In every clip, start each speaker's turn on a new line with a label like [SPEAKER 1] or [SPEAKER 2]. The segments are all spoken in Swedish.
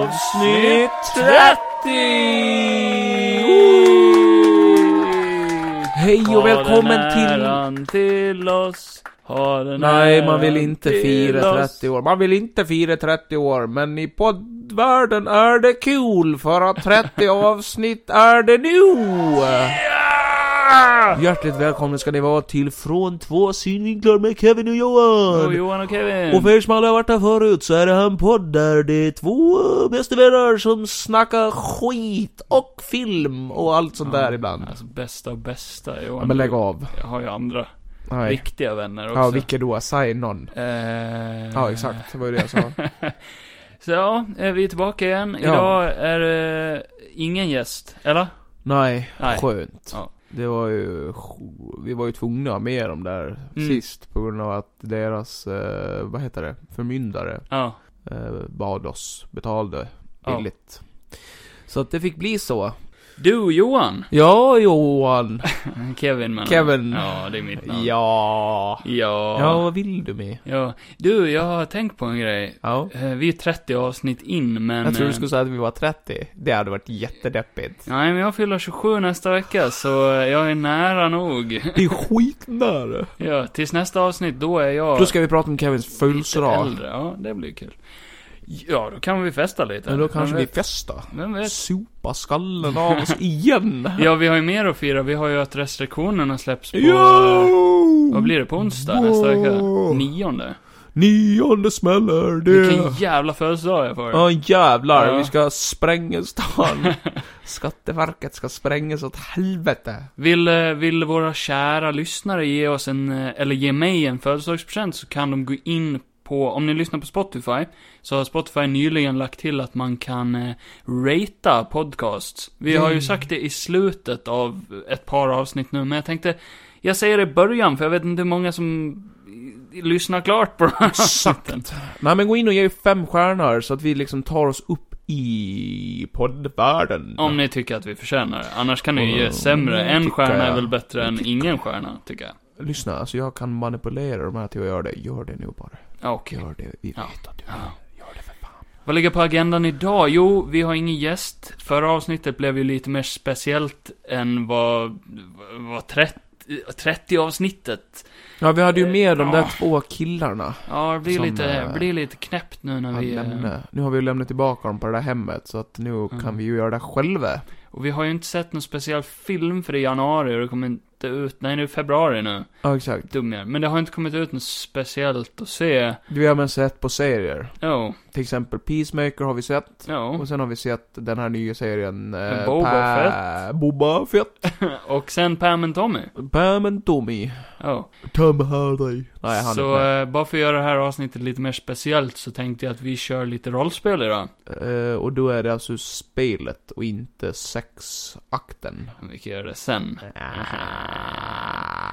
[SPEAKER 1] Avsnitt
[SPEAKER 2] 30! Hej och välkommen till...
[SPEAKER 1] till... till oss. Ha den
[SPEAKER 2] Nej,
[SPEAKER 1] äran
[SPEAKER 2] man vill inte
[SPEAKER 1] till
[SPEAKER 2] fira
[SPEAKER 1] oss.
[SPEAKER 2] 30 år. Man vill inte fira 30 år, men i poddvärlden är det kul för att 30 avsnitt är det nu!
[SPEAKER 1] Ja!
[SPEAKER 2] Hjärtligt välkomna ska ni vara till Från två synvinklar med Kevin och Johan!
[SPEAKER 1] Och Johan och Kevin.
[SPEAKER 2] Och för er som aldrig har varit här förut så är det här en podd där det är två eh, bästa vänner som snackar skit och film och allt sånt där ibland.
[SPEAKER 1] Alltså bästa och bästa Johan.
[SPEAKER 2] Ja, men lägg av.
[SPEAKER 1] Jag har ju andra
[SPEAKER 2] Nej.
[SPEAKER 1] riktiga vänner också.
[SPEAKER 2] Ja, vilka då? Säg någon.
[SPEAKER 1] Eh,
[SPEAKER 2] Ja, exakt. Det var ju det jag sa.
[SPEAKER 1] Så ja, eh, vi är tillbaka igen.
[SPEAKER 2] Ja.
[SPEAKER 1] Idag är det ingen gäst, eller?
[SPEAKER 2] Nej,
[SPEAKER 1] Nej.
[SPEAKER 2] skönt.
[SPEAKER 1] Ja.
[SPEAKER 2] Det var ju, sj- vi var ju tvungna att ha med dem där
[SPEAKER 1] Mm.
[SPEAKER 2] sist på grund av att deras, eh, vad heter det, förmyndare
[SPEAKER 1] Ja.
[SPEAKER 2] eh, bad oss, betalade
[SPEAKER 1] Ja.
[SPEAKER 2] billigt. Så att det fick bli så.
[SPEAKER 1] Du Johan.
[SPEAKER 2] Ja, Johan.
[SPEAKER 1] Kevin menar
[SPEAKER 2] Kevin.
[SPEAKER 1] jag. Ja, det är mitt namn.
[SPEAKER 2] Ja.
[SPEAKER 1] Ja.
[SPEAKER 2] Ja, vad vill du med?
[SPEAKER 1] Ja. Du, jag har tänkt på en grej.
[SPEAKER 2] Ja.
[SPEAKER 1] Eh, Vi är 30 avsnitt in, men...
[SPEAKER 2] Jag trodde du
[SPEAKER 1] eh,
[SPEAKER 2] skulle säga att vi var 30. Det hade varit jättedeppigt.
[SPEAKER 1] Nej, men jag fyller 27 nästa vecka, så eh, jag är nära nog.
[SPEAKER 2] Det är skitnära.
[SPEAKER 1] Ja, tills nästa avsnitt, då är jag...
[SPEAKER 2] Då ska vi prata om Kevins
[SPEAKER 1] lite
[SPEAKER 2] födelsedag.
[SPEAKER 1] äldre. Ja, det blir kul. Ja, då kan vi festa lite.
[SPEAKER 2] Men då kanske
[SPEAKER 1] Vem
[SPEAKER 2] vi
[SPEAKER 1] vet?
[SPEAKER 2] festar.
[SPEAKER 1] Vem vet?
[SPEAKER 2] Sopa skallen av oss igen.
[SPEAKER 1] Ja, vi har ju mer att fira. Vi har ju att restriktionerna släpps på... eh,
[SPEAKER 2] Jo!
[SPEAKER 1] Vad blir det? På onsdag nästa vecka?
[SPEAKER 2] Wow.
[SPEAKER 1] Nionde.
[SPEAKER 2] Nionde smäller
[SPEAKER 1] Vilken
[SPEAKER 2] det.
[SPEAKER 1] jävla födelsedag jag får.
[SPEAKER 2] Ja jävlar,
[SPEAKER 1] Ja.
[SPEAKER 2] vi ska spränga stan. Skatteverket ska sprängas åt helvete.
[SPEAKER 1] Vill, eh, vill våra kära lyssnare ge oss en, eh, eller ge mig en födelsedagspresent så kan de gå in på, om ni lyssnar på Spotify, så har Spotify nyligen lagt till att man kan eh, ratea podcasts. Vi har ju
[SPEAKER 2] Mm.
[SPEAKER 1] sagt det i slutet av ett par avsnitt nu, men jag tänkte, jag säger det i början för jag vet inte hur många som eh, lyssnar klart på de här
[SPEAKER 2] Exakt.
[SPEAKER 1] avsnitten.
[SPEAKER 2] Nej men gå in och ge fem stjärnor så att vi liksom tar oss upp i poddvärlden.
[SPEAKER 1] Om ni tycker att vi förtjänar det. Annars kan ni ju ge
[SPEAKER 2] Mm,
[SPEAKER 1] sämre. En
[SPEAKER 2] tycker
[SPEAKER 1] stjärna är
[SPEAKER 2] jag.
[SPEAKER 1] väl bättre än ingen stjärna, tycker jag.
[SPEAKER 2] Lyssna, alltså jag kan manipulera de här till att göra det. Gör det nu bara.
[SPEAKER 1] Ja, Okej.
[SPEAKER 2] Gör det, vi vet
[SPEAKER 1] Ja.
[SPEAKER 2] att du
[SPEAKER 1] Ja.
[SPEAKER 2] vill. Gör det för fan.
[SPEAKER 1] Vad ligger på agendan idag? Jo, vi har ingen gäst. Förra avsnittet blev ju lite mer speciellt än vad, vad 30, 30 avsnittet.
[SPEAKER 2] Ja vi hade ju
[SPEAKER 1] Eh,
[SPEAKER 2] med de där
[SPEAKER 1] ja.
[SPEAKER 2] två killarna.
[SPEAKER 1] Ja, det blir,
[SPEAKER 2] Som,
[SPEAKER 1] lite,
[SPEAKER 2] eh,
[SPEAKER 1] blir lite knäppt nu när
[SPEAKER 2] Han
[SPEAKER 1] vi... eh,
[SPEAKER 2] lämnade. Nu har vi ju lämnat tillbaka dem på det där hemmet så att nu kan vi ju göra det själva.
[SPEAKER 1] Och vi har ju inte sett någon speciell film för i januari och det kommer inte ut... Nej, nu är februari nu.
[SPEAKER 2] Ja exakt.
[SPEAKER 1] Dum jag är. Men det har inte kommit ut något speciellt att se.
[SPEAKER 2] Vi har men sett på serier.
[SPEAKER 1] Jo,
[SPEAKER 2] Till exempel Peacemaker har vi sett.
[SPEAKER 1] jo.
[SPEAKER 2] Och sen har vi sett den här nya serien... Eh,
[SPEAKER 1] Mm. Boba
[SPEAKER 2] Fett. Boba Fett.
[SPEAKER 1] Och sen Pam and Tommy.
[SPEAKER 2] Pam and Tommy.
[SPEAKER 1] Jo.
[SPEAKER 2] Tom Hardy. Nej, han
[SPEAKER 1] så
[SPEAKER 2] är
[SPEAKER 1] eh, bara för att göra det här avsnittet lite mer speciellt så tänkte jag att vi kör lite rollspel idag.
[SPEAKER 2] inte. eh, Och då är det alltså spelet och inte sexakten.
[SPEAKER 1] Vi kan göra det sen. Så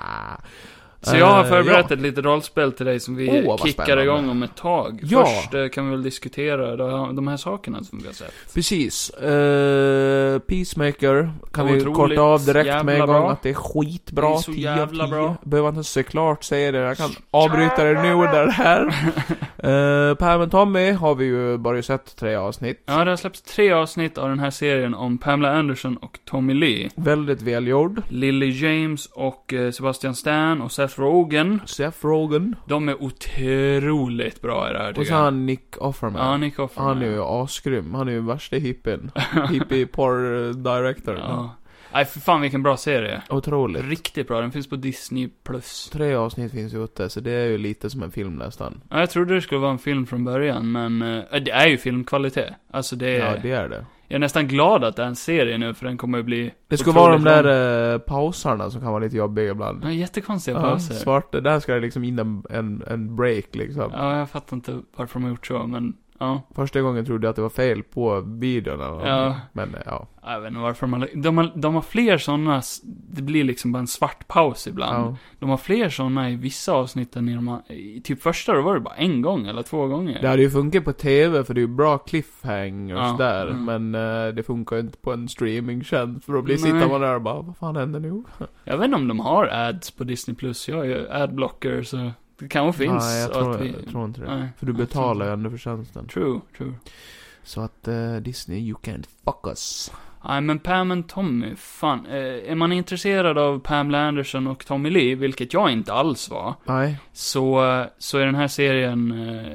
[SPEAKER 2] Eh,
[SPEAKER 1] jag har förberett
[SPEAKER 2] ja.
[SPEAKER 1] ett litet rollspel till dig som vi
[SPEAKER 2] Åh, vad
[SPEAKER 1] kickar
[SPEAKER 2] spännande.
[SPEAKER 1] igång om ett tag.
[SPEAKER 2] Ja.
[SPEAKER 1] Först eh, kan vi väl diskutera de- de här sakerna som vi har sett.
[SPEAKER 2] Precis. Eh, Peacemaker kan vi
[SPEAKER 1] Otroligt
[SPEAKER 2] korta av direkt
[SPEAKER 1] jävla
[SPEAKER 2] med en gång
[SPEAKER 1] bra.
[SPEAKER 2] att det är skitbra.
[SPEAKER 1] Det är så
[SPEAKER 2] 10 av
[SPEAKER 1] jävla
[SPEAKER 2] 10.
[SPEAKER 1] bra.
[SPEAKER 2] Behöver inte se klart, säger det. Jag kan avbryta det nu där det här. uh, Pam och Tommy har vi ju bara sett tre avsnitt.
[SPEAKER 1] Ja, det har släppts tre avsnitt av den här serien om Pamela Anderson och Tommy Lee.
[SPEAKER 2] Väldigt välgjord.
[SPEAKER 1] Lily James och eh, Sebastian Stan och Seth Rogen.
[SPEAKER 2] Seth Rogen.
[SPEAKER 1] De är otroligt bra i det här
[SPEAKER 2] Och
[SPEAKER 1] tycker
[SPEAKER 2] så
[SPEAKER 1] jag.
[SPEAKER 2] han Nick Offerman.
[SPEAKER 1] Ja, Nick Offerman.
[SPEAKER 2] Han är ju asgrym. Han är ju värsta hippien. Hippie porr director.
[SPEAKER 1] Ja. Nej, för fan vilken bra serie.
[SPEAKER 2] Otroligt.
[SPEAKER 1] Riktigt bra, den finns på Disney+. Plus.
[SPEAKER 2] Tre avsnitt finns ju ute, så det är ju lite som en film nästan.
[SPEAKER 1] Ja, jag trodde det skulle vara en film från början, men eh, det är ju filmkvalitet. Alltså det är...
[SPEAKER 2] Ja, det är det.
[SPEAKER 1] Jag är nästan glad att det är en serie nu, för den kommer att bli...
[SPEAKER 2] Det ska vara de
[SPEAKER 1] otroligt lång.
[SPEAKER 2] där eh, pausarna som kan vara lite jobbiga ibland.
[SPEAKER 1] Ja, jättekonstiga
[SPEAKER 2] Ja,
[SPEAKER 1] pauser.
[SPEAKER 2] svart, där ska det liksom in en, en, en break liksom.
[SPEAKER 1] Ja, jag fattar inte varför de har gjort så, men... Ja.
[SPEAKER 2] Första gången trodde jag att det var fel på videon eller någonting.
[SPEAKER 1] Ja.
[SPEAKER 2] Men eh, ja.
[SPEAKER 1] Jag vet inte varför de har... De har, de har fler sådana... Det blir liksom bara en svart paus ibland.
[SPEAKER 2] ja.
[SPEAKER 1] De har fler sådana i vissa avsnitt än i de här... I typ första, då var det bara en gång eller två gånger.
[SPEAKER 2] Det hade ju funkat på TV för det är ju bra cliffhangers
[SPEAKER 1] Ja,
[SPEAKER 2] där.
[SPEAKER 1] mm.
[SPEAKER 2] Men eh, det funkar ju inte på en streamingtjänst för då blir
[SPEAKER 1] Nej.
[SPEAKER 2] sitter man där och bara vad fan händer nu?
[SPEAKER 1] Jag vet inte om de har ads på Disney+. Plus. Jag är ju adblocker, så... Det kanske finns.
[SPEAKER 2] Nej, jag
[SPEAKER 1] och
[SPEAKER 2] tror,
[SPEAKER 1] att vi...
[SPEAKER 2] jag tror inte det.
[SPEAKER 1] Nej,
[SPEAKER 2] för du
[SPEAKER 1] jag tror
[SPEAKER 2] betalar
[SPEAKER 1] inte.
[SPEAKER 2] ju ändå för tjänsten.
[SPEAKER 1] True, true.
[SPEAKER 2] Så att eh, Disney, you can't fuck us.
[SPEAKER 1] Nej, men Pam and Tommy, fan. Eh, är man intresserad av Pamela Anderson och Tommy Lee, vilket jag inte alls var,
[SPEAKER 2] Nej,
[SPEAKER 1] så, eh, så är den här serien eh,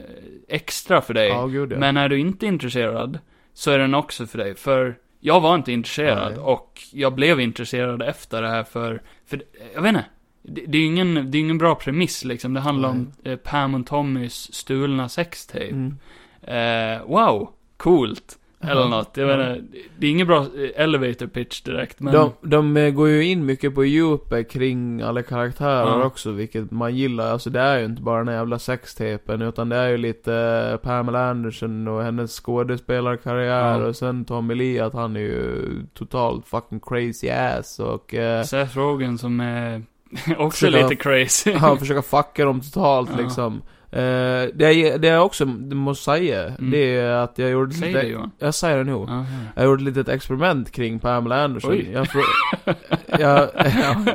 [SPEAKER 1] extra för dig.
[SPEAKER 2] ja gud ja.
[SPEAKER 1] Men är du inte intresserad, så är den också för dig. För jag var inte intresserad
[SPEAKER 2] Nej.
[SPEAKER 1] och jag blev intresserad efter det här för, för eh, jag vet inte. Det, det är ju ingen, det är ingen bra premiss liksom. Det handlar om eh, Pam och Tommys stulna sextape.
[SPEAKER 2] Mm.
[SPEAKER 1] Eh, wow, coolt. Eller
[SPEAKER 2] Ja.
[SPEAKER 1] något. Jag menar, det är ingen bra eh, elevator pitch direkt, men...
[SPEAKER 2] De, de eh, går ju in mycket på djupet kring alla karaktärer
[SPEAKER 1] Ja.
[SPEAKER 2] också, vilket man gillar. Alltså det är ju inte bara den här jävla sextepen, utan det är ju lite eh, Pamela Anderson och hennes skådespelarkarriär
[SPEAKER 1] Ja.
[SPEAKER 2] och sen Tommy Lee, att han är ju totalt fucking crazy ass och... Eh,
[SPEAKER 1] Seth Rogen som är också
[SPEAKER 2] Försöker-
[SPEAKER 1] lite crazy.
[SPEAKER 2] han försöker fucka dem totalt
[SPEAKER 1] Ja.
[SPEAKER 2] liksom. Eh, det, det jag också måste säga,
[SPEAKER 1] Mm.
[SPEAKER 2] det är att jag gjorde...
[SPEAKER 1] Säg
[SPEAKER 2] lite-
[SPEAKER 1] det Johan.
[SPEAKER 2] Jag säger det nog.
[SPEAKER 1] Ja,
[SPEAKER 2] Jag gjorde ett litet experiment kring Pamela Anderson.
[SPEAKER 1] Oj.
[SPEAKER 2] Jag, frå- jag,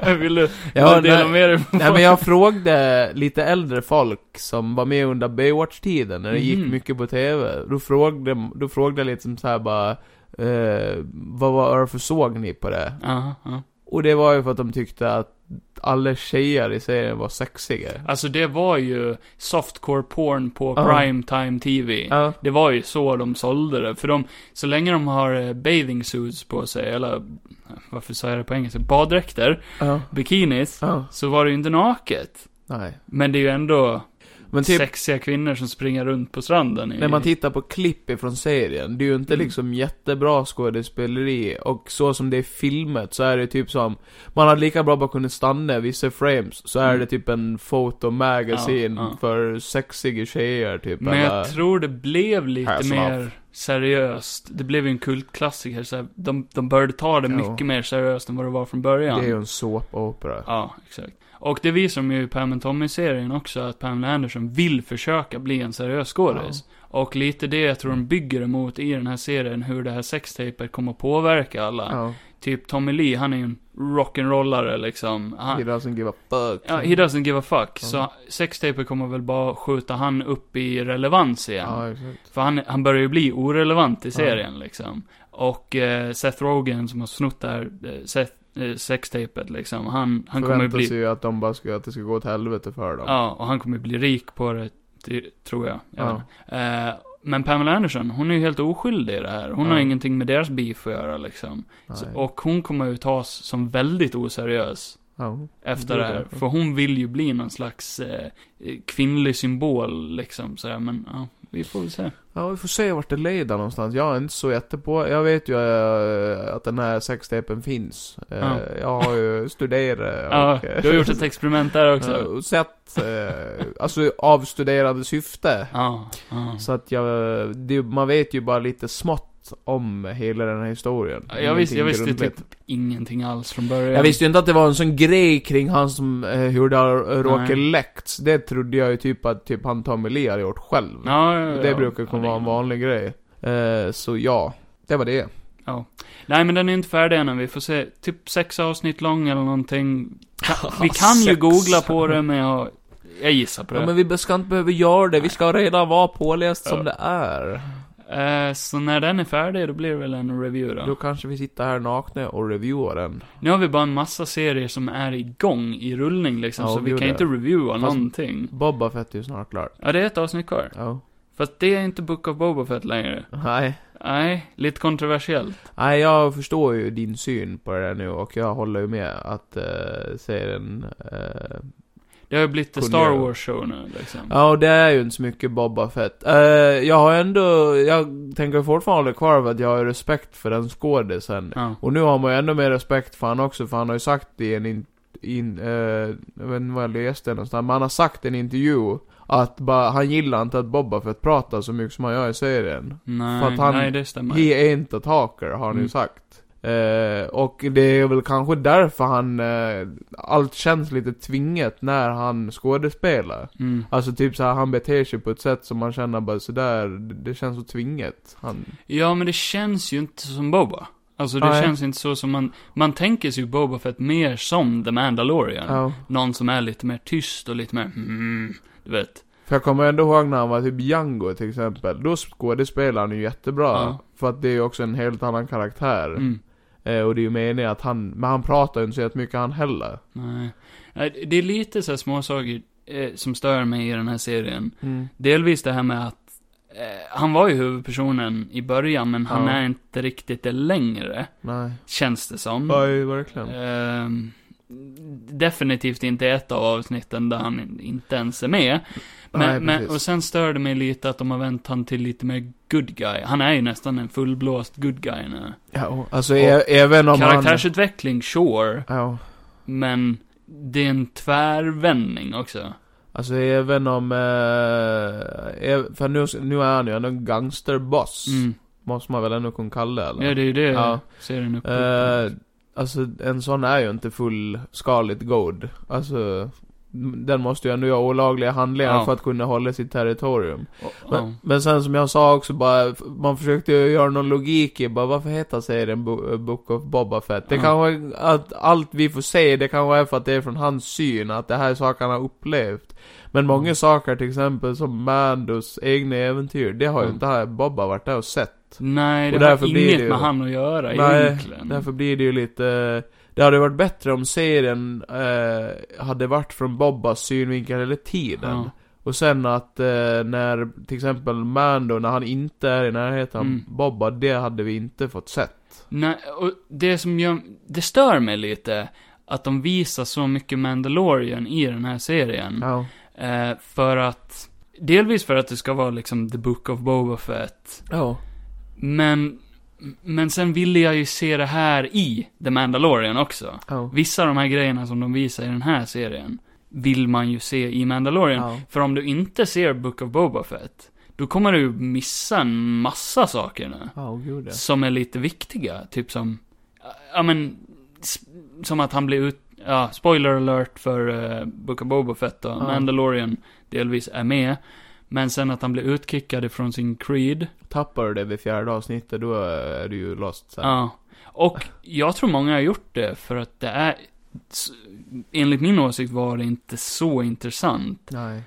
[SPEAKER 1] ja. Vill du
[SPEAKER 2] jag,
[SPEAKER 1] bara dela
[SPEAKER 2] nej-
[SPEAKER 1] med dig?
[SPEAKER 2] Nej men jag frågade lite äldre folk som var med under Baywatch-tiden, när det
[SPEAKER 1] Mhm.
[SPEAKER 2] gick mycket på TV. Då frågade, då frågade jag liksom så här bara, eh, vad var varför såg ni på det?
[SPEAKER 1] Ja, ja.
[SPEAKER 2] Och det var ju för att de tyckte att alla tjejer i serien var sexiga.
[SPEAKER 1] Alltså det var ju softcore porn på
[SPEAKER 2] Ja.
[SPEAKER 1] primetime TV.
[SPEAKER 2] Ja,
[SPEAKER 1] Det var ju så de sålde det. För de, så länge de har eh, bathing suits på sig, eller varför sa jag det på engelska? Baddräkter,
[SPEAKER 2] ja,
[SPEAKER 1] bikinis,
[SPEAKER 2] ja.
[SPEAKER 1] så var det ju inte naket.
[SPEAKER 2] Nej.
[SPEAKER 1] Men det är ju ändå
[SPEAKER 2] Men typ,
[SPEAKER 1] sexiga kvinnor som springer runt på stranden. I,
[SPEAKER 2] när man tittar på klipp ifrån serien, det är ju inte
[SPEAKER 1] Mm.
[SPEAKER 2] liksom jättebra skådespeleri, och så som det är filmet så är det typ som, man hade lika bra bara kunnat stanna vissa frames, så är
[SPEAKER 1] Mm.
[SPEAKER 2] det typ en photo magazine
[SPEAKER 1] Ja, ja.
[SPEAKER 2] för sexiga tjejer typ,
[SPEAKER 1] Men
[SPEAKER 2] eller,
[SPEAKER 1] jag tror det blev lite
[SPEAKER 2] Hands
[SPEAKER 1] mer seriöst. Det blev ju en kultklassiker. Så här, de, de började ta det
[SPEAKER 2] Jo.
[SPEAKER 1] mycket mer seriöst än vad det var från början.
[SPEAKER 2] det är ju en såpopera.
[SPEAKER 1] Ja, exakt. Och det visar de ju i Pam and Tommy-serien också, att Pamela Anderson vill försöka bli en seriös skådis. Och lite det jag tror de bygger emot i den här serien, hur det här sextapet kommer att påverka alla.
[SPEAKER 2] Ja.
[SPEAKER 1] Typ Tommy Lee, han är ju en rock'n'rollare liksom. Han,
[SPEAKER 2] He doesn't give a fuck.
[SPEAKER 1] ja, he doesn't give a fuck.
[SPEAKER 2] Ja.
[SPEAKER 1] Så sextapet kommer väl bara skjuta han upp i relevans igen.
[SPEAKER 2] Ja, exakt.
[SPEAKER 1] För han, han börjar ju bli orelevant i
[SPEAKER 2] Ja.
[SPEAKER 1] serien liksom. Och eh, Seth Rogen som har snott det här eh, Seth, eh, sextapet liksom, han, han kommer ju
[SPEAKER 2] Förväntar
[SPEAKER 1] bli...
[SPEAKER 2] sig ju att de bara ska, att det ska gå åt helvete för dem.
[SPEAKER 1] Ja, och han kommer bli rik på det, ty- tror jag. jag
[SPEAKER 2] Ja.
[SPEAKER 1] vet inte. eh, men Pamela Anderson, hon är ju helt oskyldig i det här. Hon har
[SPEAKER 2] Ja.
[SPEAKER 1] ingenting med deras beef att göra liksom. Så,
[SPEAKER 2] Nej.
[SPEAKER 1] och hon kommer ju tas som väldigt oseriös
[SPEAKER 2] Ja.
[SPEAKER 1] efter
[SPEAKER 2] Det
[SPEAKER 1] det
[SPEAKER 2] är
[SPEAKER 1] här.
[SPEAKER 2] det.
[SPEAKER 1] För hon vill ju bli någon slags eh, kvinnlig symbol liksom. Så här, men ja, vi får väl se.
[SPEAKER 2] Ja, vi får se vart det leder någonstans. Jag är inte så jättepå... Jag vet ju eh, att den här sextapen finns. Eh,
[SPEAKER 1] Ja.
[SPEAKER 2] Jag har ju studerat och...
[SPEAKER 1] Ja, du har gjort ett experiment där
[SPEAKER 2] eh,
[SPEAKER 1] också.
[SPEAKER 2] och sett, eh, alltså av studerande syfte.
[SPEAKER 1] Ja, ja.
[SPEAKER 2] Så att jag, det, man vet ju bara lite smått om hela den här historien.
[SPEAKER 1] Ja, jag visste- jag
[SPEAKER 2] Ingenting
[SPEAKER 1] visste ju
[SPEAKER 2] grundligt.
[SPEAKER 1] Ingenting alls från början.
[SPEAKER 2] Jag visste ju inte att det var en sån grej kring han som, eh, hur det har råkat
[SPEAKER 1] Nej.
[SPEAKER 2] läckts. Det trodde jag ju typ att typ han Tommy Lee hade gjort själv.
[SPEAKER 1] Ja, ja, ja,
[SPEAKER 2] Det brukar kunna
[SPEAKER 1] Ja,
[SPEAKER 2] vara en vanlig grej. Eh, så ja, det var det.
[SPEAKER 1] Nej, men den är inte färdig än. Vi får se. Typ sex avsnitt lång eller någonting. Ka- Vi kan ju
[SPEAKER 2] Sex.
[SPEAKER 1] googla på det, men jag, jag gissar på det.
[SPEAKER 2] Ja, men vi ska inte behöva göra det, vi ska redan vara påläst
[SPEAKER 1] Ja.
[SPEAKER 2] som det är.
[SPEAKER 1] Eh, så när den är färdig, då blir det väl en review då.
[SPEAKER 2] Då kanske vi sitter här nakna och reviewar den.
[SPEAKER 1] Nu har vi bara en massa serier som är igång i rullning liksom,
[SPEAKER 2] Ja,
[SPEAKER 1] så vi
[SPEAKER 2] gud,
[SPEAKER 1] kan
[SPEAKER 2] ja.
[SPEAKER 1] inte reviewa
[SPEAKER 2] Fast-
[SPEAKER 1] någonting.
[SPEAKER 2] Boba Fett är ju snart klar.
[SPEAKER 1] Ja, det är ett avsnitt kvar.
[SPEAKER 2] Ja.
[SPEAKER 1] Fast det är inte Book of Boba Fett längre.
[SPEAKER 2] Nej.
[SPEAKER 1] Nej, lite kontroversiellt.
[SPEAKER 2] Nej, jag förstår ju din syn på det där nu och jag håller ju med att eh, serien... Eh...
[SPEAKER 1] Det har ju blivit the
[SPEAKER 2] Kunde
[SPEAKER 1] Star
[SPEAKER 2] göra.
[SPEAKER 1] Wars show nu liksom.
[SPEAKER 2] Ja, och det är ju inte så mycket Boba Fett. Eh, jag har ändå... Jag tänker fortfarande kvar på att jag har respekt för den skådisen.
[SPEAKER 1] Ja.
[SPEAKER 2] Och nu har man ju ändå mer respekt för han också, för han har ju sagt i en in, in, eh, jag vet inte vad jag läste någonstans, men han har sagt i en intervju att bara, han gillar inte att Boba Fett pratar så mycket som han gör i serien. För
[SPEAKER 1] Nej,
[SPEAKER 2] att han-
[SPEAKER 1] nej, det stämmer.
[SPEAKER 2] He ain't a talker, har han
[SPEAKER 1] Mm.
[SPEAKER 2] ju sagt. Eh, och det är väl kanske därför han, eh, allt känns lite tvingat när han skådespelar.
[SPEAKER 1] Mm.
[SPEAKER 2] Alltså typ såhär, han beter sig på ett sätt som man känner bara sådär, det det känns så tvingat. Han,
[SPEAKER 1] Ja, men det känns ju inte som Boba. Alltså det
[SPEAKER 2] Nej.
[SPEAKER 1] känns inte så som man... Man tänker sig ju Boba Fett mer som The Mandalorian.
[SPEAKER 2] ja.
[SPEAKER 1] Någon som är lite mer tyst och lite mer mm, du vet.
[SPEAKER 2] För jag kommer ändå ihåg när han var typ Django till exempel. Då skådespelar han ju jättebra.
[SPEAKER 1] Ja.
[SPEAKER 2] För att det är ju också en helt annan karaktär.
[SPEAKER 1] Mm.
[SPEAKER 2] Eh, och det är ju meningen att han, men han pratar ju inte så jättemycket han heller.
[SPEAKER 1] Nej. Nej, Det är lite så här småsaker eh, som stör mig i den här serien. Delvis det här med att eh, han var ju huvudpersonen i början, men han
[SPEAKER 2] Ja.
[SPEAKER 1] är inte riktigt det längre.
[SPEAKER 2] Nej.
[SPEAKER 1] Känns det som.
[SPEAKER 2] Nej, verkligen.
[SPEAKER 1] Ehm, definitivt inte ett av avsnitten där han inte ens är med. Men,
[SPEAKER 2] Nej,
[SPEAKER 1] men,
[SPEAKER 2] precis.
[SPEAKER 1] och sen störde mig lite att de har vänt han till lite mer good guy. Han är ju nästan en fullblåst good guy nu.
[SPEAKER 2] Ja, och- alltså ä- även om
[SPEAKER 1] Karaktärsutveckling, sure.
[SPEAKER 2] han... Ja.
[SPEAKER 1] Men det är en tvärvändning också.
[SPEAKER 2] Alltså även om... Eh, ä- för nu, nu är han ju ändå en gangsterboss.
[SPEAKER 1] Mm.
[SPEAKER 2] Måste man väl ändå kunna kalla eller?
[SPEAKER 1] Ja, det är ju det
[SPEAKER 2] Ja.
[SPEAKER 1] serien upp
[SPEAKER 2] Eh, alltså en sån är ju inte fullskaligt god. Alltså, m- den måste ju ändå göra olagliga handlingar
[SPEAKER 1] Ja.
[SPEAKER 2] för att kunna hålla sitt territorium.
[SPEAKER 1] och,
[SPEAKER 2] Men,
[SPEAKER 1] ja.
[SPEAKER 2] men sen som jag sa också bara, f- man försökte ju göra någon logik i bara, varför heter serien Bo- eh, Book of Boba Fett? Det
[SPEAKER 1] Ja.
[SPEAKER 2] kanske, att allt vi får se, det kanske är för att det är från hans syn, att det här är saker han har upplevt. Men många
[SPEAKER 1] Mm.
[SPEAKER 2] saker, till exempel som Mandos egna äventyr, det har ju
[SPEAKER 1] Mm.
[SPEAKER 2] inte här Boba varit där och sett.
[SPEAKER 1] Nej, det
[SPEAKER 2] och
[SPEAKER 1] har
[SPEAKER 2] därför blir
[SPEAKER 1] inget
[SPEAKER 2] det ju-
[SPEAKER 1] med han att göra
[SPEAKER 2] Nej,
[SPEAKER 1] egentligen.
[SPEAKER 2] Därför blir det ju lite... Det hade varit bättre om serien eh, hade varit från Bobbas synvinkel eller tiden.
[SPEAKER 1] Ja.
[SPEAKER 2] Och sen att eh, när till exempel Mando, när han inte är i närheten av
[SPEAKER 1] Mm.
[SPEAKER 2] Bobba, det hade vi inte fått sett.
[SPEAKER 1] Nej, och det som gör, det stör mig lite, att de visar så mycket Mandalorian i den här serien.
[SPEAKER 2] Ja.
[SPEAKER 1] Eh, för att, delvis för att det ska vara liksom the book of Boba Fett.
[SPEAKER 2] Ja.
[SPEAKER 1] Men, men sen ville jag ju se det här i The Mandalorian också.
[SPEAKER 2] Ja.
[SPEAKER 1] Vissa av de här grejerna som de visar i den här serien, vill man ju se i Mandalorian.
[SPEAKER 2] Ja.
[SPEAKER 1] För om du inte ser Book of Boba Fett, då kommer du missa en massa saker nu.
[SPEAKER 2] Ja, oh, gud ja.
[SPEAKER 1] Som är lite viktiga, typ som, ja men, s- som att han blir ut, ja, spoiler alert för uh, Book of Boba Fett och
[SPEAKER 2] Ja.
[SPEAKER 1] Mandalorian delvis är med. Men sen att han blir utkickad ifrån sin creed.
[SPEAKER 2] Tappar du det vid fjärde avsnittet, då är du ju lost sen.
[SPEAKER 1] Ja. Och jag tror många har gjort det för att det är, s- enligt min åsikt var det inte så intressant
[SPEAKER 2] Nej.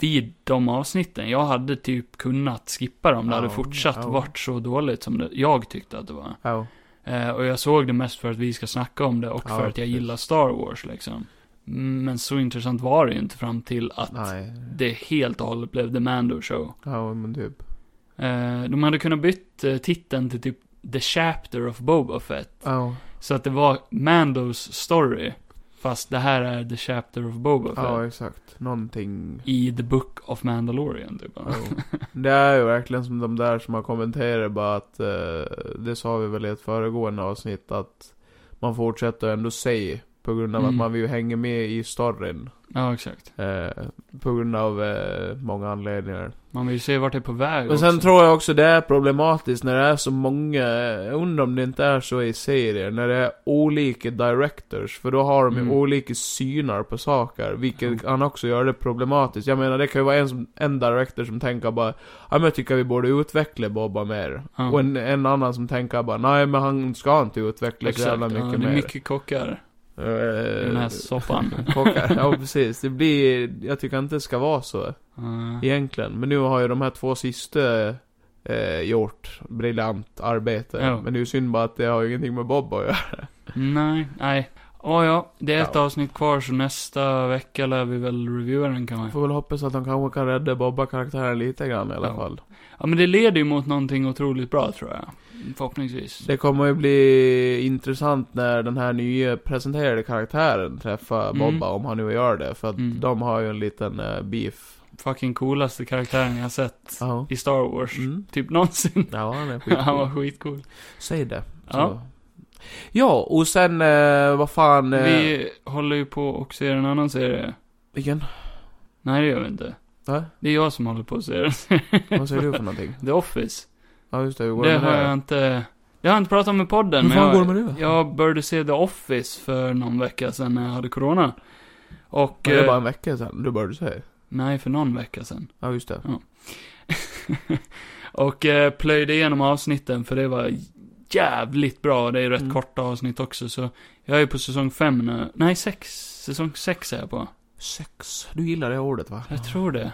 [SPEAKER 1] vid de avsnitten. Jag hade typ kunnat skippa dem. Det hade
[SPEAKER 2] Ja,
[SPEAKER 1] fortsatt
[SPEAKER 2] ja.
[SPEAKER 1] varit så dåligt som det, jag tyckte att det var.
[SPEAKER 2] Ja.
[SPEAKER 1] Eh, och jag såg det mest för att vi ska snacka om det och
[SPEAKER 2] Ja,
[SPEAKER 1] för att jag
[SPEAKER 2] precis.
[SPEAKER 1] gillar Star Wars liksom. Mm, Men så intressant var det ju inte fram till att
[SPEAKER 2] Nej.
[SPEAKER 1] det helt och hållet blev The Mando Show.
[SPEAKER 2] Ja, men typ.
[SPEAKER 1] Eh, de hade kunnat bytt eh, titeln till typ The Chapter of Boba Fett.
[SPEAKER 2] Ja.
[SPEAKER 1] Så att det var Mandos story. Fast det här är The Chapter of Boba Fett.
[SPEAKER 2] Ja, exakt. Någonting.
[SPEAKER 1] I The Book of Mandalorian typ.
[SPEAKER 2] Jo. Det är ju verkligen som de där som har kommenterat bara att, eh, det sa vi väl i ett föregående avsnitt, att man fortsätter ändå se på grund av
[SPEAKER 1] Mm.
[SPEAKER 2] att man vill ju hänga med i storyn.
[SPEAKER 1] ja, exakt.
[SPEAKER 2] Eh, på grund av eh, många anledningar.
[SPEAKER 1] Man vill ju se vart det är på väg
[SPEAKER 2] Men sen
[SPEAKER 1] också.
[SPEAKER 2] tror jag också det är problematiskt när det är så många, jag undrar om det inte är så i serier, när det är olika directors. För då har de ju
[SPEAKER 1] Mm.
[SPEAKER 2] olika synar på saker, vilket
[SPEAKER 1] Jo.
[SPEAKER 2] kan också göra det problematiskt. Jag menar, det kan ju vara en, som, en director som tänker bara, ja men jag tycker vi borde utveckla Boba mer.
[SPEAKER 1] Ja.
[SPEAKER 2] Och en, en annan som tänker bara, nej men han ska inte utveckla så
[SPEAKER 1] Exakt,
[SPEAKER 2] jävla
[SPEAKER 1] ja,
[SPEAKER 2] mycket
[SPEAKER 1] det
[SPEAKER 2] mer. Eh,
[SPEAKER 1] är mycket kockar i den här soppan.
[SPEAKER 2] Kockar. Ja precis, det blir, jag tycker inte det ska vara så.
[SPEAKER 1] Ja.
[SPEAKER 2] Egentligen. Men nu har ju de här två sista eh, gjort briljant arbete.
[SPEAKER 1] Ja.
[SPEAKER 2] Men det är ju synd bara att det har ju ingenting med Bob att göra.
[SPEAKER 1] Nej, nej. Ja, ja, det är ett
[SPEAKER 2] Ja.
[SPEAKER 1] avsnitt kvar så nästa vecka lär vi väl reviewa den kan
[SPEAKER 2] Jag
[SPEAKER 1] man.
[SPEAKER 2] får väl hoppas att de kanske kan rädda Bobba-karaktären lite grann i alla
[SPEAKER 1] Ja.
[SPEAKER 2] fall.
[SPEAKER 1] Ja men det leder ju mot någonting otroligt bra tror jag. Förhoppningsvis.
[SPEAKER 2] Det kommer ju bli intressant när den här nya presenterade karaktären träffar
[SPEAKER 1] Mm.
[SPEAKER 2] Bobba, om han nu gör det. För att
[SPEAKER 1] Mm.
[SPEAKER 2] de har ju en liten eh, beef.
[SPEAKER 1] Fucking coolaste karaktären jag har sett
[SPEAKER 2] Ja.
[SPEAKER 1] i Star Wars.
[SPEAKER 2] Mm.
[SPEAKER 1] Typ någonsin.
[SPEAKER 2] Ja, han är
[SPEAKER 1] Han var
[SPEAKER 2] skitcool.
[SPEAKER 1] skitcool.
[SPEAKER 2] Säg det. Så.
[SPEAKER 1] Ja.
[SPEAKER 2] Ja, och sen, eh, vad fan... Eh,
[SPEAKER 1] Vi håller ju på och ser en annan serie.
[SPEAKER 2] Vilken?
[SPEAKER 1] Nej det gör vi inte.
[SPEAKER 2] Va?
[SPEAKER 1] Det är jag som håller på och ser
[SPEAKER 2] Vad säger du för någonting?
[SPEAKER 1] The Office.
[SPEAKER 2] Ja, just det. Hur går
[SPEAKER 1] Det
[SPEAKER 2] med
[SPEAKER 1] har jag inte... Jag har inte pratat om i podden,
[SPEAKER 2] Hur
[SPEAKER 1] men
[SPEAKER 2] fan
[SPEAKER 1] jag,
[SPEAKER 2] går det med det?
[SPEAKER 1] jag började se The Office för någon vecka sedan när jag hade corona. Och...
[SPEAKER 2] Men det är
[SPEAKER 1] eh,
[SPEAKER 2] bara en vecka sedan, du började säga.
[SPEAKER 1] Nej, för någon vecka sedan.
[SPEAKER 2] Ja, just
[SPEAKER 1] Mm.
[SPEAKER 2] det.
[SPEAKER 1] och eh, plöjde igenom avsnitten, för det var jävligt bra. Det är rätt
[SPEAKER 2] Mm.
[SPEAKER 1] korta avsnitt också, så jag är på säsong fem nu. Nej, sex. Säsong sex är jag på.
[SPEAKER 2] Sex. Du gillar det ordet va?
[SPEAKER 1] Jag tror det.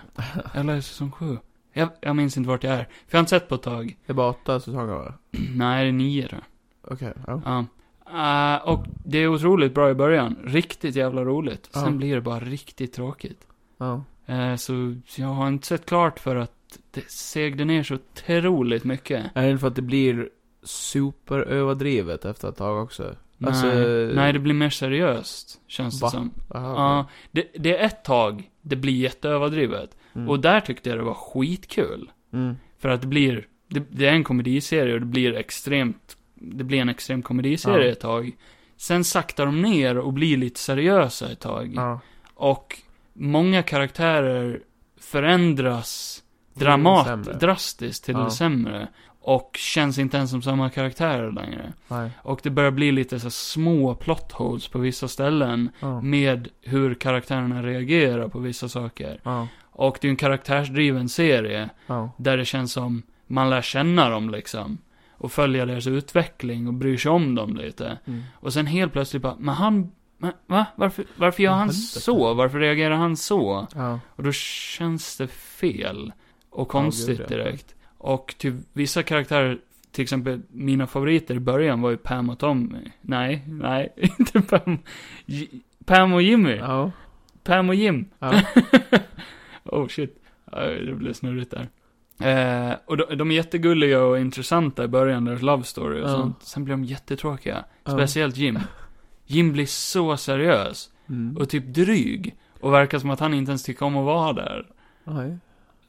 [SPEAKER 1] Eller säsong sju. Jag, jag minns inte vart jag är. För jag har inte sett på ett tag.
[SPEAKER 2] Det är bara åtta säsonger va?
[SPEAKER 1] Nej, det är nio tror jag.
[SPEAKER 2] Okej. ja.
[SPEAKER 1] Ja. Eh, och det är otroligt bra i början. Riktigt jävla roligt. Sen
[SPEAKER 2] Ja.
[SPEAKER 1] blir det bara riktigt tråkigt.
[SPEAKER 2] Ja.
[SPEAKER 1] Eh, så jag har inte sett klart för att det segde ner så otroligt mycket.
[SPEAKER 2] Är det för att det blir superöverdrivet efter ett tag också? Alltså-
[SPEAKER 1] nej, nej, det blir mer seriöst, känns det
[SPEAKER 2] Va?
[SPEAKER 1] som.
[SPEAKER 2] Aha,
[SPEAKER 1] Ja, det, det är ett tag det blir jätteöverdrivet.
[SPEAKER 2] mm.
[SPEAKER 1] Och där tyckte jag det var skitkul.
[SPEAKER 2] Mm.
[SPEAKER 1] För att det blir, det, det är en komediserie och det blir extremt, det blir en extrem komediserie
[SPEAKER 2] Ja.
[SPEAKER 1] ett tag. Sen saktar de ner och blir lite seriösa ett tag.
[SPEAKER 2] Ja.
[SPEAKER 1] Och många karaktärer förändras dramat,
[SPEAKER 2] Sämre.
[SPEAKER 1] drastiskt till
[SPEAKER 2] Ja.
[SPEAKER 1] det sämre. Och känns inte ens som samma karaktärer längre.
[SPEAKER 2] Nej.
[SPEAKER 1] Och det börjar bli lite så här små plot holes på vissa ställen.
[SPEAKER 2] Ja.
[SPEAKER 1] Med hur karaktärerna reagerar på vissa saker.
[SPEAKER 2] Ja.
[SPEAKER 1] Och det är ju en karaktärsdriven serie.
[SPEAKER 2] Ja.
[SPEAKER 1] Där det känns som man lär känna dem liksom. Och följa deras utveckling och bryr sig om dem lite.
[SPEAKER 2] Mm.
[SPEAKER 1] Och sen helt plötsligt bara, men han, men, va? Varför, varför gör
[SPEAKER 2] Men
[SPEAKER 1] han
[SPEAKER 2] helvete.
[SPEAKER 1] så? Varför reagerar han så?
[SPEAKER 2] Ja.
[SPEAKER 1] Och då känns det fel. Och konstigt
[SPEAKER 2] gud, ja.
[SPEAKER 1] direkt. Och till vissa karaktärer, till exempel mina favoriter i början var ju Pam och Tommy. Nej, nej, inte Pam. J- Pam och Jimmy.
[SPEAKER 2] Ja.
[SPEAKER 1] Pam och Jim.
[SPEAKER 2] Ja.
[SPEAKER 1] oh shit. Eh, Det blev snurrigt där. Eh, och de, de är jättegulliga och intressanta i början, deras love story och
[SPEAKER 2] Ja.
[SPEAKER 1] sånt. Sen blir de jättetråkiga.
[SPEAKER 2] Ja.
[SPEAKER 1] Speciellt Jim. Jim blir så seriös.
[SPEAKER 2] Mm.
[SPEAKER 1] Och typ dryg. Och verkar som att han inte ens tycker om att vara där.
[SPEAKER 2] Nej.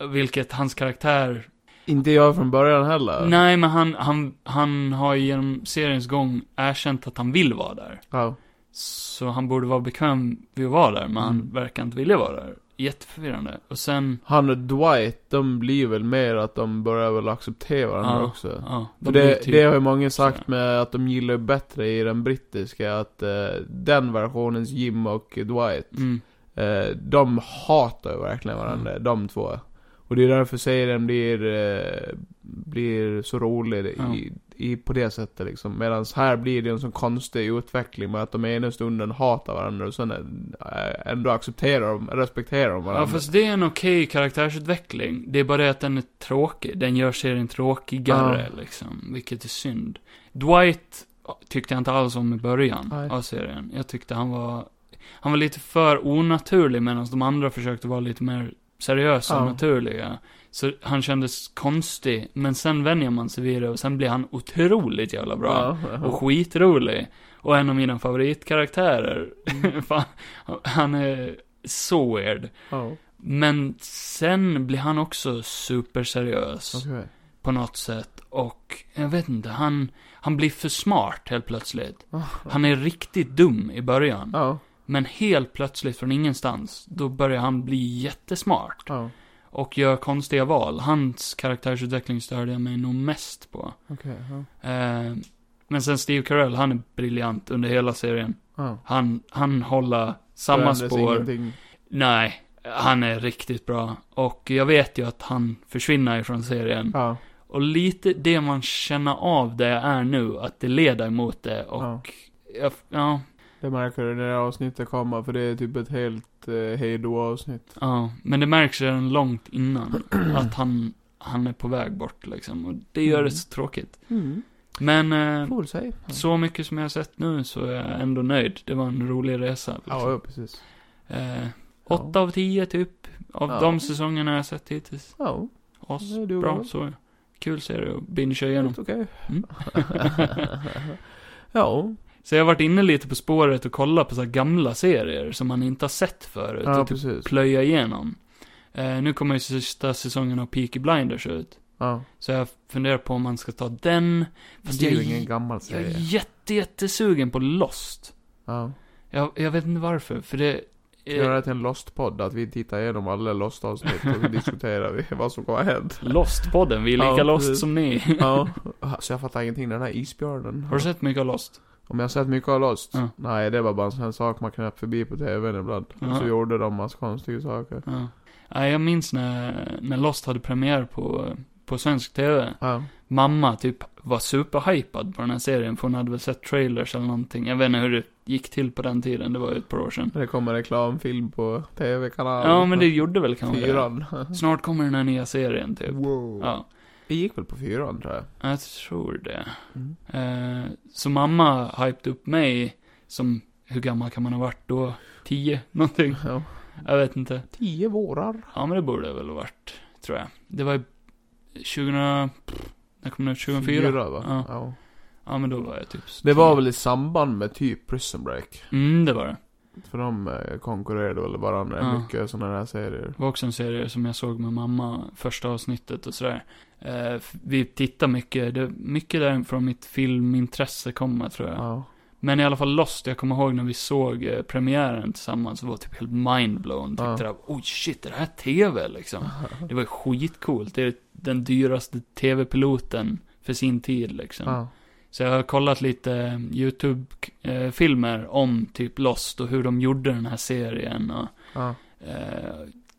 [SPEAKER 1] Vilket hans karaktär...
[SPEAKER 2] Inte jag från början heller.
[SPEAKER 1] Nej, men han, han, han har ju genom seriens gång erkänt att han vill vara där.
[SPEAKER 2] Ja.
[SPEAKER 1] Så han borde vara bekväm vid att vara där, men han
[SPEAKER 2] Mm.
[SPEAKER 1] verkar inte vilja vara där. Jätteförvirrande. Och sen...
[SPEAKER 2] Han och Dwight, de blir väl mer att de börjar väl acceptera varandra
[SPEAKER 1] Ja.
[SPEAKER 2] också.
[SPEAKER 1] Ja,
[SPEAKER 2] För
[SPEAKER 1] de blir
[SPEAKER 2] det,
[SPEAKER 1] typ...
[SPEAKER 2] det har ju många sagt
[SPEAKER 1] så.
[SPEAKER 2] med att de gillar bättre i den brittiska, att eh, den versionens Jim och Dwight,
[SPEAKER 1] Mm,
[SPEAKER 2] eh, de hatar ju verkligen varandra, de två. Och det är därför serien blir, eh, blir så rolig i, i, på det sättet liksom. Medan här blir det en sån konstig utveckling med att de ena stunden hatar varandra och sen eh, ändå accepterar de, respekterar de varandra.
[SPEAKER 1] Ja, fast det är en okej karaktärsutveckling. Det är bara det att den är tråkig. Den gör serien tråkigare, liksom. Vilket är synd. Dwight tyckte jag inte alls om i början
[SPEAKER 2] Nej.
[SPEAKER 1] av serien. Jag tyckte han var... Han var lite för onaturlig medan de andra försökte vara lite mer seriösa och
[SPEAKER 2] Ja.
[SPEAKER 1] naturliga. Så han kändes konstig, men sen vänjer man sig vid det och sen blir han otroligt jävla bra.
[SPEAKER 2] Ja.
[SPEAKER 1] Och skitrolig. Och en av mina favoritkaraktärer.
[SPEAKER 2] Mm.
[SPEAKER 1] Fan, han är så weird.
[SPEAKER 2] Ja.
[SPEAKER 1] Men sen blir han också superseriös.
[SPEAKER 2] Okej.
[SPEAKER 1] På något sätt. Och jag vet inte, han, han blir för smart helt plötsligt. Han är riktigt dum i början.
[SPEAKER 2] Ja.
[SPEAKER 1] Men helt plötsligt från ingenstans, då börjar han bli jättesmart.
[SPEAKER 2] Ja.
[SPEAKER 1] Och gör konstiga val. Hans karaktärsutveckling störde jag mig nog mest på.
[SPEAKER 2] Okej. Ja.
[SPEAKER 1] Eh, men sen Steve Carell, han är briljant under hela serien.
[SPEAKER 2] Ja.
[SPEAKER 1] Han, han håller samma
[SPEAKER 2] Förändras
[SPEAKER 1] spår.
[SPEAKER 2] ingenting.
[SPEAKER 1] Nej, han är riktigt bra. Och jag vet ju att han försvinner ifrån serien.
[SPEAKER 2] Ja.
[SPEAKER 1] Och lite det man känner av det är nu, att det leder mot det och... Ja. Ja,
[SPEAKER 2] Det märker du när det här avsnittet kommer, för det är typ ett helt eh, hejdå-avsnitt.
[SPEAKER 1] ja. Men det märks redan långt innan att han, han är på väg bort liksom. Och det gör det så tråkigt.
[SPEAKER 2] Mm.
[SPEAKER 1] Men eh,
[SPEAKER 2] Får sig.
[SPEAKER 1] så mycket som jag har sett nu så är jag ändå nöjd. Det var en rolig resa.
[SPEAKER 2] Ja,
[SPEAKER 1] Liksom.
[SPEAKER 2] ja, precis.
[SPEAKER 1] Eh,
[SPEAKER 2] Ja.
[SPEAKER 1] åtta av tio typ, av
[SPEAKER 2] Ja.
[SPEAKER 1] de säsongerna jag har sett hittills.
[SPEAKER 2] Ja,
[SPEAKER 1] Oss.
[SPEAKER 2] det är du
[SPEAKER 1] Bra,
[SPEAKER 2] väl.
[SPEAKER 1] så kul serie att bingea igenom.
[SPEAKER 2] Helt okej.
[SPEAKER 1] Mm.
[SPEAKER 2] ja.
[SPEAKER 1] Så jag har varit inne lite på spåret och kollat på så här gamla serier som man inte har sett förut.
[SPEAKER 2] Ja,
[SPEAKER 1] och typ
[SPEAKER 2] precis.
[SPEAKER 1] plöja igenom. Eh, nu kommer ju sista säsongen av Peaky Blinders ut.
[SPEAKER 2] Ja.
[SPEAKER 1] Så jag funderar på om man ska ta den. Fast
[SPEAKER 2] det är
[SPEAKER 1] jag,
[SPEAKER 2] ju ingen gammal
[SPEAKER 1] jag är
[SPEAKER 2] serie.
[SPEAKER 1] jätte, jättesugen på Lost.
[SPEAKER 2] Ja.
[SPEAKER 1] Jag, jag vet inte varför, för det... eh,
[SPEAKER 2] Göra det till en Lost-podd, att vi tittar igenom alla Lost-avsnitt och så diskuterar vi vad som har hänt.
[SPEAKER 1] Lost-podden, vi är lika
[SPEAKER 2] Ja,
[SPEAKER 1] lost
[SPEAKER 2] precis.
[SPEAKER 1] som ni.
[SPEAKER 2] Ja. Så jag fattar ingenting, den här isbjörnen.
[SPEAKER 1] Har du sett mycket av Lost?
[SPEAKER 2] Om jag har sett mycket av Lost?
[SPEAKER 1] Ja.
[SPEAKER 2] Nej, det var bara en sån här sak man knäpp förbi på tvn ibland. Och
[SPEAKER 1] Ja.
[SPEAKER 2] så gjorde de massa konstiga saker.
[SPEAKER 1] Ja. Nej, jag minns när, när Lost hade premiär på, på svensk TV.
[SPEAKER 2] Ja.
[SPEAKER 1] mamma typ var superhypad på den här serien, för hon hade väl sett trailers eller någonting. Jag vet inte hur det gick till på den tiden, det var ju ett par år sedan.
[SPEAKER 2] När det kommer reklamfilm på tv-kanalen.
[SPEAKER 1] Ja, men det gjorde väl kanske det.
[SPEAKER 2] Fyran.
[SPEAKER 1] Snart kommer den här nya serien typ.
[SPEAKER 2] Wow.
[SPEAKER 1] Ja,
[SPEAKER 2] Det gick väl på fyran tror jag.
[SPEAKER 1] jag tror det. Eh, så mamma hypade upp mig som, hur gammal kan man ha varit då? Tio, någonting.
[SPEAKER 2] Mm. Ja.
[SPEAKER 1] Jag vet inte.
[SPEAKER 2] Tio vårar.
[SPEAKER 1] Ja, men det borde det väl ha varit, tror jag. Det var i 2000... När kom det? ut? 2004?
[SPEAKER 2] Fyra, va?
[SPEAKER 1] Ja.
[SPEAKER 2] Ja.
[SPEAKER 1] Ja, men då var jag typ...
[SPEAKER 2] Det var väl i samband med typ Prison Break.
[SPEAKER 1] Mm, det var det.
[SPEAKER 2] För de eh, konkurrerade väl varandra
[SPEAKER 1] Ja.
[SPEAKER 2] mycket sådana här serier.
[SPEAKER 1] Det var också en serie som jag såg med mamma, första avsnittet och sådär. Eh, f- vi tittar mycket, det, mycket där från mitt filmintresse kommer tror jag.
[SPEAKER 2] Ja.
[SPEAKER 1] Men i alla fall Lost, jag kommer ihåg när vi såg eh, premiären tillsammans och var typ helt mindblown. Tyckte
[SPEAKER 2] Ja.
[SPEAKER 1] det här, oj shit, är det här TV liksom? Det var ju skitcoolt, det är den dyraste TV-piloten för sin tid liksom.
[SPEAKER 2] Ja.
[SPEAKER 1] Så jag har kollat lite eh, YouTube-filmer om typ Lost och hur de gjorde den här serien och
[SPEAKER 2] Ja.
[SPEAKER 1] eh,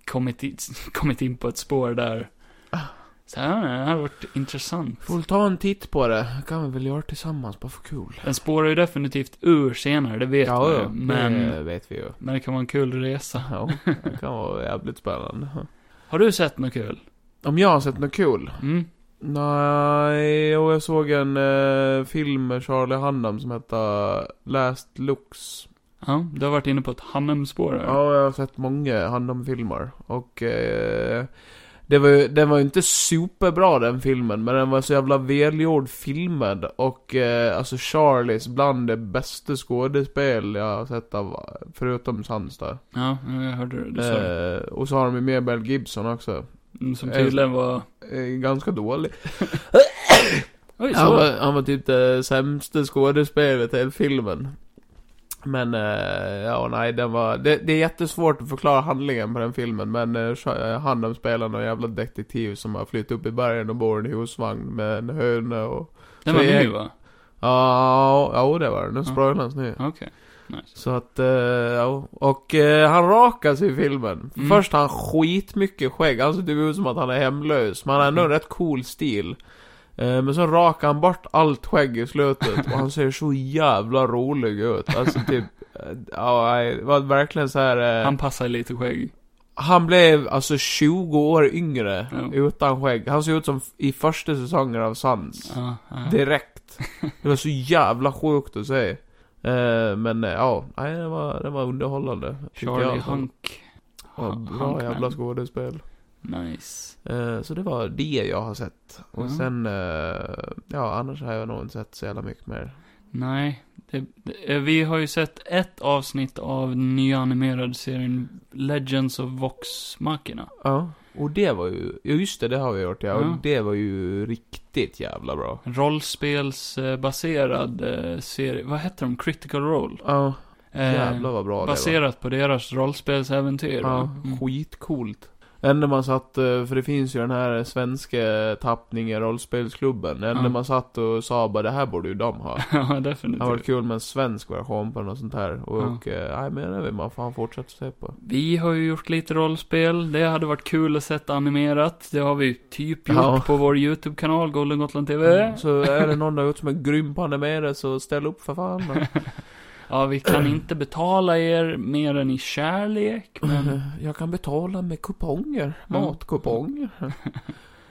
[SPEAKER 1] kommit, in, kommit in på ett spår där.
[SPEAKER 2] Ah.
[SPEAKER 1] Så här, "Ah, det här har varit intressant.
[SPEAKER 2] Får väl ta en titt på det. Kan vi väl göra tillsammans, bara för kul.
[SPEAKER 1] Den spårar ju definitivt ur senare, det vet man ju. Men,
[SPEAKER 2] det vet vi ju.
[SPEAKER 1] men det kan vara en kul resa.
[SPEAKER 2] Ja, det kan vara jävligt spännande.
[SPEAKER 1] Har du sett något kul?
[SPEAKER 2] Om jag har sett något kul?
[SPEAKER 1] Mm.
[SPEAKER 2] Nej, och jag såg en eh, film med Charlie Hunnam som hette Last Looks.
[SPEAKER 1] Ja, du har varit inne på ett Hannem-spår här.
[SPEAKER 2] Ja, jag har sett många Hunnam-filmer. Och eh, det var ju, den var ju inte superbra den filmen, men den var så jävla välgjord filmad. Och eh, alltså Charlies bland det bästa skådespel jag har sett av, förutom Sandstad.
[SPEAKER 1] Ja, jag hörde det. Du sa det.
[SPEAKER 2] Eh, och så har de ju med Bell Gibson också.
[SPEAKER 1] Mm, Som
[SPEAKER 2] eh,
[SPEAKER 1] tydligen var...
[SPEAKER 2] Eh, ganska dålig.
[SPEAKER 1] Oj,
[SPEAKER 2] Han
[SPEAKER 1] så.
[SPEAKER 2] var, han var typ det sämsta skådespelet i hela filmen. Men, eh, ja nej, den var... Det, det är jättesvårt att förklara handlingen på den filmen, men eh, han spelar någon jävla detektiv som har flytt upp i bergen och bor i en husvagn med en höna och...
[SPEAKER 1] Den var
[SPEAKER 2] så jag-
[SPEAKER 1] ny va?
[SPEAKER 2] Ja, ja det var det. Nu
[SPEAKER 1] Ja.
[SPEAKER 2] spoilades nu.
[SPEAKER 1] Okej. Nice.
[SPEAKER 2] Så att, eh, ja. Och eh, han rakas i filmen.
[SPEAKER 1] Mm.
[SPEAKER 2] Först har han skitmycket skägg. Han ser typ ut som att han är hemlös. Men han har
[SPEAKER 1] Mm.
[SPEAKER 2] ändå en rätt cool stil. Eh, men så rakar han bort allt skägg i slutet. Och han ser så jävla rolig ut. Alltså typ, eh, ja, nej, det var verkligen så här. Eh,
[SPEAKER 1] Han
[SPEAKER 2] han...
[SPEAKER 1] passar lite skägg.
[SPEAKER 2] blev alltså 20 år yngre.
[SPEAKER 1] Ja.
[SPEAKER 2] Utan skägg. Han ser ut som f- i första säsongen av Sans.
[SPEAKER 1] Ja, ja.
[SPEAKER 2] Direkt. Det var så jävla sjukt att se. Eh, men eh, ja, nej, det var, det var underhållande. tyckte
[SPEAKER 1] Charlie
[SPEAKER 2] jag. alltså.
[SPEAKER 1] Hunk.
[SPEAKER 2] Ja,
[SPEAKER 1] Hun-
[SPEAKER 2] bra
[SPEAKER 1] Hunkman.
[SPEAKER 2] jävla skådespel.
[SPEAKER 1] Nice.
[SPEAKER 2] Eh, så det var det jag har sett. Och
[SPEAKER 1] Ja.
[SPEAKER 2] sen, eh, ja annars har jag nog inte sett så jävla mycket mer.
[SPEAKER 1] Nej. Det, det, eh, vi har ju sett ett avsnitt av den nya animerade serien Legends of Vox-markerna.
[SPEAKER 2] Ja, och det var ju, ja just det, det har vi gjort ja.
[SPEAKER 1] Ja.
[SPEAKER 2] Och det var ju riktigt jävla bra.
[SPEAKER 1] Rollspelsbaserad eh, serie. Vad heter de? Critical Role.
[SPEAKER 2] Ja,
[SPEAKER 1] Eh,
[SPEAKER 2] jävlar vad bra det var.
[SPEAKER 1] baserat på deras rollspelsäventyr.
[SPEAKER 2] Ja,
[SPEAKER 1] va? Mm.
[SPEAKER 2] skitcoolt. Enda man satt, eh, för det finns ju den här svenska tappningen rollspelsklubben. Enda
[SPEAKER 1] Ja.
[SPEAKER 2] man satt och sa bara det här borde ju de ha.
[SPEAKER 1] ja,
[SPEAKER 2] Det hade varit
[SPEAKER 1] definitivt.
[SPEAKER 2] kul med en svensk version på något sånt här.
[SPEAKER 1] Ja.
[SPEAKER 2] Och, och eh, nej men det vill man fan fortsätta se på.
[SPEAKER 1] Vi har ju gjort lite rollspel. Det hade varit kul att sett animerat. Det har vi ju typ gjort
[SPEAKER 2] Ja. Mm,
[SPEAKER 1] på vår YouTube-kanal, Golden Gotland TV.
[SPEAKER 2] Så är det någon där ute som är grym på animerade så ställ upp för fan.
[SPEAKER 1] Ja, vi kan inte betala er mer än i kärlek, men...
[SPEAKER 2] Jag kan betala med kuponger.
[SPEAKER 1] Ja.
[SPEAKER 2] Matkuponger.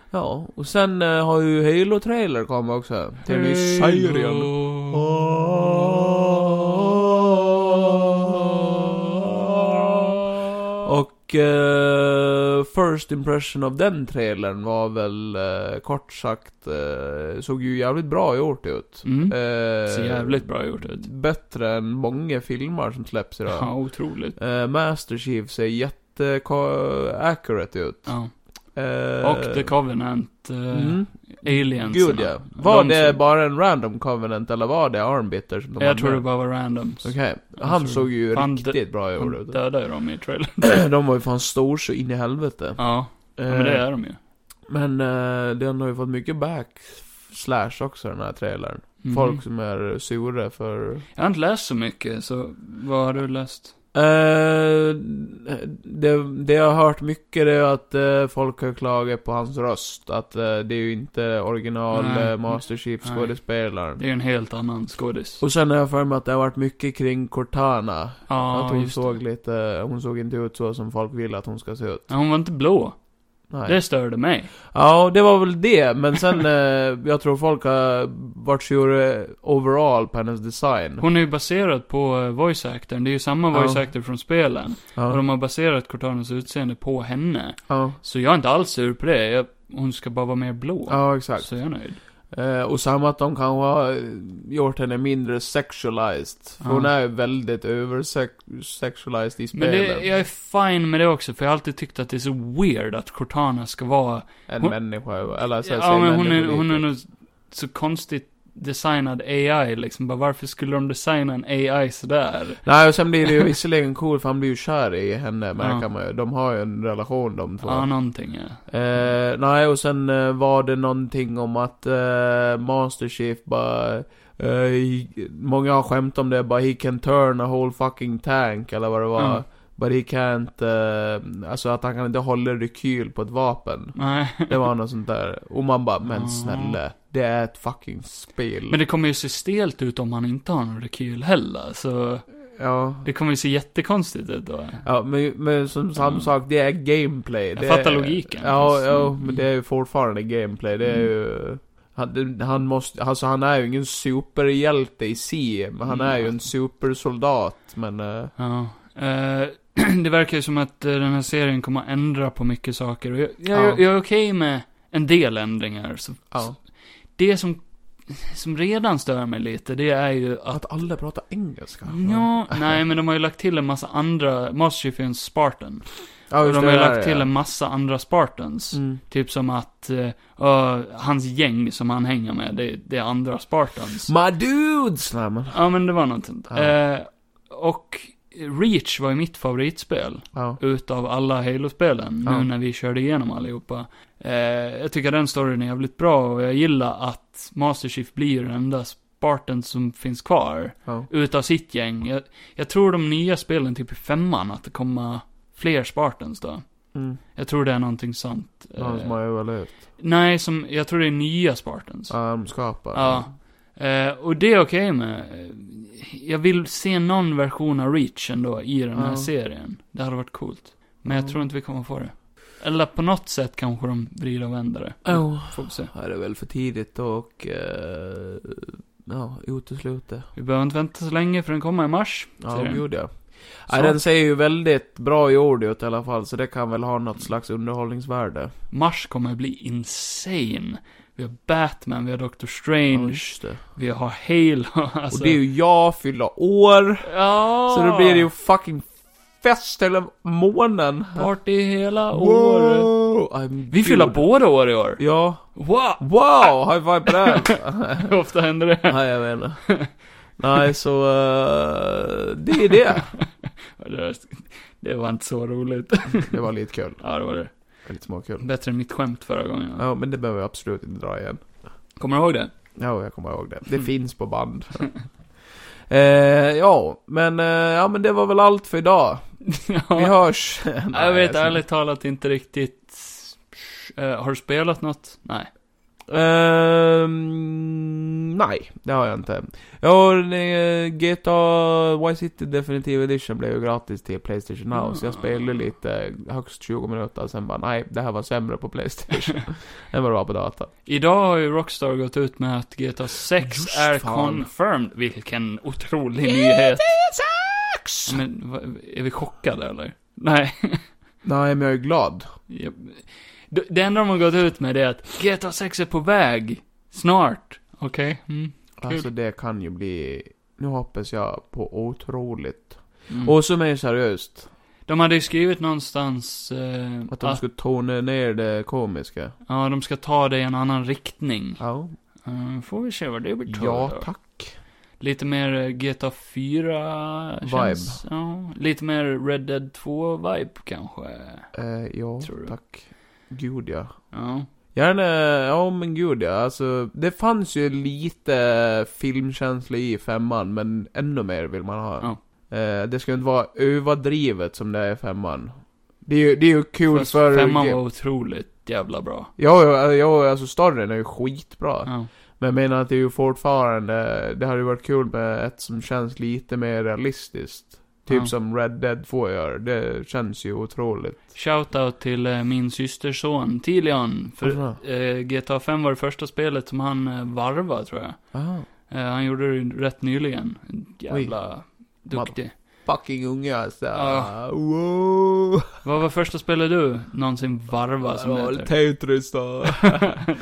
[SPEAKER 2] Ja, och sen eh, har ju Halo-trailer kommit också. Till den i serien. Ah. Och eh, first impression av den trailern var väl eh, kort sagt, eh, såg ju jävligt bra gjort ut.
[SPEAKER 1] Mm.
[SPEAKER 2] Eh,
[SPEAKER 1] Ser jävligt bra gjort ut.
[SPEAKER 2] Bättre än många filmer som släpps idag.
[SPEAKER 1] Ja, otroligt.
[SPEAKER 2] Eh, Master Chief ser jätte ko- accurate ut.
[SPEAKER 1] Ja.
[SPEAKER 2] Eh,
[SPEAKER 1] Och The Covenant, uh,
[SPEAKER 2] mm,
[SPEAKER 1] Aliens.
[SPEAKER 2] Gud ja. Var det bara en random Covenant eller var det Armbitter som de
[SPEAKER 1] Jag
[SPEAKER 2] hade
[SPEAKER 1] tror
[SPEAKER 2] med?
[SPEAKER 1] det bara var randoms.
[SPEAKER 2] Okej,
[SPEAKER 1] Jag tror
[SPEAKER 2] han
[SPEAKER 1] det.
[SPEAKER 2] såg ju
[SPEAKER 1] Fan,
[SPEAKER 2] riktigt bra gjord
[SPEAKER 1] De
[SPEAKER 2] ut.
[SPEAKER 1] dödade ju dem i trailern.
[SPEAKER 2] De var ju fan stor så in i helvete.
[SPEAKER 1] Ja, ja,
[SPEAKER 2] Eh,
[SPEAKER 1] men det är de ju.
[SPEAKER 2] Men eh, den har ju fått mycket backslash också den här trailern.
[SPEAKER 1] Mhm.
[SPEAKER 2] Folk som är sura för...
[SPEAKER 1] Jag har inte läst så mycket, så vad har du läst?
[SPEAKER 2] Eh, det, det jag har hört mycket är att eh, folk har klagat på hans röst. Att eh, det är ju inte original
[SPEAKER 1] Nej.
[SPEAKER 2] eh, Master Chief
[SPEAKER 1] Nej.
[SPEAKER 2] skådespelaren.
[SPEAKER 1] Det är ju en helt annan skådis.
[SPEAKER 2] Och sen har jag för mig att det har varit mycket kring Cortana.
[SPEAKER 1] Ja,
[SPEAKER 2] att hon
[SPEAKER 1] just
[SPEAKER 2] såg
[SPEAKER 1] det.
[SPEAKER 2] lite, hon såg inte ut så som folk vill att hon ska se ut.
[SPEAKER 1] Ja, Hon var inte blå.
[SPEAKER 2] Nej.
[SPEAKER 1] Det störde mig.
[SPEAKER 2] Ja, det var väl det. Men sen, eh, jag tror folk har varit sure overall på hennes design.
[SPEAKER 1] Hon är ju baserad på eh, voice actorn. Det är ju samma
[SPEAKER 2] Ja.
[SPEAKER 1] voice actor från spelen. Och
[SPEAKER 2] Ja.
[SPEAKER 1] de har baserat Cortanas utseende på henne.
[SPEAKER 2] Ja.
[SPEAKER 1] Så jag är inte alls sur på det. Jag, hon ska bara vara mer blå.
[SPEAKER 2] ja, exakt.
[SPEAKER 1] Så jag är nöjd.
[SPEAKER 2] Eh, och samma att de kanske har eh, gjort henne mindre sexualized. För
[SPEAKER 1] Ja.
[SPEAKER 2] hon är ju väldigt översexualized i
[SPEAKER 1] Men
[SPEAKER 2] spelen.
[SPEAKER 1] det, jag är fine med det också, för jag har alltid tyckt att det är så weird att Cortana ska vara...
[SPEAKER 2] En
[SPEAKER 1] hon-
[SPEAKER 2] människa, eller så
[SPEAKER 1] ja,
[SPEAKER 2] här, säg
[SPEAKER 1] men hon är,
[SPEAKER 2] människa
[SPEAKER 1] hon är
[SPEAKER 2] lite.
[SPEAKER 1] nog så konstigt designad AI liksom. Bara, varför skulle de designa en AI sådär?
[SPEAKER 2] Nej, och sen blir det ju visserligen cool för han blir ju kär i henne, märker
[SPEAKER 1] Ja.
[SPEAKER 2] man ju. De har ju en relation de två.
[SPEAKER 1] Ja, någonting ja.
[SPEAKER 2] Eh, nej, och sen eh, var det någonting om att eh, Master Chief bara... eh, he, många har skämt om det, bara he can turn a whole fucking tank eller vad det var.
[SPEAKER 1] Mm.
[SPEAKER 2] But he can't... eh, alltså att han kan inte hålla rekyl på ett vapen.
[SPEAKER 1] Nej.
[SPEAKER 2] Det var något sånt där. Och man bara, men
[SPEAKER 1] Ja.
[SPEAKER 2] snälla. Det är ett fucking spel.
[SPEAKER 1] Mm. Men det kommer ju se stelt ut om han inte har någon rekyl heller, så
[SPEAKER 2] Ja.
[SPEAKER 1] det kommer ju se jättekonstigt ut då.
[SPEAKER 2] Ja, men, men som samma
[SPEAKER 1] Mm.
[SPEAKER 2] sak, det är gameplay.
[SPEAKER 1] Jag
[SPEAKER 2] det
[SPEAKER 1] fattar
[SPEAKER 2] är,
[SPEAKER 1] logiken.
[SPEAKER 2] Ja, ja,
[SPEAKER 1] Mm.
[SPEAKER 2] men det är ju fortfarande gameplay. Det är
[SPEAKER 1] Mm.
[SPEAKER 2] ju... Han, det- han måste, alltså han är ju ingen superhjälte i sig, men
[SPEAKER 1] Mm.
[SPEAKER 2] han är ju en supersoldat. Men, eh,
[SPEAKER 1] Ja. Eh, det verkar ju som att eh, den här serien kommer att ändra på mycket saker. Och jag, jag,
[SPEAKER 2] Ja.
[SPEAKER 1] jag, är okej med en del ändringar. Så,
[SPEAKER 2] ja.
[SPEAKER 1] det som, som redan stör mig lite, det är ju att...
[SPEAKER 2] Att alla pratar engelska.
[SPEAKER 1] Ja, nej men de har ju lagt till en massa andra, Master Chief är en Spartan.
[SPEAKER 2] ja
[SPEAKER 1] och
[SPEAKER 2] just
[SPEAKER 1] de
[SPEAKER 2] det,
[SPEAKER 1] har ju
[SPEAKER 2] där,
[SPEAKER 1] lagt till
[SPEAKER 2] ja.
[SPEAKER 1] en massa andra Spartans.
[SPEAKER 2] Mm.
[SPEAKER 1] Typ som att, eh, ö, hans gäng som han hänger med, det, det är andra Spartans.
[SPEAKER 2] My dudes! Nej, men,
[SPEAKER 1] Ja, men det var något sånt.
[SPEAKER 2] Ja.
[SPEAKER 1] Eh, och Reach var ju mitt favoritspel
[SPEAKER 2] ja.
[SPEAKER 1] utav alla Halo-spelen, nu
[SPEAKER 2] Ja.
[SPEAKER 1] när vi körde igenom allihopa. Eh, jag tycker den storyn är jävligt bra och jag gillar att Master Chief blir den enda Spartan som finns kvar
[SPEAKER 2] ja.
[SPEAKER 1] utav sitt gäng. Jag, jag tror de nya spelen, typ i femman, att det kommer fler Spartans då.
[SPEAKER 2] Mm.
[SPEAKER 1] Jag tror det är någonting sånt.
[SPEAKER 2] Någon som har överlevt.
[SPEAKER 1] nej, som, jag tror det är nya Spartans.
[SPEAKER 2] Ja, de skapar.
[SPEAKER 1] Ja. Eh, och det är okej med. eh, Jag vill se någon version av Reach ändå i den här
[SPEAKER 2] Ja.
[SPEAKER 1] serien. Det hade varit coolt. Men jag
[SPEAKER 2] Ja.
[SPEAKER 1] tror inte vi kommer få det. Eller på något sätt kanske de vrider och vänder det.
[SPEAKER 2] Oh.
[SPEAKER 1] Får vi se.
[SPEAKER 2] Ja, det är väl för tidigt och... eh, ja, utesluta.
[SPEAKER 1] Vi behöver inte vänta så länge för den kommer i mars.
[SPEAKER 2] Ja,
[SPEAKER 1] serien.
[SPEAKER 2] de gjorde jag.
[SPEAKER 1] Så.
[SPEAKER 2] Ja, den ser ju väldigt bra gjord ut i alla fall, så det kan väl ha något slags underhållningsvärde.
[SPEAKER 1] Mars kommer bli insane. Vi har Batman, vi har Doctor Strange,
[SPEAKER 2] Ja, just det.
[SPEAKER 1] vi har Halo. Alltså,
[SPEAKER 2] Och det är ju jag fyller år,
[SPEAKER 1] Ja!
[SPEAKER 2] så då blir det ju fucking fest hela månen.
[SPEAKER 1] Party hela året.
[SPEAKER 2] Wow! I'm
[SPEAKER 1] Vi fyller
[SPEAKER 2] good.
[SPEAKER 1] båda år i år.
[SPEAKER 2] Ja.
[SPEAKER 1] Wow!
[SPEAKER 2] Wow! High five på den!
[SPEAKER 1] Hur ofta händer det?
[SPEAKER 2] Nej, jag vet inte. Nej, så... eh, det är det.
[SPEAKER 1] Ja, Det, det var inte så roligt.
[SPEAKER 2] Det var lite kul.
[SPEAKER 1] Ja, det var det.
[SPEAKER 2] Lite småkul.
[SPEAKER 1] Bättre än mitt skämt förra gången.
[SPEAKER 2] Ja, men det behöver jag absolut inte dra igen.
[SPEAKER 1] Kommer du ihåg det?
[SPEAKER 2] Ja, jag kommer ihåg det. Det
[SPEAKER 1] Mm.
[SPEAKER 2] finns på band. eh, ja, men, eh, ja, men det var väl allt för idag. Vi
[SPEAKER 1] ja.
[SPEAKER 2] hörs. Nej,
[SPEAKER 1] Jag vet
[SPEAKER 2] skojar.
[SPEAKER 1] ärligt talat inte riktigt. Eh, har du spelat något? Nej.
[SPEAKER 2] Ehm, nej, det har jag inte. Ja, eh, GTA Vice City Definitive Edition blev ju gratis till Playstation Now, så jag
[SPEAKER 1] Ah.
[SPEAKER 2] spelade lite, eh, högst 20 minuter, sen bara nej, det här var sämre på Playstation än vad det var på data.
[SPEAKER 1] Idag har ju Rockstar gått ut med att GTA 6
[SPEAKER 2] Just
[SPEAKER 1] är
[SPEAKER 2] fan.
[SPEAKER 1] confirmed. Vilken otrolig nyhet.
[SPEAKER 2] nyhet!
[SPEAKER 1] Men vad- är vi chockade eller? Nej.
[SPEAKER 2] Nej, men jag är glad.
[SPEAKER 1] Japp. Det- Det enda de har gått ut med är att GTA 6 är på väg. Snart. Okej. Mm.
[SPEAKER 2] Alltså det kan ju bli, nu hoppas jag på otroligt.
[SPEAKER 1] Mm.
[SPEAKER 2] Och så mer seriöst,
[SPEAKER 1] De hade ju skrivit någonstans eh,
[SPEAKER 2] att de skulle tona ner det komiska.
[SPEAKER 1] ja, de ska ta det i en annan riktning.
[SPEAKER 2] Ja,
[SPEAKER 1] Eh, får vi se vad det blir till
[SPEAKER 2] ja
[SPEAKER 1] då.
[SPEAKER 2] tack.
[SPEAKER 1] Lite mer eh, GTA 4
[SPEAKER 2] Vibe.
[SPEAKER 1] känns, ja, Lite mer Red Dead 2-vibe kanske.
[SPEAKER 2] Eh, ja,
[SPEAKER 1] Tror du?
[SPEAKER 2] tack. Gud ja.
[SPEAKER 1] Ja.
[SPEAKER 2] Gärna, ja men gud ja. Alltså, det fanns ju lite filmkänsla i femman, men ännu mer vill man ha.
[SPEAKER 1] Ja.
[SPEAKER 2] Eh, det ska inte vara överdrivet som det är i femman. Det är ju, det är ju kul
[SPEAKER 1] Fast
[SPEAKER 2] för...
[SPEAKER 1] Femman var otroligt jävla bra.
[SPEAKER 2] Ja, ja, ja, alltså storyn är ju skitbra.
[SPEAKER 1] Ja.
[SPEAKER 2] Men jag menar att det är ju fortfarande, det hade ju varit kul med ett som känns lite mer realistiskt. Typ
[SPEAKER 1] Ja.
[SPEAKER 2] som Red Dead 2 gör, det känns ju otroligt.
[SPEAKER 1] Shoutout till eh, min systerson Tilian. För eh, GTA 5 var det första spelet som han eh, varvade tror jag.
[SPEAKER 2] Aha.
[SPEAKER 1] Eh, han gjorde det ju rätt nyligen. Jävla duktig.
[SPEAKER 2] Fucking unga alltså.
[SPEAKER 1] Ja.
[SPEAKER 2] Wow.
[SPEAKER 1] Vad var första spelet du någonsin varvade som
[SPEAKER 2] Ja,
[SPEAKER 1] heter?
[SPEAKER 2] Tetris då.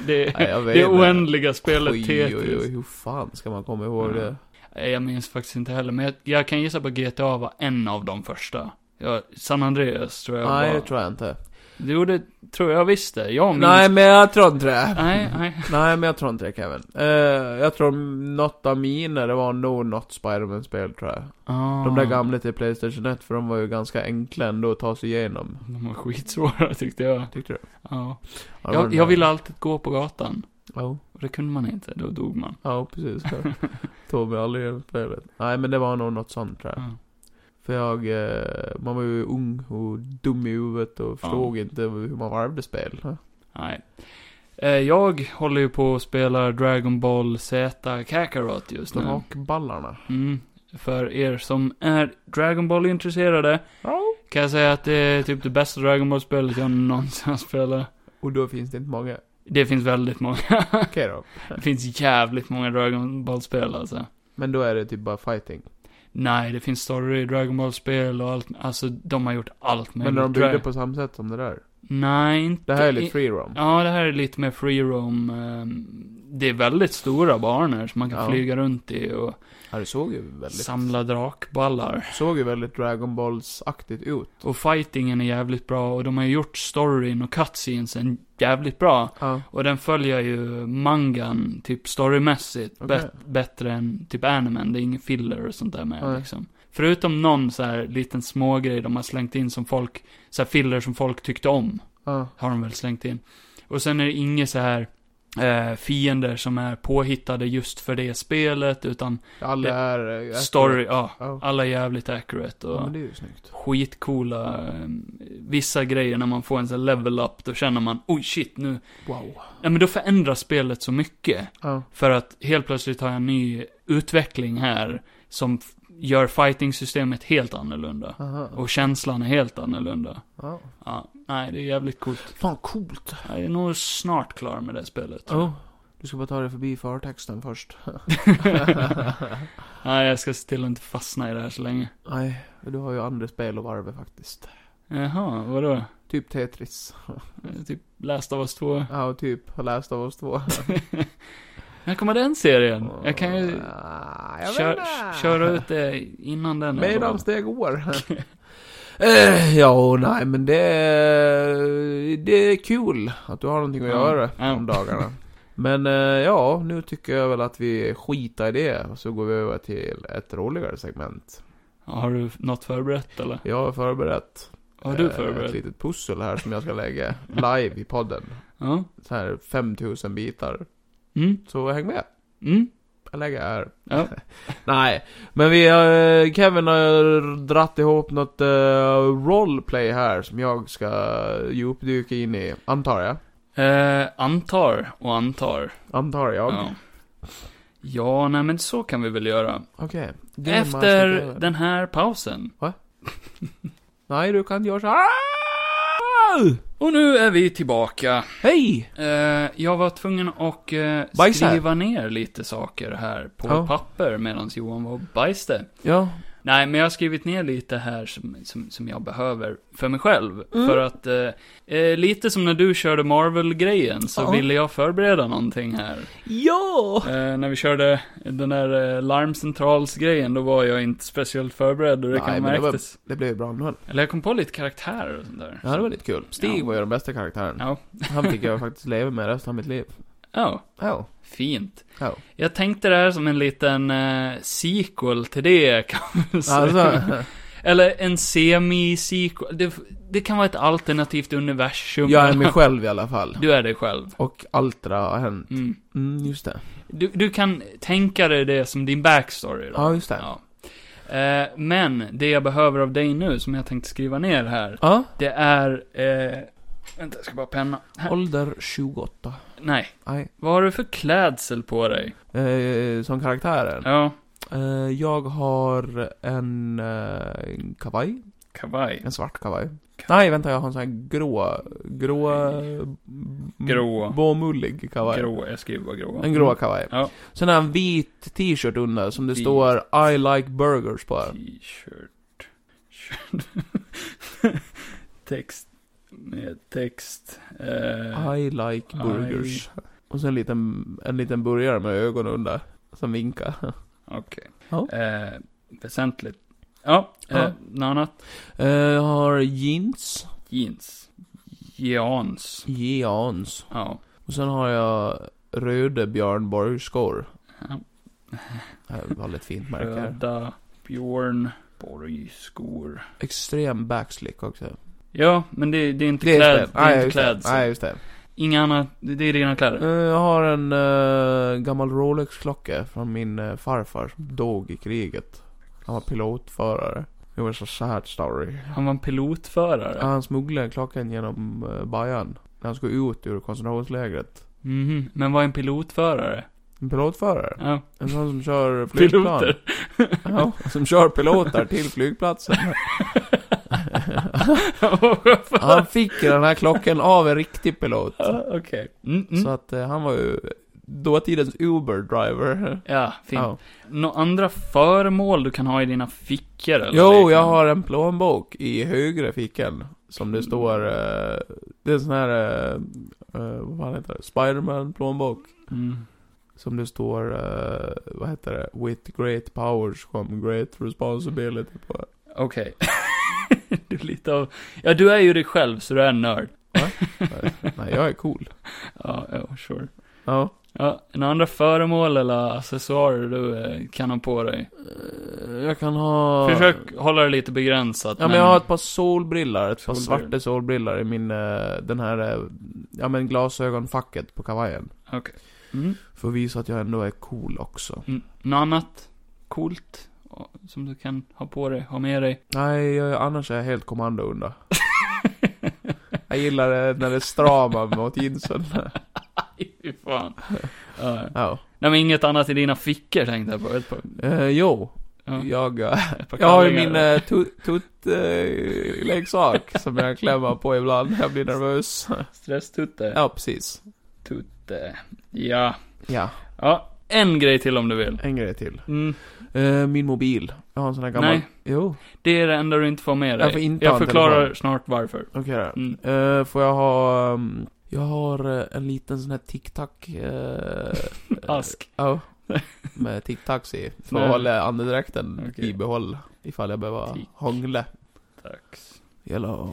[SPEAKER 1] det,
[SPEAKER 2] Nej, jag vet
[SPEAKER 1] det
[SPEAKER 2] inte.
[SPEAKER 1] oändliga spelet Tetris.
[SPEAKER 2] Oj, oj, oj, hur fan ska man komma ihåg
[SPEAKER 1] Ja.
[SPEAKER 2] det?
[SPEAKER 1] Nej, Jag minns faktiskt inte heller, men jag, jag kan gissa på att GTA var en av de första. Ja, San Andreas tror jag
[SPEAKER 2] Nej,
[SPEAKER 1] var.
[SPEAKER 2] det tror jag inte.
[SPEAKER 1] Jo, det tror jag visst det. Jag minns...
[SPEAKER 2] Nej, men jag tror inte det.
[SPEAKER 1] Nej, nej.
[SPEAKER 2] Nej, men jag tror inte det Kevin. Eh, jag tror något av mina, det var nog något Spiderman-spel tror jag.
[SPEAKER 1] Ah,
[SPEAKER 2] De där gamla till Playstation 1, för de var ju ganska enkla ändå att ta sig igenom.
[SPEAKER 1] De var skitsvåra tyckte jag.
[SPEAKER 2] Tyckte du?
[SPEAKER 1] Ja.
[SPEAKER 2] Ja,
[SPEAKER 1] Jag,
[SPEAKER 2] men-
[SPEAKER 1] jag ville alltid gå på gatan.
[SPEAKER 2] Ja,
[SPEAKER 1] Och det kunde man inte, då dog man.
[SPEAKER 2] ja precis. Tog mig aldrig igenom spelet. Nej, men det var nog något sånt tror jag.
[SPEAKER 1] Ja.
[SPEAKER 2] För jag, eh, man var ju ung och dum i huvudet och förstod inte hur man varvade spel. Ja.
[SPEAKER 1] Nej. Eh, Jag håller ju på och spelar Dragon Ball Z Kakarot just nu.
[SPEAKER 2] De hakballarna.
[SPEAKER 1] Mm. För er som är Dragon Ball-intresserade
[SPEAKER 2] Ja.
[SPEAKER 1] kan jag säga att det är typ det bästa Dragon Ball-spelet jag någonsin har spelat.
[SPEAKER 2] Och då finns det inte många.
[SPEAKER 1] Det finns väldigt många.
[SPEAKER 2] Okej då.
[SPEAKER 1] Det finns jävligt många Dragon Ball-spel alltså.
[SPEAKER 2] Men då är det typ bara fighting.
[SPEAKER 1] Nej, det finns story i Dragon Ball-spel och allt. Alltså, de har gjort allt
[SPEAKER 2] Men när de byggde
[SPEAKER 1] Dra-
[SPEAKER 2] på samma sätt som det där.
[SPEAKER 1] Nej, inte...
[SPEAKER 2] Det här är
[SPEAKER 1] i-
[SPEAKER 2] lite free roam.
[SPEAKER 1] Ja, det här är lite mer free roam. ehm, Det är väldigt stora banor som man kan
[SPEAKER 2] Ja.
[SPEAKER 1] flyga runt i och
[SPEAKER 2] Ja, det såg ju väldigt...
[SPEAKER 1] samla drakballar.
[SPEAKER 2] Såg ju väldigt Dragon Balls-aktigt ut.
[SPEAKER 1] Och fightingen är jävligt bra och de har ju gjort storyn och cutscenesen jävligt bra.
[SPEAKER 2] Ja.
[SPEAKER 1] Och den följer ju mangan, typ storymässigt,
[SPEAKER 2] Okej.
[SPEAKER 1] bä- bättre än typ animen. Det är ingen filler och sånt där med
[SPEAKER 2] Nej.
[SPEAKER 1] liksom. Förutom någon så här liten smågrej de har slängt in som folk, så här filler som folk tyckte om,
[SPEAKER 2] ja.
[SPEAKER 1] har de väl slängt in. Och sen är det inga så här eh, fiender som är påhittade just för det spelet, utan
[SPEAKER 2] Alla
[SPEAKER 1] Det-
[SPEAKER 2] är... eh,
[SPEAKER 1] story, ja.
[SPEAKER 2] Ja.
[SPEAKER 1] Alla är jävligt accurate och
[SPEAKER 2] ja, men det är ju snyggt.
[SPEAKER 1] skitcoola, eh, vissa grejer när man får en sån här level up, då känner man, oj shit nu,
[SPEAKER 2] Wow.
[SPEAKER 1] nej men då förändras spelet så mycket.
[SPEAKER 2] Ja.
[SPEAKER 1] För att helt plötsligt har jag en ny utveckling här som f- gör fighting-systemet helt annorlunda.
[SPEAKER 2] Aha.
[SPEAKER 1] Och känslan är helt annorlunda.
[SPEAKER 2] ja.
[SPEAKER 1] Ja, nej, det är jävligt coolt.
[SPEAKER 2] Fan, coolt.
[SPEAKER 1] Jag är nog snart klar med det spelet. tror jag.
[SPEAKER 2] Ja. Du ska bara ta dig förbi förtexten först.
[SPEAKER 1] Nej, jag ska se till att inte fastna i det här så länge.
[SPEAKER 2] Nej, du har ju andra spel att varva faktiskt.
[SPEAKER 1] Jaha, vadå?
[SPEAKER 2] Typ Tetris.
[SPEAKER 1] Eh, Typ Last of Us 2.
[SPEAKER 2] Ja, och typ Last of Us 2.
[SPEAKER 1] När kommer den serien? Jag kan ju
[SPEAKER 2] Ah, jag
[SPEAKER 1] kör,
[SPEAKER 2] vet inte.
[SPEAKER 1] köra ut det innan den. är bra.
[SPEAKER 2] Medan det går. Eh, ja, nej men det är, det är kul att du har någonting att
[SPEAKER 1] Ja.
[SPEAKER 2] göra
[SPEAKER 1] Ja.
[SPEAKER 2] om dagarna. Men eh, ja, nu tycker jag väl att vi skitar i det och så går vi över till ett roligare segment.
[SPEAKER 1] Ja, Har du något förberett eller?
[SPEAKER 2] Jag har förberett,
[SPEAKER 1] Har du
[SPEAKER 2] eh, ett
[SPEAKER 1] förberett?
[SPEAKER 2] litet pussel här som jag ska lägga live i podden.
[SPEAKER 1] Ja.
[SPEAKER 2] Så här 5000 bitar.
[SPEAKER 1] Mm,
[SPEAKER 2] Så häng med.
[SPEAKER 1] mm.
[SPEAKER 2] Jag lägger här.
[SPEAKER 1] Ja.
[SPEAKER 2] Nej, men vi har, Kevin har dratt ihop något eh, roleplay här som jag ska eh, djupdyka in i, antar jag.
[SPEAKER 1] Eh, antar och antar.
[SPEAKER 2] Antar jag.
[SPEAKER 1] Ja. ja, nej men så kan vi väl göra.
[SPEAKER 2] Okej. Game
[SPEAKER 1] Efter
[SPEAKER 2] Master Kevin.
[SPEAKER 1] den här pausen.
[SPEAKER 2] Nej, du kan inte göra så här. Ah!
[SPEAKER 1] Och nu är vi tillbaka.
[SPEAKER 2] Hej!
[SPEAKER 1] Eh, jag var tvungen att eh,
[SPEAKER 2] Bajsa.
[SPEAKER 1] skriva ner lite saker här på
[SPEAKER 2] Ja.
[SPEAKER 1] papper medan Johan var och bajste.
[SPEAKER 2] Ja.
[SPEAKER 1] Nej, men jag har skrivit ner lite här som, som, som jag behöver för mig själv.
[SPEAKER 2] Mm.
[SPEAKER 1] För att, eh, eh, lite som när du körde Marvel-grejen så
[SPEAKER 2] Ja. Oh.
[SPEAKER 1] ville jag förbereda någonting här.
[SPEAKER 2] Ja!
[SPEAKER 1] Eh, när vi körde den där eh, larmcentralsgrejen, då var jag inte speciellt förberedd och det
[SPEAKER 2] Nej,
[SPEAKER 1] kan
[SPEAKER 2] men det var-
[SPEAKER 1] märktes.
[SPEAKER 2] Det blev bra nu.
[SPEAKER 1] Eller jag kom på lite karaktärer och sånt där.
[SPEAKER 2] Ja, det var lite kul. Stig
[SPEAKER 1] Ja.
[SPEAKER 2] var ju den bästa karaktären.
[SPEAKER 1] Ja.
[SPEAKER 2] Han fick jag faktiskt leva med resten av mitt liv.
[SPEAKER 1] Ja,
[SPEAKER 2] Ja.
[SPEAKER 1] fint.
[SPEAKER 2] Ja.
[SPEAKER 1] Jag tänkte det här som en liten eh, sequel till det, kan man säga.
[SPEAKER 2] Alltså.
[SPEAKER 1] Eller en semi-sequel. Det, det kan vara ett alternativt universum.
[SPEAKER 2] Jag är mig själv i alla fall.
[SPEAKER 1] Du är dig själv.
[SPEAKER 2] Och allt det där har hänt.
[SPEAKER 1] Mm.
[SPEAKER 2] Mm, just det.
[SPEAKER 1] Du, du kan tänka dig det som din backstory då.
[SPEAKER 2] Ja, just det.
[SPEAKER 1] Ja. Eh, men det jag behöver av dig nu, som jag tänkte skriva ner här,
[SPEAKER 2] Ja.
[SPEAKER 1] det är... Eh, vänta, jag ska bara penna. Här.
[SPEAKER 2] Ålder 28.
[SPEAKER 1] Nej.
[SPEAKER 2] Nej.
[SPEAKER 1] Vad har du för klädsel på dig?
[SPEAKER 2] Eh, som karaktären.
[SPEAKER 1] Ja,
[SPEAKER 2] Eh, jag har en, eh, en kavaj.
[SPEAKER 1] kavaj.
[SPEAKER 2] En svart kavaj.
[SPEAKER 1] Ka-
[SPEAKER 2] Nej, vänta, jag har en sån här grå, grå...
[SPEAKER 1] Grå.
[SPEAKER 2] Bombullig kavaj.
[SPEAKER 1] Grå, jag skriver bara grå.
[SPEAKER 2] En grå kavaj.
[SPEAKER 1] Ja.
[SPEAKER 2] Sen har jag en vit t-shirt under som det
[SPEAKER 1] Vit.
[SPEAKER 2] står I like burgers på.
[SPEAKER 1] Mm. T-shirt. Shirt. text. Med text. Eh,
[SPEAKER 2] I like
[SPEAKER 1] I-
[SPEAKER 2] burgers. Och sen en liten, en liten burgare med ögonen under. Som vinkar.
[SPEAKER 1] eh, väsentligt. Ja, eh,
[SPEAKER 2] Ja.
[SPEAKER 1] något annat?
[SPEAKER 2] Eh, jag har jeans.
[SPEAKER 1] Jeans. Jeans.
[SPEAKER 2] Jeans.
[SPEAKER 1] Ja.
[SPEAKER 2] Och sen har jag röda Björn Borg-skor.
[SPEAKER 1] Ja.
[SPEAKER 2] Det här var ett fint märke. här.
[SPEAKER 1] Röda. Björn. Borgskor.
[SPEAKER 2] Extrem backslick också.
[SPEAKER 1] Ja, men det, det är inte
[SPEAKER 2] spel.
[SPEAKER 1] kläd, det är
[SPEAKER 2] Nej,
[SPEAKER 1] inte
[SPEAKER 2] just det.
[SPEAKER 1] klädsel.
[SPEAKER 2] Nej, just det.
[SPEAKER 1] Inga annat, det det är dina
[SPEAKER 2] Eh,
[SPEAKER 1] kläder.
[SPEAKER 2] Jag har en eh, gammal Rolex-klocka från min eh, farfar som dog i kriget. Han var pilotförare. Det var så sad story.
[SPEAKER 1] Han var en pilotförare.
[SPEAKER 2] Han smugglade klockan genom uh, Bayern. När han skulle ut ur koncentrationslägret.
[SPEAKER 1] Mhm, Men vad är en pilotförare?
[SPEAKER 2] En pilotförare.
[SPEAKER 1] Ja.
[SPEAKER 2] En sån som kör flygplan.
[SPEAKER 1] Piloter.
[SPEAKER 2] Ja, som kör piloter till flygplatsen. Han fick ju den här klockan av en riktig pilot.
[SPEAKER 1] Ja, Okej. Mm, mm.
[SPEAKER 2] Så att eh, han var ju dåtidens Uber-driver.
[SPEAKER 1] Ja, fint.
[SPEAKER 2] Ja.
[SPEAKER 1] Några andra föremål du kan ha i dina fickor eller
[SPEAKER 2] Jo,
[SPEAKER 1] liknande?
[SPEAKER 2] jag har en plånbok i högre fickan. Som det står... eh, det är en sån här... eh, eh, vad fan heter det? Spiderman-plånbok.
[SPEAKER 1] Mm.
[SPEAKER 2] Som det står... eh, vad heter det? With great powers come great responsibility på.
[SPEAKER 1] Okej. du är lite av... Ja, du är ju dig själv, så du är en nörd.
[SPEAKER 2] Nej, jag är cool.
[SPEAKER 1] Ja, ja, sure.
[SPEAKER 2] Ja.
[SPEAKER 1] Ja, några andra föremål eller accessoarer du eh, kan ha på dig?
[SPEAKER 2] Eh, Jag kan ha...
[SPEAKER 1] Försök hålla det lite begränsat.
[SPEAKER 2] Ja men jag har ett par solbrillor, ett par
[SPEAKER 1] Solbrillor.
[SPEAKER 2] svarta solbrillor i min, eh, den här, eh, ja men glasögonfacket på kavajen.
[SPEAKER 1] Mm.
[SPEAKER 2] För att visa att jag ändå är cool också.
[SPEAKER 1] Mm. Något annat coolt ja, som du kan ha på dig, ha med dig?
[SPEAKER 2] Nej, jag, annars är jag helt kommando under. jag gillar det när det stramar mot jeansen.
[SPEAKER 1] Aj, fy fan. Ja.
[SPEAKER 2] Ja.
[SPEAKER 1] Nej men inget annat i dina fickor tänkte jag på. Ett par,
[SPEAKER 2] Eh, jo,
[SPEAKER 1] ja,
[SPEAKER 2] jag, eh,
[SPEAKER 1] ett par
[SPEAKER 2] jag har ju
[SPEAKER 1] kallingar.
[SPEAKER 2] min eh, tut- tutt-leksak som jag klämmer på ibland när jag blir nervös.
[SPEAKER 1] Stresstutte.
[SPEAKER 2] ja, precis.
[SPEAKER 1] Tutte. Ja.
[SPEAKER 2] Ja,
[SPEAKER 1] Ja, en grej till om du vill.
[SPEAKER 2] en grej till.
[SPEAKER 1] Mm.
[SPEAKER 2] Eh, min mobil. Jag har en sån här gammal...
[SPEAKER 1] Nej.
[SPEAKER 2] Jo.
[SPEAKER 1] Det är det enda du inte får med dig.
[SPEAKER 2] Jag får inte ha
[SPEAKER 1] jag
[SPEAKER 2] en
[SPEAKER 1] förklarar
[SPEAKER 2] telefon.
[SPEAKER 1] snart varför.
[SPEAKER 2] Okej då.
[SPEAKER 1] Mm.
[SPEAKER 2] Eh, får jag ha... ehm, jag har eh, en liten sån här tic-tac... eh,
[SPEAKER 1] Ask.
[SPEAKER 2] Ja. Med tic-tacs i. För
[SPEAKER 1] Nej.
[SPEAKER 2] att hålla andedräkten
[SPEAKER 1] Okej.
[SPEAKER 2] i behåll. Ifall jag behöver
[SPEAKER 1] Tic.
[SPEAKER 2] hångla.
[SPEAKER 1] Tack.
[SPEAKER 2] Gäller att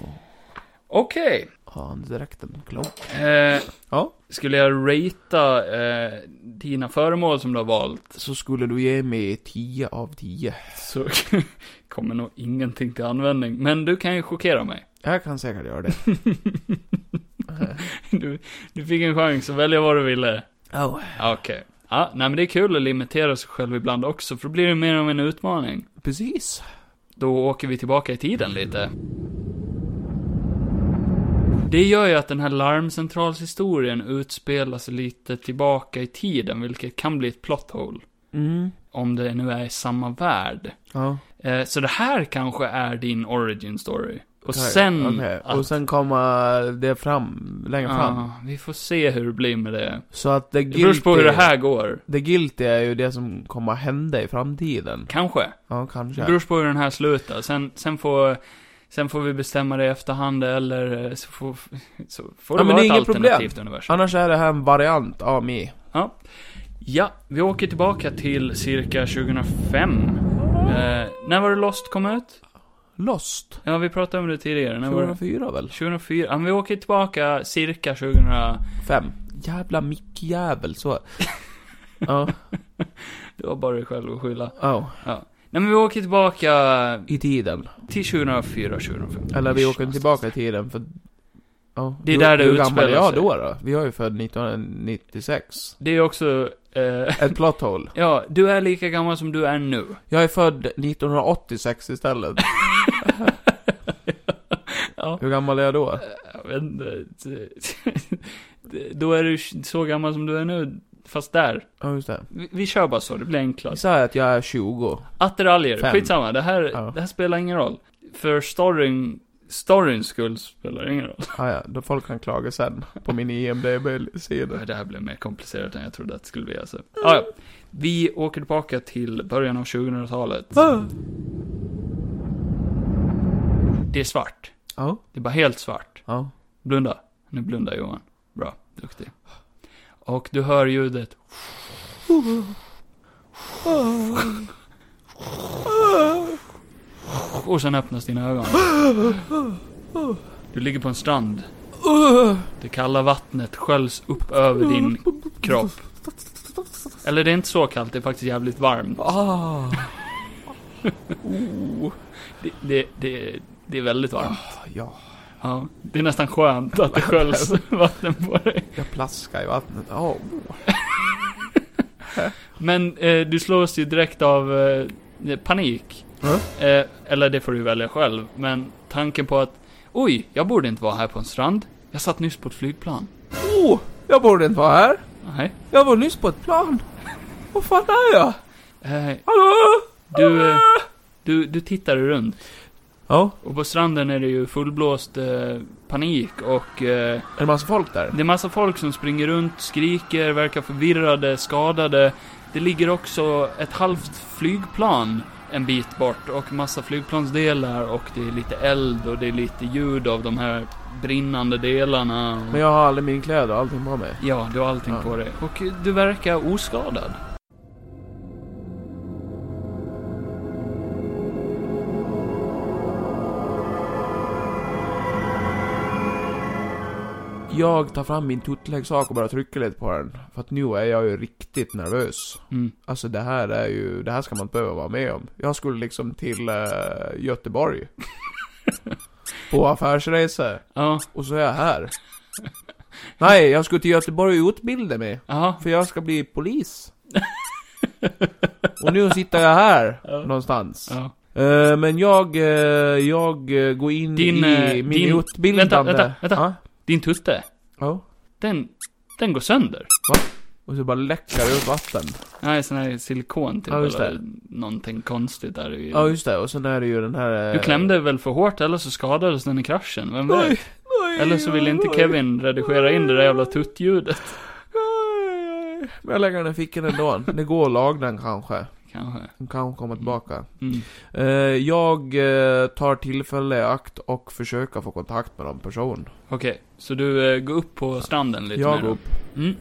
[SPEAKER 1] Okej.
[SPEAKER 2] ha andedräkten klar.
[SPEAKER 1] Eh,
[SPEAKER 2] Ja.
[SPEAKER 1] Skulle jag ratea eh, dina föremål som du har valt
[SPEAKER 2] Så skulle du ge mig 10 av 10.
[SPEAKER 1] så kommer nog ingenting till användning. Men du kan ju chockera mig.
[SPEAKER 2] Jag kan säkert göra det. Eh,
[SPEAKER 1] Du, du fick en chans att välja vad du ville.
[SPEAKER 2] oh.
[SPEAKER 1] Ja, Okej. Ja, nej men det är kul att limitera sig själv ibland också, för då blir det mer av en utmaning.
[SPEAKER 2] Precis.
[SPEAKER 1] Då åker vi tillbaka i tiden lite. Det gör ju att den här larmcentralshistorien utspelar sig lite tillbaka i tiden, vilket kan bli ett plot hole.
[SPEAKER 2] Mm.
[SPEAKER 1] Om det nu är i samma värld.
[SPEAKER 2] Ja.
[SPEAKER 1] Eh, så det här kanske är din origin story. Och
[SPEAKER 2] Okej,
[SPEAKER 1] sen...
[SPEAKER 2] okej.
[SPEAKER 1] att-
[SPEAKER 2] Och sen kommer det fram, längre fram.
[SPEAKER 1] Ja, vi får se hur det blir med det.
[SPEAKER 2] Så att det
[SPEAKER 1] Det beror på hur det
[SPEAKER 2] guilty-
[SPEAKER 1] här går.
[SPEAKER 2] Det guilty är ju det som kommer att hända i framtiden.
[SPEAKER 1] Kanske.
[SPEAKER 2] Ja,
[SPEAKER 1] Det
[SPEAKER 2] kanske.
[SPEAKER 1] beror på hur den här slutar. Sen, sen får... Sen får vi bestämma det i efterhand eller eh, så får, så får det
[SPEAKER 2] Ja, men
[SPEAKER 1] vara
[SPEAKER 2] det är
[SPEAKER 1] ett
[SPEAKER 2] inget problem.
[SPEAKER 1] alternativt universum.
[SPEAKER 2] Annars är det här en variant av mig.
[SPEAKER 1] Ja, vi åker tillbaka till cirka 2005. Eh, när var det Lost kom ut?
[SPEAKER 2] Lost.
[SPEAKER 1] Ja, vi pratade om det tidigare. När var det?
[SPEAKER 2] 2004 väl?
[SPEAKER 1] 2004. Ja, men vi åker tillbaka cirka 2000...
[SPEAKER 2] Fem. Jävla mickjävel, så. Ja,
[SPEAKER 1] Det var bara dig själv att skylla.
[SPEAKER 2] ja.
[SPEAKER 1] Nej, men vi åker tillbaka
[SPEAKER 2] I tiden.
[SPEAKER 1] till 2004, 2005.
[SPEAKER 2] Eller vi
[SPEAKER 1] Ish,
[SPEAKER 2] åker
[SPEAKER 1] någonstans.
[SPEAKER 2] tillbaka i tiden för... Ja.
[SPEAKER 1] Det är
[SPEAKER 2] Du-
[SPEAKER 1] där det
[SPEAKER 2] hur gammal
[SPEAKER 1] utspelar
[SPEAKER 2] är jag
[SPEAKER 1] sig.
[SPEAKER 2] då då? Vi har ju född 1996.
[SPEAKER 1] Det är också, eh,
[SPEAKER 2] Ett plot hole.
[SPEAKER 1] ja, du är lika gammal som du är nu.
[SPEAKER 2] Jag är född 1986 istället.
[SPEAKER 1] Ja,
[SPEAKER 2] Hur gammal är jag då?
[SPEAKER 1] jag vet inte. Det- Då är du så gammal som du är nu, fast där.
[SPEAKER 2] Ja, just det.
[SPEAKER 1] Vi, vi kör bara så, det blir
[SPEAKER 2] Vi
[SPEAKER 1] enklast.
[SPEAKER 2] säger att jag är 20.
[SPEAKER 1] Attiraljer,
[SPEAKER 2] Fem.
[SPEAKER 1] skitsamma. Det här,
[SPEAKER 2] Ja.
[SPEAKER 1] det här spelar ingen roll. För storyn, storyns skull spelar det ingen roll.
[SPEAKER 2] Ah, ja, då folk kan klaga sen på min E IMDB-sida.
[SPEAKER 1] Det här blev mer komplicerat än jag trodde att det skulle bli alltså. Ah, ja. Vi åker tillbaka till början av 2000-talet. Det är svart.
[SPEAKER 2] Ja.
[SPEAKER 1] Det är bara helt svart.
[SPEAKER 2] Ja.
[SPEAKER 1] Blunda. Nu blundar Johan. Bra. Duktig. Och du hör ljudet. Och sen öppnas dina ögon. Du ligger på en strand. Det kalla vattnet sköljs upp över din kropp. Eller det är inte så kallt, det är faktiskt jävligt varmt.
[SPEAKER 2] Ah.
[SPEAKER 1] Det, det, det, det är väldigt varmt.
[SPEAKER 2] Ja,
[SPEAKER 1] Ja, det är nästan skönt att det sköljs vatten på dig.
[SPEAKER 2] jag plaskar i vattnet. Ja.
[SPEAKER 1] Men eh, du slås ju direkt av eh, panik. Eh, eller det får du välja själv. Men tanken på att oj, jag borde inte vara här på en strand. Jag satt nyss på ett flygplan.
[SPEAKER 2] Oh, jag borde inte vara här.
[SPEAKER 1] Nej.
[SPEAKER 2] Jag var nyss på ett plan. Vad fan är jag?
[SPEAKER 1] Eh,
[SPEAKER 2] Hallå?
[SPEAKER 1] du, eh, du, du tittar runt.
[SPEAKER 2] Ja,
[SPEAKER 1] Och på stranden är det ju fullblåst eh, panik och eh,
[SPEAKER 2] är det massa folk där?
[SPEAKER 1] det är massa folk som springer runt, skriker, verkar förvirrade, skadade. Det ligger också ett halvt flygplan en bit bort och massa flygplansdelar och det är lite eld och det är lite ljud av de här brinnande delarna. Och...
[SPEAKER 2] Men jag har aldrig min kläder och allting på mig.
[SPEAKER 1] Ja, du har allting
[SPEAKER 2] Ja.
[SPEAKER 1] på dig. Och du verkar oskadad.
[SPEAKER 2] Jag tar fram min tuttleksak och bara trycker lite på den. För att nu är jag ju riktigt nervös.
[SPEAKER 1] Mm.
[SPEAKER 2] Alltså det här är ju, det här ska man inte behöva vara med om. Jag skulle liksom till eh, Göteborg. på affärsresa.
[SPEAKER 1] Ja,
[SPEAKER 2] Och så är jag här. Nej, jag skulle till Göteborg och utbilda mig.
[SPEAKER 1] ja.
[SPEAKER 2] För jag ska bli polis. Och nu sitter jag här
[SPEAKER 1] Ja.
[SPEAKER 2] någonstans.
[SPEAKER 1] ja.
[SPEAKER 2] Eh, men jag, eh, jag eh, går in
[SPEAKER 1] Din, eh,
[SPEAKER 2] i min
[SPEAKER 1] din-
[SPEAKER 2] utbildande...
[SPEAKER 1] vänta, vänta, vänta.
[SPEAKER 2] Ja,
[SPEAKER 1] Din tutte,
[SPEAKER 2] ja.
[SPEAKER 1] den, den går sönder.
[SPEAKER 2] Och så bara läcker det ut vatten.
[SPEAKER 1] Nej, sån här silikon typ,
[SPEAKER 2] Ja, just
[SPEAKER 1] eller
[SPEAKER 2] det.
[SPEAKER 1] någonting konstigt där i.
[SPEAKER 2] Ja, just det. Och sen är det ju den här... eh,
[SPEAKER 1] Du klämde väl för hårt eller så skadades den i kraschen, vem vet?
[SPEAKER 2] Nej, nej,
[SPEAKER 1] eller så vill inte
[SPEAKER 2] nej.
[SPEAKER 1] Kevin redigera in det där jävla tuttljudet,
[SPEAKER 2] Nej, nej. Men jag lägger den i fickan ändå. Det går att laga den kanske.
[SPEAKER 1] kanske.
[SPEAKER 2] Den kan komma tillbaka.
[SPEAKER 1] Mm.
[SPEAKER 2] Eh, jag eh, tar tillfälle i akt och försöker få kontakt med någon person.
[SPEAKER 1] Okej, så du eh, går upp på stranden lite
[SPEAKER 2] jag
[SPEAKER 1] mer
[SPEAKER 2] går
[SPEAKER 1] då?
[SPEAKER 2] upp
[SPEAKER 1] Mm.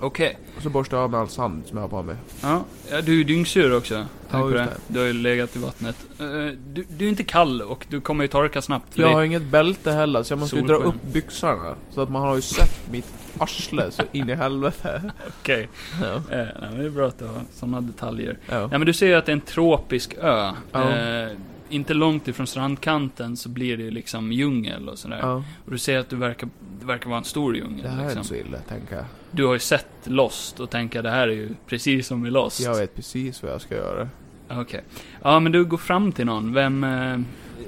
[SPEAKER 1] Okej.
[SPEAKER 2] och så borstar jag av mig all sand som jag har på mig.
[SPEAKER 1] Ja, ja, du är ju dyngsur också. Tänk på
[SPEAKER 2] just
[SPEAKER 1] det.
[SPEAKER 2] det.
[SPEAKER 1] Du har ju legat i vattnet. Eh, Du, du är inte kall och du kommer ju torka snabbt. För
[SPEAKER 2] Jag har
[SPEAKER 1] det,
[SPEAKER 2] inget bälte heller, så jag måste ju dra
[SPEAKER 1] Solsken.
[SPEAKER 2] upp byxorna. Så att man har ju sett mitt arsle så in i helvete.
[SPEAKER 1] okej.
[SPEAKER 2] Ja.
[SPEAKER 1] Eh, nej, men det är bra att du har sådana detaljer.
[SPEAKER 2] Ja.
[SPEAKER 1] Ja men du ser ju att det är en tropisk ö.
[SPEAKER 2] Ja.
[SPEAKER 1] Eh, inte långt ifrån strandkanten så blir det ju liksom djungel och sådär.
[SPEAKER 2] Ja.
[SPEAKER 1] Och du ser att du verkar, det verkar vara en stor djungel.
[SPEAKER 2] Det här är
[SPEAKER 1] liksom.
[SPEAKER 2] inte så illa, tänker jag.
[SPEAKER 1] Du har ju sett Lost och tänker det här är ju precis som i Lost.
[SPEAKER 2] Jag vet precis vad jag ska göra.
[SPEAKER 1] Okej. Ja men du går fram till någon. Vem... Eh,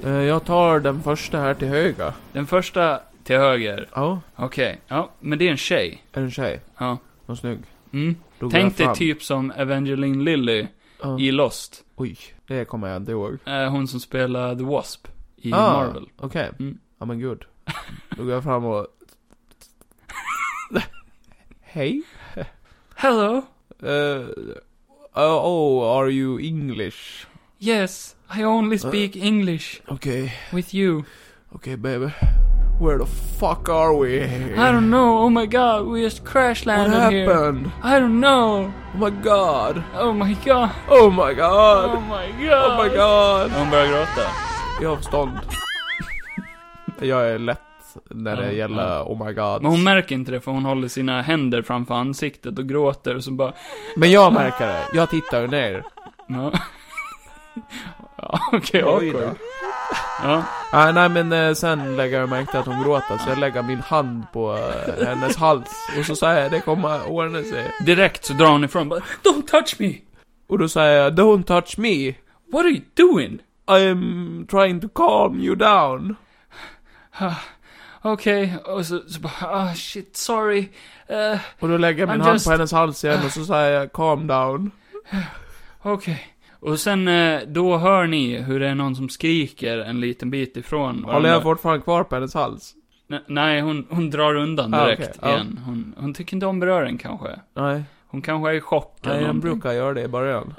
[SPEAKER 2] Eh, jag tar den första här till höger.
[SPEAKER 1] den första till höger.
[SPEAKER 2] Ja,
[SPEAKER 1] Okej. Ja, men det är en tjej.
[SPEAKER 2] en tjej.
[SPEAKER 1] Ja.
[SPEAKER 2] Någon snygg.
[SPEAKER 1] Mm.
[SPEAKER 2] Då går jag
[SPEAKER 1] Tänk dig
[SPEAKER 2] fram.
[SPEAKER 1] typ som Evangeline Lilly
[SPEAKER 2] Ja.
[SPEAKER 1] i Lost.
[SPEAKER 2] Oj, det kommer jag inte ihåg.
[SPEAKER 1] Eh, hon som spelar The Wasp i
[SPEAKER 2] Ah,
[SPEAKER 1] Marvel.
[SPEAKER 2] Okej.
[SPEAKER 1] Mm.
[SPEAKER 2] Ja men gud. Då går jag fram och... Hej?
[SPEAKER 1] Hello!
[SPEAKER 2] Eh, oh, oh, are you English?
[SPEAKER 1] Yes, I
[SPEAKER 2] Eh.
[SPEAKER 1] only speak English
[SPEAKER 2] Okej,
[SPEAKER 1] with you.
[SPEAKER 2] okej baby. Where the fuck are we?
[SPEAKER 1] I don't know, oh my god, we just crash
[SPEAKER 2] What
[SPEAKER 1] landed here.
[SPEAKER 2] happened?
[SPEAKER 1] I don't know.
[SPEAKER 2] Oh my god.
[SPEAKER 1] Oh my god.
[SPEAKER 2] Oh my god.
[SPEAKER 1] Oh my god.
[SPEAKER 2] Oh my god.
[SPEAKER 1] Hon börjar gråta.
[SPEAKER 2] Jag har förstånd. Jag är lätt när det
[SPEAKER 1] Ja,
[SPEAKER 2] gäller oh my god.
[SPEAKER 1] Men hon märker inte det för hon håller sina händer framför ansiktet och gråter och så bara...
[SPEAKER 2] Men jag märker det. Jag tittar ner.
[SPEAKER 1] Ja. Ja, okej,
[SPEAKER 2] Oj
[SPEAKER 1] awkward.
[SPEAKER 2] då.
[SPEAKER 1] Ja.
[SPEAKER 2] Ah, nej men eh, sen lägger jag märkte att hon gråter så jag lägger min hand på eh, hennes hals och så säger jag det kommer ordna sig.
[SPEAKER 1] Direkt så drar hon ifrån bara, Don't touch me!
[SPEAKER 2] Och då säger jag Don't touch me.
[SPEAKER 1] What are you doing?
[SPEAKER 2] I'm trying to calm you down.
[SPEAKER 1] Okej, och så, så bara, ah shit, sorry. Eh,
[SPEAKER 2] Och då lägger jag min
[SPEAKER 1] I'm
[SPEAKER 2] hand
[SPEAKER 1] just-
[SPEAKER 2] på hennes hals igen och så säger jag calm down.
[SPEAKER 1] Okej. Och sen, eh, då hör ni hur det är någon som skriker en liten bit ifrån.
[SPEAKER 2] Håller jag fortfarande kvar på hennes hals?
[SPEAKER 1] Ne- Nej, hon, hon drar undan
[SPEAKER 2] Ah,
[SPEAKER 1] direkt
[SPEAKER 2] okej, ja.
[SPEAKER 1] igen. Hon, hon tycker inte om beröring kanske.
[SPEAKER 2] Nej,
[SPEAKER 1] Hon kanske är i chock eller
[SPEAKER 2] nej jag
[SPEAKER 1] någonting.
[SPEAKER 2] brukar göra det i början.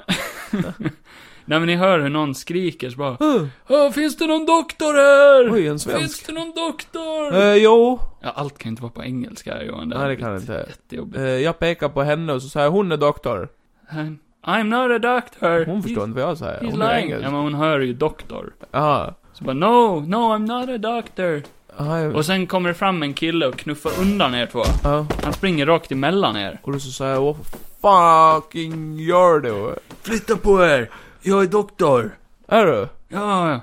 [SPEAKER 1] Nej men ni hör hur någon skriker så bara
[SPEAKER 2] Uh,
[SPEAKER 1] "Åh, Finns det någon doktor här?
[SPEAKER 2] Oj, en
[SPEAKER 1] Finns
[SPEAKER 2] svensk.
[SPEAKER 1] det någon doktor?
[SPEAKER 2] Eh, jo.
[SPEAKER 1] Ja, allt kan ju inte vara på engelska här Johan.
[SPEAKER 2] Nej, det kan det inte.
[SPEAKER 1] Jättejobbigt.
[SPEAKER 2] Eh, jag pekar på henne och så säger jag, hon är doktor.
[SPEAKER 1] I'm- I'm not a doctor.
[SPEAKER 2] Hon förstår inte vad jag säger.
[SPEAKER 1] He's,
[SPEAKER 2] Hon
[SPEAKER 1] he's
[SPEAKER 2] är
[SPEAKER 1] lying.
[SPEAKER 2] engelsk.
[SPEAKER 1] Ja, men hon hör ju doktor.
[SPEAKER 2] Ja.
[SPEAKER 1] Så bara no, no I'm not a doctor.
[SPEAKER 2] Aj,
[SPEAKER 1] Och sen kommer det fram en kille och knuffar undan er två.
[SPEAKER 2] ja.
[SPEAKER 1] Han springer rakt emellan er.
[SPEAKER 2] Och då så säger jag, vad fucking gör du?
[SPEAKER 1] Flytta på er! Jag är doktor!
[SPEAKER 2] Är du?
[SPEAKER 1] Ja, ja.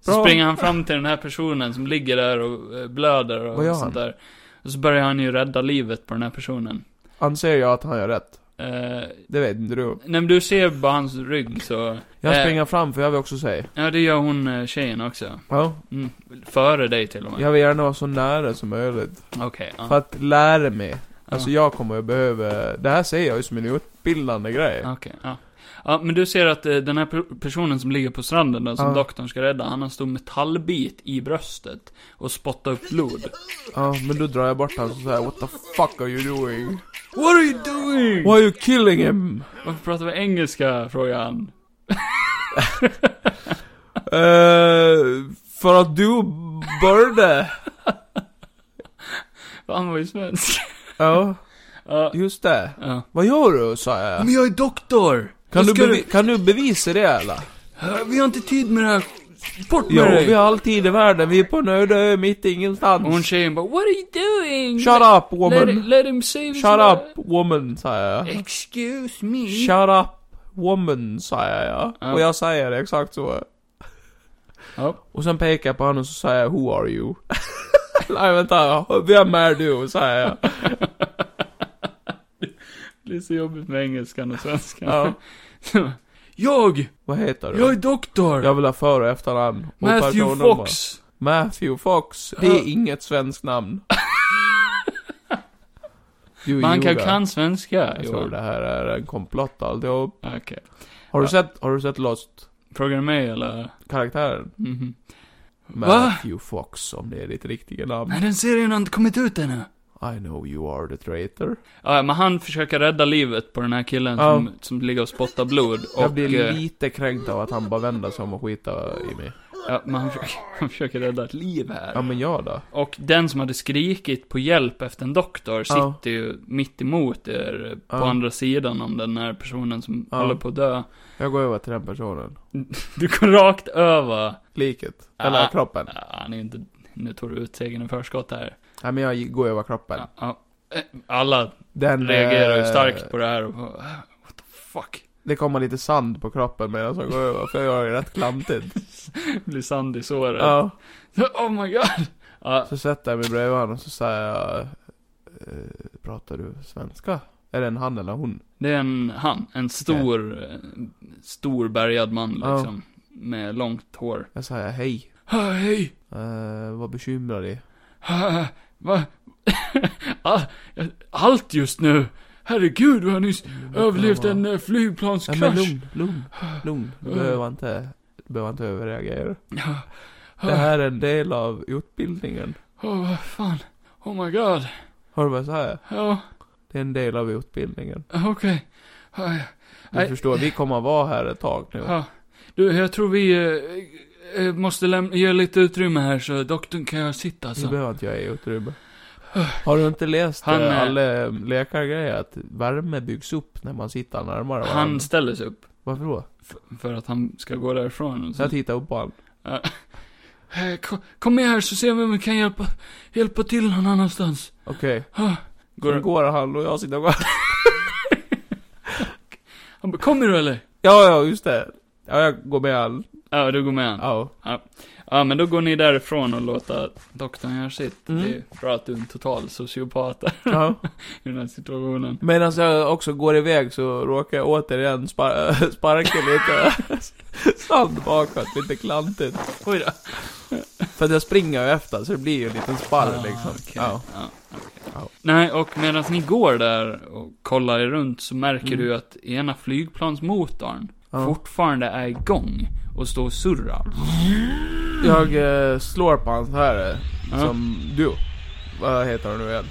[SPEAKER 1] Så
[SPEAKER 2] Bra.
[SPEAKER 1] springer han fram till den här personen som ligger där och eh, blöder
[SPEAKER 2] Vad gör
[SPEAKER 1] och
[SPEAKER 2] han?
[SPEAKER 1] sånt där. Och så börjar han ju rädda livet på den här personen.
[SPEAKER 2] Anser jag att han gör rätt?
[SPEAKER 1] Eh,
[SPEAKER 2] Det vet inte du.
[SPEAKER 1] när du ser bara hans rygg så...
[SPEAKER 2] Jag
[SPEAKER 1] Eh.
[SPEAKER 2] springer fram för jag vill också säga.
[SPEAKER 1] Ja, det gör hon eh, tjejen också.
[SPEAKER 2] Ja.
[SPEAKER 1] Mm. Före dig till och med.
[SPEAKER 2] Jag vill gärna vara så nära som möjligt.
[SPEAKER 1] Okej, ja.
[SPEAKER 2] För att lära mig. Alltså
[SPEAKER 1] ja.
[SPEAKER 2] jag kommer att behöva, det här ser jag ju som en utbildande grej.
[SPEAKER 1] Okej, ja. Ja, men du ser att eh, den här per- personen som ligger på stranden där, som
[SPEAKER 2] Ja.
[SPEAKER 1] doktorn ska rädda, han har en stor metallbit i bröstet och spottar upp blod.
[SPEAKER 2] Ja, men då drar jag bort honom och säger What the fuck are you doing?
[SPEAKER 1] What are you doing?
[SPEAKER 2] Why are you killing him?
[SPEAKER 1] Varför pratar vi engelska? frågar han.
[SPEAKER 2] Eh, för att du började.
[SPEAKER 1] För Han var ju svensk.
[SPEAKER 2] Ja,
[SPEAKER 1] Ja.
[SPEAKER 2] just det.
[SPEAKER 1] ja.
[SPEAKER 2] Vad gör du? sa jag.
[SPEAKER 1] jag är doktor!
[SPEAKER 2] Kan du,
[SPEAKER 1] Vad ska
[SPEAKER 2] bevi- kan du bevisa det eller?
[SPEAKER 1] Äh, Vi har inte tid med det här. Bort med
[SPEAKER 2] Jo,
[SPEAKER 1] dig!
[SPEAKER 2] vi har all tid i världen, vi är på en öde ö mitt i ingenstans.
[SPEAKER 1] Och hon tjejen bara, What are you doing?
[SPEAKER 2] Shut up
[SPEAKER 1] Let, let,
[SPEAKER 2] woman!
[SPEAKER 1] let him save his
[SPEAKER 2] Shut
[SPEAKER 1] life."
[SPEAKER 2] up woman, säger
[SPEAKER 1] Mm.
[SPEAKER 2] jag.
[SPEAKER 1] Excuse me?
[SPEAKER 2] Shut up woman, säger jag.
[SPEAKER 1] Ja.
[SPEAKER 2] Och jag säger det exakt så.
[SPEAKER 1] Ja.
[SPEAKER 2] Och sen pekar jag på honom och så säger jag, Who are you? Nej vänta, vem är du? säger jag.
[SPEAKER 1] Det är så jobbigt med engelskan och svenskan.
[SPEAKER 2] Ja.
[SPEAKER 1] jag!
[SPEAKER 2] Vad heter
[SPEAKER 1] Jag är
[SPEAKER 2] du?
[SPEAKER 1] doktor!
[SPEAKER 2] Jag vill ha för och efternamn. Och
[SPEAKER 1] Matthew
[SPEAKER 2] personnummer.
[SPEAKER 1] Fox!
[SPEAKER 2] Matthew Fox. Det är
[SPEAKER 1] Ja.
[SPEAKER 2] inget svenskt namn. Du
[SPEAKER 1] Man kan
[SPEAKER 2] ljuger.
[SPEAKER 1] kan svenska,
[SPEAKER 2] Jag tror
[SPEAKER 1] Johan.
[SPEAKER 2] det här är en komplott alltihop.
[SPEAKER 1] Okej.
[SPEAKER 2] Har du
[SPEAKER 1] Ja.
[SPEAKER 2] sett, har du sett Lost?
[SPEAKER 1] Frågar du mig eller?
[SPEAKER 2] Karaktären?
[SPEAKER 1] Mhm.
[SPEAKER 2] Matthew Fox, om det är ditt riktiga namn.
[SPEAKER 1] Nej, den serien har inte kommit ut ännu.
[SPEAKER 2] I know you are the traitor.
[SPEAKER 1] Ja, men han försöker rädda livet på den här killen
[SPEAKER 2] Ja.
[SPEAKER 1] som, som ligger och spottar blod. Och,
[SPEAKER 2] jag blir
[SPEAKER 1] eh,
[SPEAKER 2] lite kränkt av att han bara vänder sig om och skiter i mig.
[SPEAKER 1] ja, men han försöker, han försöker rädda ett liv här.
[SPEAKER 2] Ja men jag då?
[SPEAKER 1] Och den som hade skrikit på hjälp efter en doktor
[SPEAKER 2] Ja.
[SPEAKER 1] sitter ju mitt emot er eh, på
[SPEAKER 2] Ja.
[SPEAKER 1] andra sidan om den här personen som
[SPEAKER 2] Ja.
[SPEAKER 1] håller på att dö.
[SPEAKER 2] Jag går över till den personen.
[SPEAKER 1] Du går rakt över.
[SPEAKER 2] Liket. Eller
[SPEAKER 1] Ah.
[SPEAKER 2] kroppen.
[SPEAKER 1] Ja, han är inte, nu tog du ut segern i förskott här.
[SPEAKER 2] Nej men jag går över kroppen.
[SPEAKER 1] Ja, ja. Eh, Alla
[SPEAKER 2] Den...
[SPEAKER 1] reagerar ju
[SPEAKER 2] eh,
[SPEAKER 1] starkt på det här och bara, "Ah, what the fuck?
[SPEAKER 2] Det kommer lite sand på kroppen medan jag går över, för jag är rätt klantigt.
[SPEAKER 1] Det blir sand i såret.
[SPEAKER 2] ja.
[SPEAKER 1] Oh my god! Ja,
[SPEAKER 2] Så sätter jag mig bredvid honom och så säger jag... Eh, pratar du svenska? Är det en han eller hon?
[SPEAKER 1] det är en han, en stor, eh, stor bärgad man
[SPEAKER 2] Ja.
[SPEAKER 1] liksom. Med långt hår.
[SPEAKER 2] Jag säger hej.
[SPEAKER 1] Ah, Hej!
[SPEAKER 2] Eh, vad bekymrar dig?
[SPEAKER 1] Ah, Va? Ah, Allt just nu! Herregud, vi har nyss överlevt en eh,
[SPEAKER 2] Ja, men
[SPEAKER 1] flygplanskrasch.
[SPEAKER 2] lugn, lugn, lugn. Du
[SPEAKER 1] Mm.
[SPEAKER 2] behöver inte, du behöver inte överreagera.
[SPEAKER 1] Ja.
[SPEAKER 2] Det här är en del av utbildningen.
[SPEAKER 1] Åh, vad fan. Oh my god.
[SPEAKER 2] Hör du vad jag säger?
[SPEAKER 1] Ja,
[SPEAKER 2] Det är en del av utbildningen.
[SPEAKER 1] okej. Ah, ja.
[SPEAKER 2] Du
[SPEAKER 1] Nej.
[SPEAKER 2] förstår, vi kommer att vara här ett tag nu.
[SPEAKER 1] Ja. Du, jag tror vi eh, eh, måste lämna, ge lite utrymme här så doktorn kan jag sitta
[SPEAKER 2] Vi
[SPEAKER 1] alltså.
[SPEAKER 2] behöver inte jag ge utrymme. Har du inte läst
[SPEAKER 1] Han,
[SPEAKER 2] eh,
[SPEAKER 1] eh,
[SPEAKER 2] alla läkargrejer? Att värme byggs upp när man sitter närmare varandra.
[SPEAKER 1] Han ställer sig upp.
[SPEAKER 2] Varför då?
[SPEAKER 1] f- För att han ska gå därifrån. och
[SPEAKER 2] Så
[SPEAKER 1] Så.
[SPEAKER 2] jag tittar upp på honom.
[SPEAKER 1] Ja. Eh, ko- Kom med här så ser vi om vi kan hjälpa, hjälpa till någon annanstans.
[SPEAKER 2] Okej.
[SPEAKER 1] Ah.
[SPEAKER 2] Går,
[SPEAKER 1] Går,
[SPEAKER 2] går han och jag sitter och
[SPEAKER 1] han bara, kommer du eller?
[SPEAKER 2] Ja, ja, just det. Ja, jag går med han.
[SPEAKER 1] Ja, du går med han.
[SPEAKER 2] Ja.
[SPEAKER 1] Ja, men då går ni därifrån och låter doktorn göra sitt.
[SPEAKER 2] Mm.
[SPEAKER 1] Det är bra att du är en total sociopat
[SPEAKER 2] ja.
[SPEAKER 1] i den här situationen.
[SPEAKER 2] Medan jag också går iväg så råkar jag återigen spa- sparka lite sand bakåt, lite klantigt.
[SPEAKER 1] Oj då.
[SPEAKER 2] För att jag springer ju efter, så det blir ju en liten sparr
[SPEAKER 1] Ah,
[SPEAKER 2] liksom.
[SPEAKER 1] okej.
[SPEAKER 2] Ja.
[SPEAKER 1] okej.
[SPEAKER 2] Ja.
[SPEAKER 1] Nej, och medan ni går där och kollar er runt så märker
[SPEAKER 2] Mm.
[SPEAKER 1] du att ena flygplansmotorn
[SPEAKER 2] Ja.
[SPEAKER 1] fortfarande är igång och står och surrar.
[SPEAKER 2] Jag eh, slår på hans här, eh,
[SPEAKER 1] Ja.
[SPEAKER 2] som du. Vad heter du nu igen?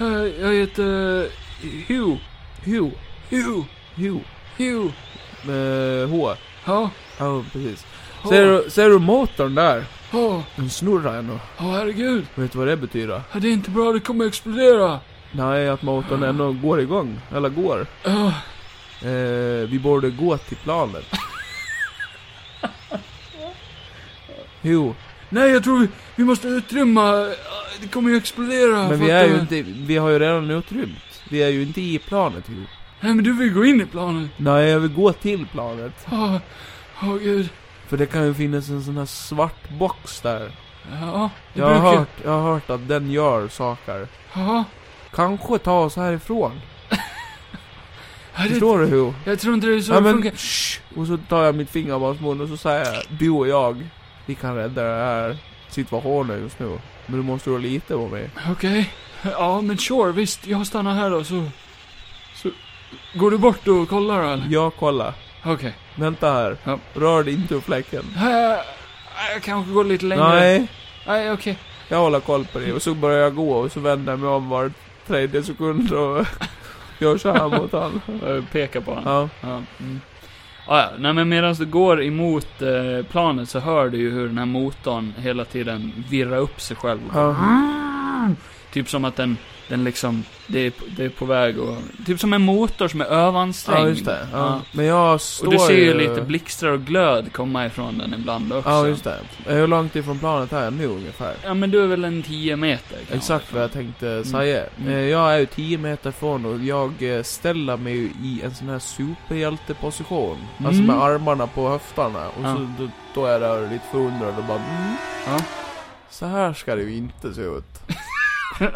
[SPEAKER 1] Eh, Jag heter Hugh,
[SPEAKER 2] Hugh.
[SPEAKER 1] Hugh,
[SPEAKER 2] Hugh.
[SPEAKER 1] Hugh.
[SPEAKER 2] Med Eh, H.
[SPEAKER 1] Ja,
[SPEAKER 2] Ja, precis.
[SPEAKER 1] ja,
[SPEAKER 2] Ser du, ser du motorn där?
[SPEAKER 1] ja,
[SPEAKER 2] Den snurrar ännu.
[SPEAKER 1] ja, herregud.
[SPEAKER 2] Vet du vad det betyder?
[SPEAKER 1] Ja, Det är inte bra, det kommer explodera.
[SPEAKER 2] Nej, att motorn ändå går igång. Eller går.
[SPEAKER 1] Ja.
[SPEAKER 2] Eh, vi borde gå till planet. Jo,
[SPEAKER 1] Nej, jag tror vi, vi måste utrymma. eh, Det kommer ju explodera.
[SPEAKER 2] men vi
[SPEAKER 1] fattar
[SPEAKER 2] är ju
[SPEAKER 1] du?
[SPEAKER 2] inte, vi har ju redan utrymt. Vi är ju inte i planet, Jo.
[SPEAKER 1] Nej, men du vill gå in i planet.
[SPEAKER 2] Nej, jag vill gå till planet.
[SPEAKER 1] Åh, åh gud.
[SPEAKER 2] För det kan ju finnas en sån här svart box där.
[SPEAKER 1] Ja, det
[SPEAKER 2] Jag har,
[SPEAKER 1] brukar...
[SPEAKER 2] hört, jag har hört att den gör saker.
[SPEAKER 1] Ja,
[SPEAKER 2] Kanske ta oss härifrån.
[SPEAKER 1] ja, det,
[SPEAKER 2] Förstår du hur?
[SPEAKER 1] Jag tror inte det är så
[SPEAKER 2] Ja
[SPEAKER 1] det
[SPEAKER 2] men,
[SPEAKER 1] funkar.
[SPEAKER 2] shh, Och så tar jag mitt finger bakom munnen och så säger jag, du och jag, vi kan rädda den här situationen just nu. Men du måste då lita på mig.
[SPEAKER 1] Okej. Ja, men sure, visst. Jag stannar här då, så... Så... Går du bort och kollar då, eller?
[SPEAKER 2] Jag kollar.
[SPEAKER 1] Okej.
[SPEAKER 2] Vänta här.
[SPEAKER 1] Ja.
[SPEAKER 2] Rör dig inte ur fläcken.
[SPEAKER 1] Äh, Jag kanske går lite längre.
[SPEAKER 2] Nej,
[SPEAKER 1] Nej, okej.
[SPEAKER 2] jag håller koll på dig. Och så börjar jag gå och så vänder jag mig om var tredje sekund och gör så här mot honom.
[SPEAKER 1] Jag pekar på honom.
[SPEAKER 2] Ja.
[SPEAKER 1] Ja. Mm. Ah, ja. Nej, men medan du går emot eh, planet så hör du ju hur den här motorn hela tiden virrar upp sig själv.
[SPEAKER 2] ja.
[SPEAKER 1] Typ som att den, den liksom, det är, det är på väg att... Typ som en motor som är överansträngd.
[SPEAKER 2] Ja, just det. Ja.
[SPEAKER 1] Ja.
[SPEAKER 2] Men jag står
[SPEAKER 1] Och du ser ju lite blixtar och glöd komma ifrån den ibland också.
[SPEAKER 2] Ja, just det. Hur långt ifrån planet är jag nu ungefär?
[SPEAKER 1] Ja, men du är väl en 10 meter? kanske.
[SPEAKER 2] Exakt vad jag tänkte säga.
[SPEAKER 1] Mm.
[SPEAKER 2] Eh, Jag är ju 10 meter från och jag eh, ställer mig ju i en sån här superhjälteposition. Alltså
[SPEAKER 1] Mm.
[SPEAKER 2] med armarna på höftarna. Och
[SPEAKER 1] Ja.
[SPEAKER 2] så då, då är jag där lite förundrad och bara mm.
[SPEAKER 1] Ja.
[SPEAKER 2] Så här ska det ju inte se ut.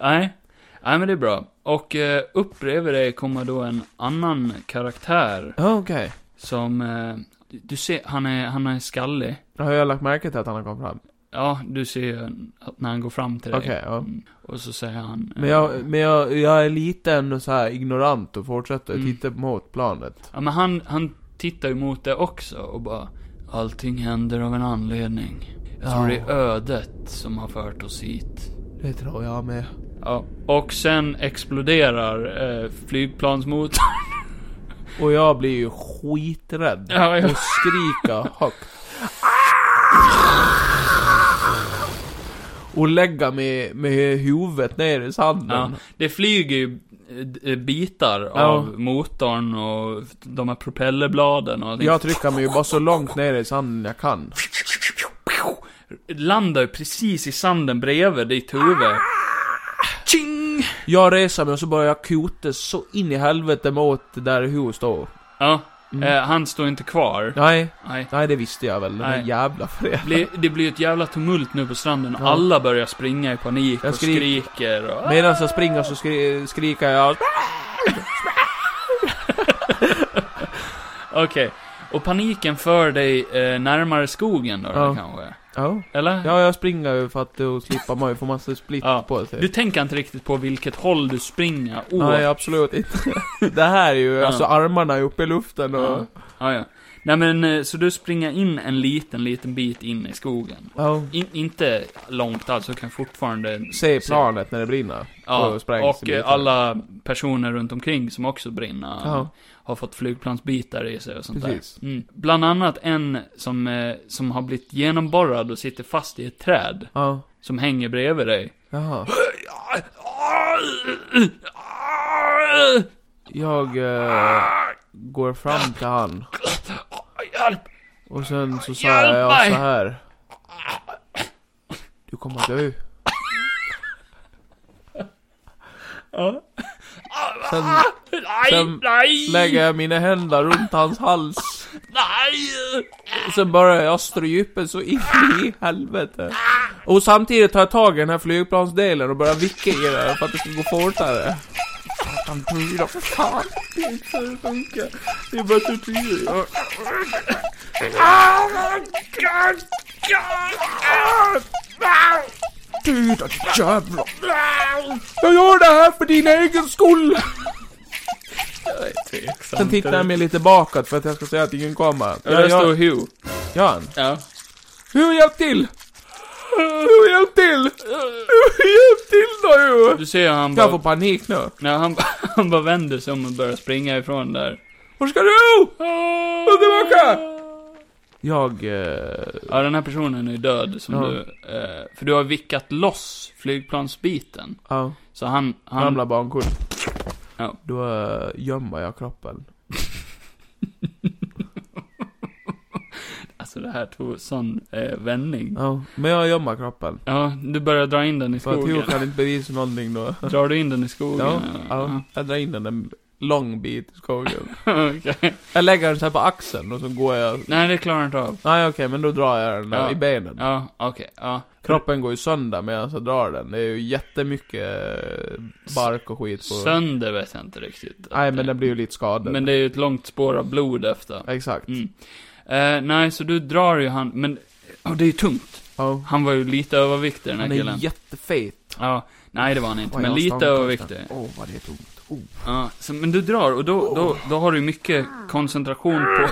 [SPEAKER 1] Nej. Nej, men det är bra. Och eh, upp bredvid dig kommer då en annan karaktär
[SPEAKER 2] Ja, okej.
[SPEAKER 1] som... Eh, du- du ser, han är, han är skallig.
[SPEAKER 2] Har jag lagt märke till att han har kommit fram?
[SPEAKER 1] Ja, du ser ju att när han går fram till dig.
[SPEAKER 2] Okej, ja.
[SPEAKER 1] Mm. Och så säger han... eh,
[SPEAKER 2] Men jag, men jag, jag är lite ändå så här ignorant och fortsätter
[SPEAKER 1] Mm.
[SPEAKER 2] titta mot planet.
[SPEAKER 1] Ja, men han, han tittar ju mot det också och bara... Allting händer av en anledning. Jag tror
[SPEAKER 2] Ja.
[SPEAKER 1] det är ödet som har fört oss hit.
[SPEAKER 2] Det tror jag med.
[SPEAKER 1] Ja, och sen exploderar eh, flygplansmotorn.
[SPEAKER 2] Och jag blir ju skiträdd.
[SPEAKER 1] Ja, ja.
[SPEAKER 2] Och skrika högt. Och lägga med, med huvudet ner i
[SPEAKER 1] Ja,
[SPEAKER 2] sanden.
[SPEAKER 1] det flyger ju eh, bitar av motorn och de här propellerbladen och allting.
[SPEAKER 2] Jag trycker mig ju bara så långt ner i sanden jag kan.
[SPEAKER 1] Landar ju precis i sanden bredvid ditt huvud. Ching!
[SPEAKER 2] Jag reser mig och så börjar jag kota så in i helvete mot där Hu står.
[SPEAKER 1] Ja,
[SPEAKER 2] Mm.
[SPEAKER 1] eh, han står inte kvar.
[SPEAKER 2] Nej,
[SPEAKER 1] Nej.
[SPEAKER 2] nej det visste jag väl. Den här
[SPEAKER 1] Nej.
[SPEAKER 2] jävla freden.
[SPEAKER 1] Bli- Det blir ju ett jävla tumult nu på stranden.
[SPEAKER 2] Ja.
[SPEAKER 1] Alla börjar springa i panik
[SPEAKER 2] Jag
[SPEAKER 1] och
[SPEAKER 2] skrik-
[SPEAKER 1] skriker och...
[SPEAKER 2] Medan jag springer så skri skriker jag.
[SPEAKER 1] Okej. Och paniken för dig eh, närmare skogen då,
[SPEAKER 2] Ja.
[SPEAKER 1] kanske?
[SPEAKER 2] Ja,
[SPEAKER 1] Eller?
[SPEAKER 2] ja jag springer ju för att då slippa mig få massa split
[SPEAKER 1] Ja.
[SPEAKER 2] på
[SPEAKER 1] Du
[SPEAKER 2] sig.
[SPEAKER 1] tänker inte riktigt på vilket håll du springer åt.
[SPEAKER 2] Nej, absolut inte. Det här är ju,
[SPEAKER 1] Ja.
[SPEAKER 2] alltså armarna är uppe i luften och...
[SPEAKER 1] Ja. Ja, ja. Nej men, eh, så du springer in en liten, liten bit in i skogen.
[SPEAKER 2] Ja.
[SPEAKER 1] In, inte långt alls, du kan fortfarande...
[SPEAKER 2] Se planet när det brinner.
[SPEAKER 1] Ja,
[SPEAKER 2] och sprängs i
[SPEAKER 1] och eh,
[SPEAKER 2] bitar.
[SPEAKER 1] alla personer runt omkring som också brinner.
[SPEAKER 2] Ja.
[SPEAKER 1] Har fått flygplansbitar i sig och sånt
[SPEAKER 2] Precis.
[SPEAKER 1] där. Mm. Bland annat en som, eh, som har blivit genomborrad och sitter fast i ett träd.
[SPEAKER 2] Ja.
[SPEAKER 1] Som hänger bredvid dig.
[SPEAKER 2] Jaha. Jag eh, går fram till han.
[SPEAKER 1] Hjälp!
[SPEAKER 2] Och sen så säger jag
[SPEAKER 1] Hjälp
[SPEAKER 2] så
[SPEAKER 1] mig!
[SPEAKER 2] här. Du kommer att dö. Sen
[SPEAKER 1] Nej,
[SPEAKER 2] Sen
[SPEAKER 1] nej!
[SPEAKER 2] lägger jag mina händer runt hans hals.
[SPEAKER 1] Nej!
[SPEAKER 2] Så börjar jag strypa så in i helvete. Och samtidigt tar jag tag i den här flygplansdelen och börjar vicka i den för att det ska gå fortare. Satan, du då, för fan. Det är inte så det funkar. Det är bara tortyr. Ja. Du då, jävlar. Jag gör det här för din egen skull. Sen tittar jag mig lite bakåt för att jag ska säga att ingen kommer.
[SPEAKER 1] Ja, där står
[SPEAKER 2] jag,
[SPEAKER 1] Hugh.
[SPEAKER 2] Jan.
[SPEAKER 1] Ja.
[SPEAKER 2] Hur hjälp till? Hur hjälp till? Hur hjälp till då ju?
[SPEAKER 1] Du ser han
[SPEAKER 2] Jag får
[SPEAKER 1] bara,
[SPEAKER 2] panik nu.
[SPEAKER 1] ja, han, han bara vänder sig om och börjar springa ifrån där.
[SPEAKER 2] Var ska du?
[SPEAKER 1] Och
[SPEAKER 2] tillbaka! Jag... Eh,
[SPEAKER 1] Ja, den här personen är död som
[SPEAKER 2] Ja.
[SPEAKER 1] du, eh, för du har vickat loss flygplansbiten.
[SPEAKER 2] ja,
[SPEAKER 1] Så han, han,
[SPEAKER 2] ramlar bankort.
[SPEAKER 1] Ja.
[SPEAKER 2] Då eh, gömmer jag kroppen.
[SPEAKER 1] alltså det här tog sån eh, vändning.
[SPEAKER 2] Ja, men jag gömmer kroppen.
[SPEAKER 1] Ja, du börjar dra in den i
[SPEAKER 2] För att
[SPEAKER 1] skogen.
[SPEAKER 2] Hugh kan inte bevisa någonting då.
[SPEAKER 1] Drar du in den i skogen?
[SPEAKER 2] Ja, ja. Jag drar in den en lång bit i skogen.
[SPEAKER 1] Ja. Okej.
[SPEAKER 2] Jag lägger den så här på axeln och så går jag...
[SPEAKER 1] Nej, det klarar jag inte av.
[SPEAKER 2] Nej okej, men då drar jag den
[SPEAKER 1] Ja.
[SPEAKER 2] i benen.
[SPEAKER 1] Ja, okej, ja.
[SPEAKER 2] Kroppen går ju sönder medan jag drar den. Det är ju jättemycket eh, bark och skit på...
[SPEAKER 1] Sönder vet jag inte riktigt.
[SPEAKER 2] Nej men den blir ju lite skadad.
[SPEAKER 1] Men det är ju ett långt spår av blod efter.
[SPEAKER 2] Exakt.
[SPEAKER 1] Mm. Eh, nej, så du drar ju han, men, oh, det är ju tungt.
[SPEAKER 2] Ja.
[SPEAKER 1] Han var ju lite överviktig den här
[SPEAKER 2] Han är
[SPEAKER 1] killen.
[SPEAKER 2] jättefet.
[SPEAKER 1] Ja, nej det var han inte,
[SPEAKER 2] Oj,
[SPEAKER 1] men
[SPEAKER 2] jag
[SPEAKER 1] lite
[SPEAKER 2] stankar
[SPEAKER 1] överviktig.
[SPEAKER 2] Åh vad det är tungt. Oh.
[SPEAKER 1] Ja, så, men du drar och då, då, då har du mycket koncentration på,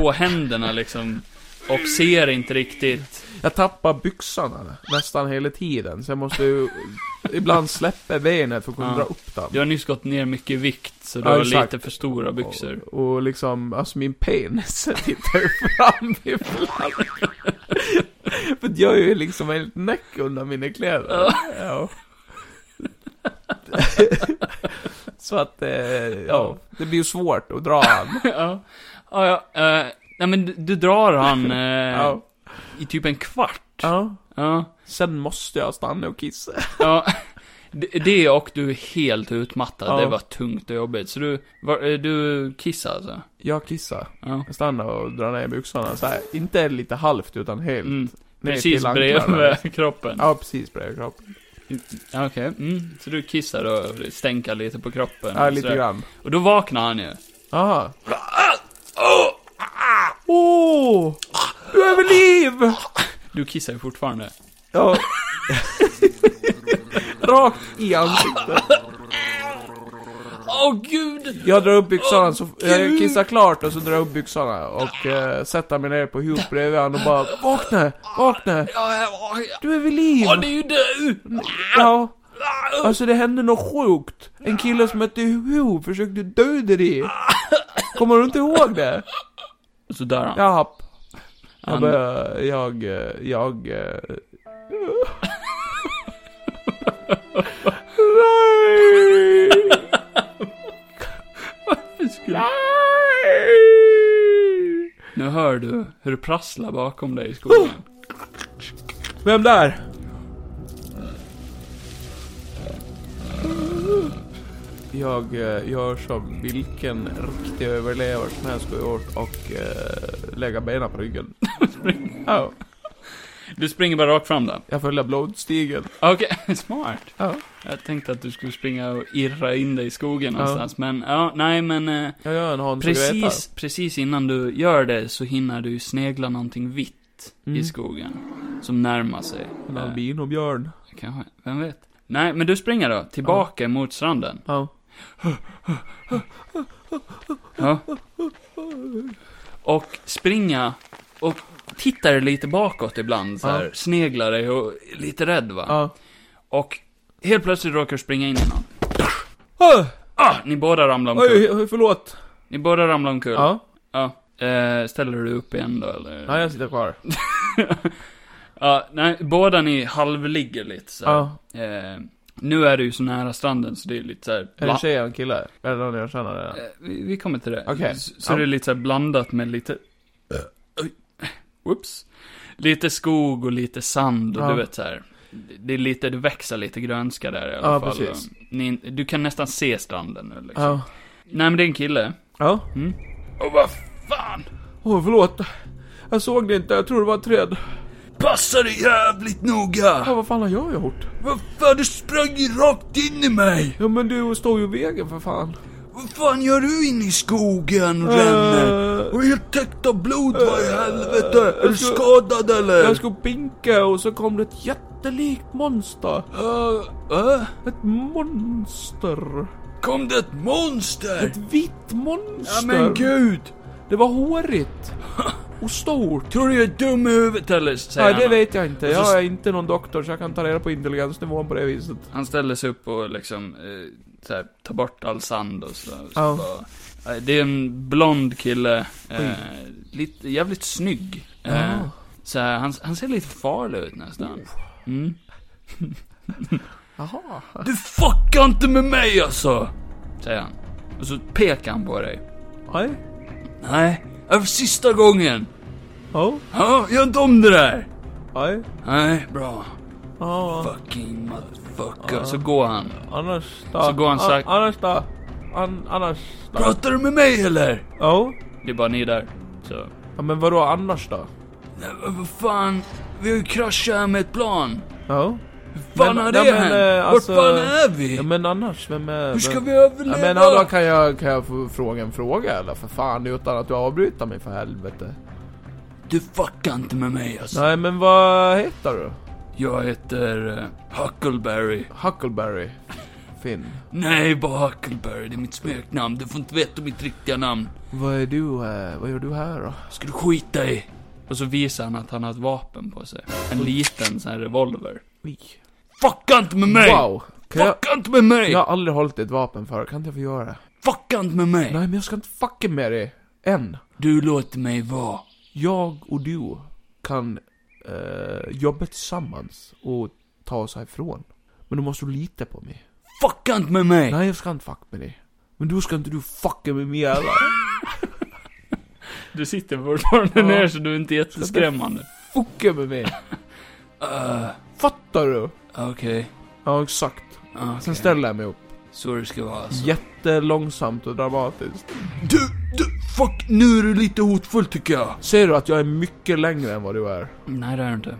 [SPEAKER 1] på händerna liksom. Och ser inte riktigt.
[SPEAKER 2] Jag tappar byxan här, nästan hela tiden. Så jag måste ju ibland släppa benet för att kunna
[SPEAKER 1] Ja.
[SPEAKER 2] dra upp den.
[SPEAKER 1] Du har nyss gått ner mycket i vikt, så du
[SPEAKER 2] Ja,
[SPEAKER 1] har
[SPEAKER 2] exakt.
[SPEAKER 1] lite för stora byxor.
[SPEAKER 2] Och, och liksom, alltså min penis tittar ju fram ibland. För jag är ju liksom helt näck under mina kläder. Ja. Så att, eh, ja, det blir ju svårt att dra han.
[SPEAKER 1] ja, ja, ja eh, nej men du, du drar han eh,
[SPEAKER 2] Ja.
[SPEAKER 1] i typ en kvart.
[SPEAKER 2] ja.
[SPEAKER 1] Ja.
[SPEAKER 2] Sen måste jag stanna och kissa.
[SPEAKER 1] Ja, det- det och du är helt utmattad.
[SPEAKER 2] Ja.
[SPEAKER 1] Det var tungt och jobbigt. Så du, var, eh, du kissade alltså?
[SPEAKER 2] Jag kissar.
[SPEAKER 1] Ja.
[SPEAKER 2] Jag stannar och drar ner byxorna så här. Inte lite halvt utan helt.
[SPEAKER 1] Mm,
[SPEAKER 2] ner
[SPEAKER 1] precis
[SPEAKER 2] till anklarna. liksom.
[SPEAKER 1] bredvid kroppen.
[SPEAKER 2] Ja, precis bredvid kroppen.
[SPEAKER 1] Ja. Okej. Mm. Så du kissar och stänker lite på kroppen.
[SPEAKER 2] Ja,
[SPEAKER 1] och
[SPEAKER 2] lite
[SPEAKER 1] sådär.
[SPEAKER 2] grann.
[SPEAKER 1] Och då vaknar han ju.
[SPEAKER 2] Aha. Åh! Oh! Du överlev!
[SPEAKER 1] Du kissar ju fortfarande.
[SPEAKER 2] Ja. Rakt i ansiktet.
[SPEAKER 1] Åh gud!
[SPEAKER 2] Jag drar upp byxorna, så jag kissar klart och så drar jag upp byxorna och eh, sätter mig ner på huvudet bredvid honom och bara Vakna! Vakna!
[SPEAKER 1] Ja, ja, ja.
[SPEAKER 2] Du är vid liv!
[SPEAKER 1] Åh, det är ju du!
[SPEAKER 2] Ja. Alltså det hände något sjukt. En kille som hette Hugo försökte döda dig. Kommer du inte ihåg det?
[SPEAKER 1] Och så dör han.
[SPEAKER 2] Jaha. Jag
[SPEAKER 1] Han-
[SPEAKER 2] börjar, jag, eh, jag... eh, Nej! Nej!
[SPEAKER 1] Nu hör du hur det prasslar bakom dig i skogen.
[SPEAKER 2] Vem där? Jag eh, gör som vilken riktig överlevare som helst skulle gjort och eh, lägga benen på ryggen. Ja,
[SPEAKER 1] Du springer bara rakt fram där.
[SPEAKER 2] jag följer blodstigen.
[SPEAKER 1] Okej, smart.
[SPEAKER 2] Ja.
[SPEAKER 1] Jag tänkte att du skulle springa och irra in dig i skogen någonstans, men ja, nej men eh,
[SPEAKER 2] Jag gör en Hans och Greta.
[SPEAKER 1] precis, precis innan du gör det så hinner du snegla någonting vitt i
[SPEAKER 2] Mm.
[SPEAKER 1] skogen. Som närmar sig.
[SPEAKER 2] En
[SPEAKER 1] Eh,
[SPEAKER 2] albinobjörn.
[SPEAKER 1] kanske, vem vet? Nej, men du springer då, tillbaka mot stranden.
[SPEAKER 2] Ja.
[SPEAKER 1] Ja. Och springa och tittar lite bakåt ibland så här,
[SPEAKER 2] Ja.
[SPEAKER 1] sneglar dig och är lite rädd va.
[SPEAKER 2] Ja.
[SPEAKER 1] Och helt plötsligt råkar du springa in i någon.
[SPEAKER 2] Ah,
[SPEAKER 1] Ah, ni båda ramlar omkull.
[SPEAKER 2] oj, oj, förlåt.
[SPEAKER 1] Ni båda ramlar omkull.
[SPEAKER 2] Ja.
[SPEAKER 1] Ja. Eh, ställer du upp igen då eller?
[SPEAKER 2] Nej, jag sitter kvar.
[SPEAKER 1] Ja, nej, båda ni halvligger lite så här.
[SPEAKER 2] Ja.
[SPEAKER 1] eh, Nu är du ju så nära stranden så det är lite så här.
[SPEAKER 2] Är det
[SPEAKER 1] bla-
[SPEAKER 2] en tjej eller en kille? Eller någon jag känner redan?
[SPEAKER 1] eh, vi, vi kommer till det.
[SPEAKER 2] Okej.
[SPEAKER 1] S- Så
[SPEAKER 2] Ja. Eh.
[SPEAKER 1] det är lite så här blandat med lite... Oj. Whoops. Lite skog och lite sand och
[SPEAKER 2] Ja.
[SPEAKER 1] du vet så här. Det- Det är lite, det växer lite grönska där i alla
[SPEAKER 2] Ja,
[SPEAKER 1] fall.
[SPEAKER 2] precis.
[SPEAKER 1] Ni, du kan nästan se stranden nu liksom.
[SPEAKER 2] Ja.
[SPEAKER 1] Nej men det är en kille.
[SPEAKER 2] Ja.
[SPEAKER 1] Och vad fan!
[SPEAKER 2] Åh, förlåt. Jag såg det inte, jag tror det var ett träd.
[SPEAKER 1] Passa dig jävligt noga!
[SPEAKER 2] Ja, vad fan har jag gjort?
[SPEAKER 1] Vad fan, du sprang ju rakt in i mig!
[SPEAKER 2] Ja, men du står ju i vägen för fan.
[SPEAKER 1] Vad fan gör du in i skogen och
[SPEAKER 2] Eh.
[SPEAKER 1] ränner? Och är helt täckt av blod, vad i helvete? Är du
[SPEAKER 2] ska-
[SPEAKER 1] skadad eller?
[SPEAKER 2] Jag skulle pinka och så kom det ett jättelikt monster.
[SPEAKER 1] Eh, eh?
[SPEAKER 2] Ett monster.
[SPEAKER 1] Kom det ett monster?
[SPEAKER 2] Ett vitt
[SPEAKER 1] Ja
[SPEAKER 2] monster.
[SPEAKER 1] men gud!
[SPEAKER 2] Det var hårigt. Och stort.
[SPEAKER 1] Tror du jag är dum i huvudet eller? Säger
[SPEAKER 2] Nej, det
[SPEAKER 1] han.
[SPEAKER 2] vet jag inte.
[SPEAKER 1] Och så-
[SPEAKER 2] Jag är inte någon doktor så jag kan ta reda på intelligensnivån på det viset.
[SPEAKER 1] Han ställer sig upp och liksom, eh, så här, tar bort all sand och så. så
[SPEAKER 2] Ja.
[SPEAKER 1] bara, eh, det är en blond kille, eh, lite, jävligt snygg. Eh,
[SPEAKER 2] Ja. Oh,
[SPEAKER 1] så här, han, han ser lite farlig ut nästan. Mm.
[SPEAKER 2] Jaha.
[SPEAKER 1] Du fuckar inte med mig alltså! Säger han. Och så pekar han på dig.
[SPEAKER 2] Nej.
[SPEAKER 1] Nej, det är för sista gången.
[SPEAKER 2] Ja.
[SPEAKER 1] Ja, gör inte om det där.
[SPEAKER 2] Nej.
[SPEAKER 1] Nej, bra.
[SPEAKER 2] Ja.
[SPEAKER 1] Fucking motherfucker. Så går han.
[SPEAKER 2] Annars då.
[SPEAKER 1] Så går han
[SPEAKER 2] An-
[SPEAKER 1] sak-
[SPEAKER 2] Annars då. An- annars då.
[SPEAKER 1] Pratar du med mig eller?
[SPEAKER 2] Ja.
[SPEAKER 1] Det är bara ni där. Så.
[SPEAKER 2] Ja, men vadå annars då?
[SPEAKER 1] Nej, men vad fan. Vi har ju kraschat här med ett plan.
[SPEAKER 2] Ja.
[SPEAKER 1] Hur fan
[SPEAKER 2] Men-
[SPEAKER 1] har
[SPEAKER 2] nej,
[SPEAKER 1] det
[SPEAKER 2] men,
[SPEAKER 1] hänt?
[SPEAKER 2] eh,
[SPEAKER 1] Vart
[SPEAKER 2] alltså-
[SPEAKER 1] fan är vi?
[SPEAKER 2] Ja, men annars, vem är...
[SPEAKER 1] Hur ska
[SPEAKER 2] vem-
[SPEAKER 1] vi
[SPEAKER 2] Ja,
[SPEAKER 1] överleva?
[SPEAKER 2] men hallå, kan jag, kan jag få fråga en fråga eller? För fan, utan att du avbryter mig för helvete.
[SPEAKER 1] Du fuckar inte med mig alltså.
[SPEAKER 2] Nej, men vad heter du?
[SPEAKER 1] Jag heter eh, Huckleberry.
[SPEAKER 2] Huckleberry. Finn.
[SPEAKER 1] Nej, bara Huckleberry. Det är mitt smeknamn. Du får inte veta mitt riktiga namn.
[SPEAKER 2] Vad är du, eh, vad gör du här då?
[SPEAKER 1] Ska du skita i? Och så visar han att han har ett vapen på sig. En liten sån här revolver.
[SPEAKER 2] Oj.
[SPEAKER 1] Fucka inte med mig!
[SPEAKER 2] Wow! Kan jag,
[SPEAKER 1] Fucka inte med mig!
[SPEAKER 2] jag har aldrig hållit ett vapen förr, kan inte jag få göra det?
[SPEAKER 1] Fucka inte med mig!
[SPEAKER 2] Nej, men jag ska inte fucka med dig. Än.
[SPEAKER 1] Du låter mig vara.
[SPEAKER 2] Jag och du kan eh, jobba tillsammans och ta oss härifrån. Men då måste du lita på mig.
[SPEAKER 1] Fucka inte med mig!
[SPEAKER 2] Nej, jag ska inte fucka med dig. Men då ska inte du fucka med mig heller.
[SPEAKER 1] Du sitter fortfarande
[SPEAKER 2] Ja.
[SPEAKER 1] ner så du är inte jätteskrämmande.
[SPEAKER 2] Fucka med mig.
[SPEAKER 1] Uh,
[SPEAKER 2] Fattar du?
[SPEAKER 1] Okej. Ah,
[SPEAKER 2] Ja, exakt.
[SPEAKER 1] Okej.
[SPEAKER 2] Sen ställer jag mig upp.
[SPEAKER 1] Så det ska vara alltså.
[SPEAKER 2] Jättelångsamt och dramatiskt.
[SPEAKER 1] Du, du, fuck! Nu är du lite hotfull tycker jag.
[SPEAKER 2] Ser du att jag är mycket längre än vad du är?
[SPEAKER 1] Nej, det är du inte.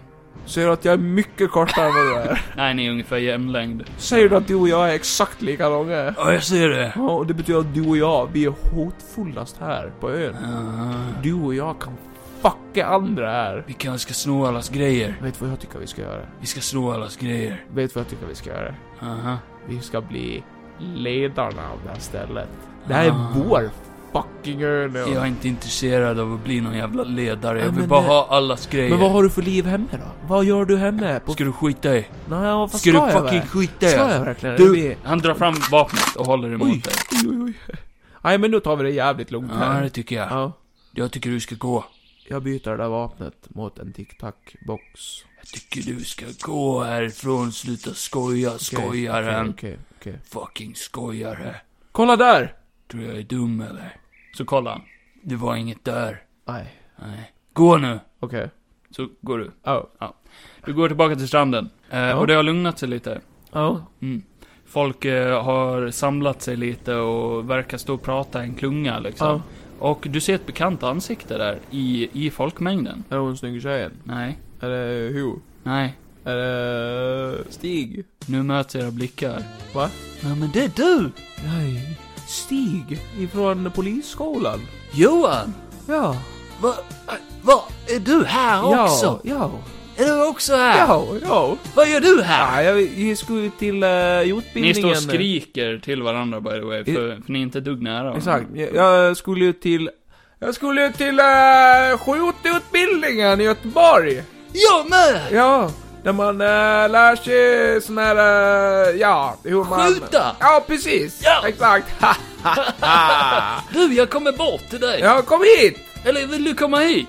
[SPEAKER 2] Ser du att jag är mycket kortare än vad du är?
[SPEAKER 1] Nej, ni är ungefär jämnlängd.
[SPEAKER 2] Ser du att du och jag är exakt lika långa?
[SPEAKER 1] Ja, jag ser det.
[SPEAKER 2] Ja, och det betyder att du och jag, vi är hotfullast här på ön.
[SPEAKER 1] Ah,
[SPEAKER 2] Du och jag kan fucka andra här.
[SPEAKER 1] vi kanske ska sno allas grejer.
[SPEAKER 2] Vet du vad jag tycker vi ska göra?
[SPEAKER 1] Vi ska sno allas grejer. Uh-huh.
[SPEAKER 2] Vet du vad jag tycker vi ska göra?
[SPEAKER 1] Aha.
[SPEAKER 2] Vi ska bli ledarna av det här stället. Det här är
[SPEAKER 1] Ah.
[SPEAKER 2] vår fucking ö nu.
[SPEAKER 1] Jag är inte intresserad av att bli någon jävla ledare. Jag
[SPEAKER 2] Ja,
[SPEAKER 1] vill
[SPEAKER 2] men
[SPEAKER 1] bara
[SPEAKER 2] det-
[SPEAKER 1] ha allas grejer.
[SPEAKER 2] Men vad har du för liv hemma då? Vad gör du hemma? På...
[SPEAKER 1] Ska du skita i?
[SPEAKER 2] Nej, vad fan
[SPEAKER 1] Ska
[SPEAKER 2] jag
[SPEAKER 1] du
[SPEAKER 2] verkligen?
[SPEAKER 1] fucking skita i?
[SPEAKER 2] Ska jag
[SPEAKER 1] alltså?
[SPEAKER 2] verkligen?
[SPEAKER 1] Du, han drar fram vapnet och håller
[SPEAKER 2] Oj,
[SPEAKER 1] emot dig.
[SPEAKER 2] oj, oj. Nej, men nu tar vi det jävligt lugnt
[SPEAKER 1] Ja,
[SPEAKER 2] här.
[SPEAKER 1] det tycker jag.
[SPEAKER 2] Ja.
[SPEAKER 1] Jag tycker du ska gå.
[SPEAKER 2] Jag byter det där vapnet mot en tic-tac-box.
[SPEAKER 1] Jag tycker du ska gå härifrån. Sluta skoja,
[SPEAKER 2] Okej,
[SPEAKER 1] skojaren.
[SPEAKER 2] Okej, okej, okej.
[SPEAKER 1] Fucking skojare.
[SPEAKER 2] Kolla där!
[SPEAKER 1] Tror jag är dum eller? Så kollar han. Det var inget där.
[SPEAKER 2] Nej,
[SPEAKER 1] Nej. Gå nu!
[SPEAKER 2] okej. Oh.
[SPEAKER 1] Så går du.
[SPEAKER 2] Ja.
[SPEAKER 1] Du går tillbaka till stranden. Eh, Och det har lugnat sig lite.
[SPEAKER 2] Ja.
[SPEAKER 1] Mm. Folk eh, har samlat sig lite och verkar stå och prata i en klunga liksom.
[SPEAKER 2] Ja.
[SPEAKER 1] Och du ser ett bekant ansikte där i, i folkmängden.
[SPEAKER 2] Är hon snygg tjejen?
[SPEAKER 1] Nej,
[SPEAKER 2] Är det Ho?
[SPEAKER 1] nej.
[SPEAKER 2] Är det Stig?
[SPEAKER 1] Nu möts era blickar.
[SPEAKER 2] Va?
[SPEAKER 1] Ja, men det är du!
[SPEAKER 2] Nej. Stig? Ifrån polisskolan?
[SPEAKER 1] Johan!
[SPEAKER 2] Ja.
[SPEAKER 1] Vad, vad, är du här också?
[SPEAKER 2] Ja.
[SPEAKER 1] Är du också
[SPEAKER 2] Ja.
[SPEAKER 1] här?
[SPEAKER 2] Ja. ja.
[SPEAKER 1] Vad gör du här?
[SPEAKER 2] Nej, jag, vi skulle ju till uh,
[SPEAKER 1] Ni
[SPEAKER 2] utbildningen.
[SPEAKER 1] står och skriker till varandra by the way, för, för ni är inte ett dugg nära varandra.
[SPEAKER 2] Exakt. Jag, jag skulle ju till... Jag skulle ju till uh, skjututbildningen i Göteborg.
[SPEAKER 1] Jag med!
[SPEAKER 2] Ja. Där man eh, lär sig sån här... eh, ja, hur man...
[SPEAKER 1] Skjuta!
[SPEAKER 2] Ja, precis.
[SPEAKER 1] Ja.
[SPEAKER 2] Exakt. Ha, ha, ha.
[SPEAKER 1] Du, jag kommer bort till dig!
[SPEAKER 2] ja, kom hit!
[SPEAKER 1] Eller vill du komma hit?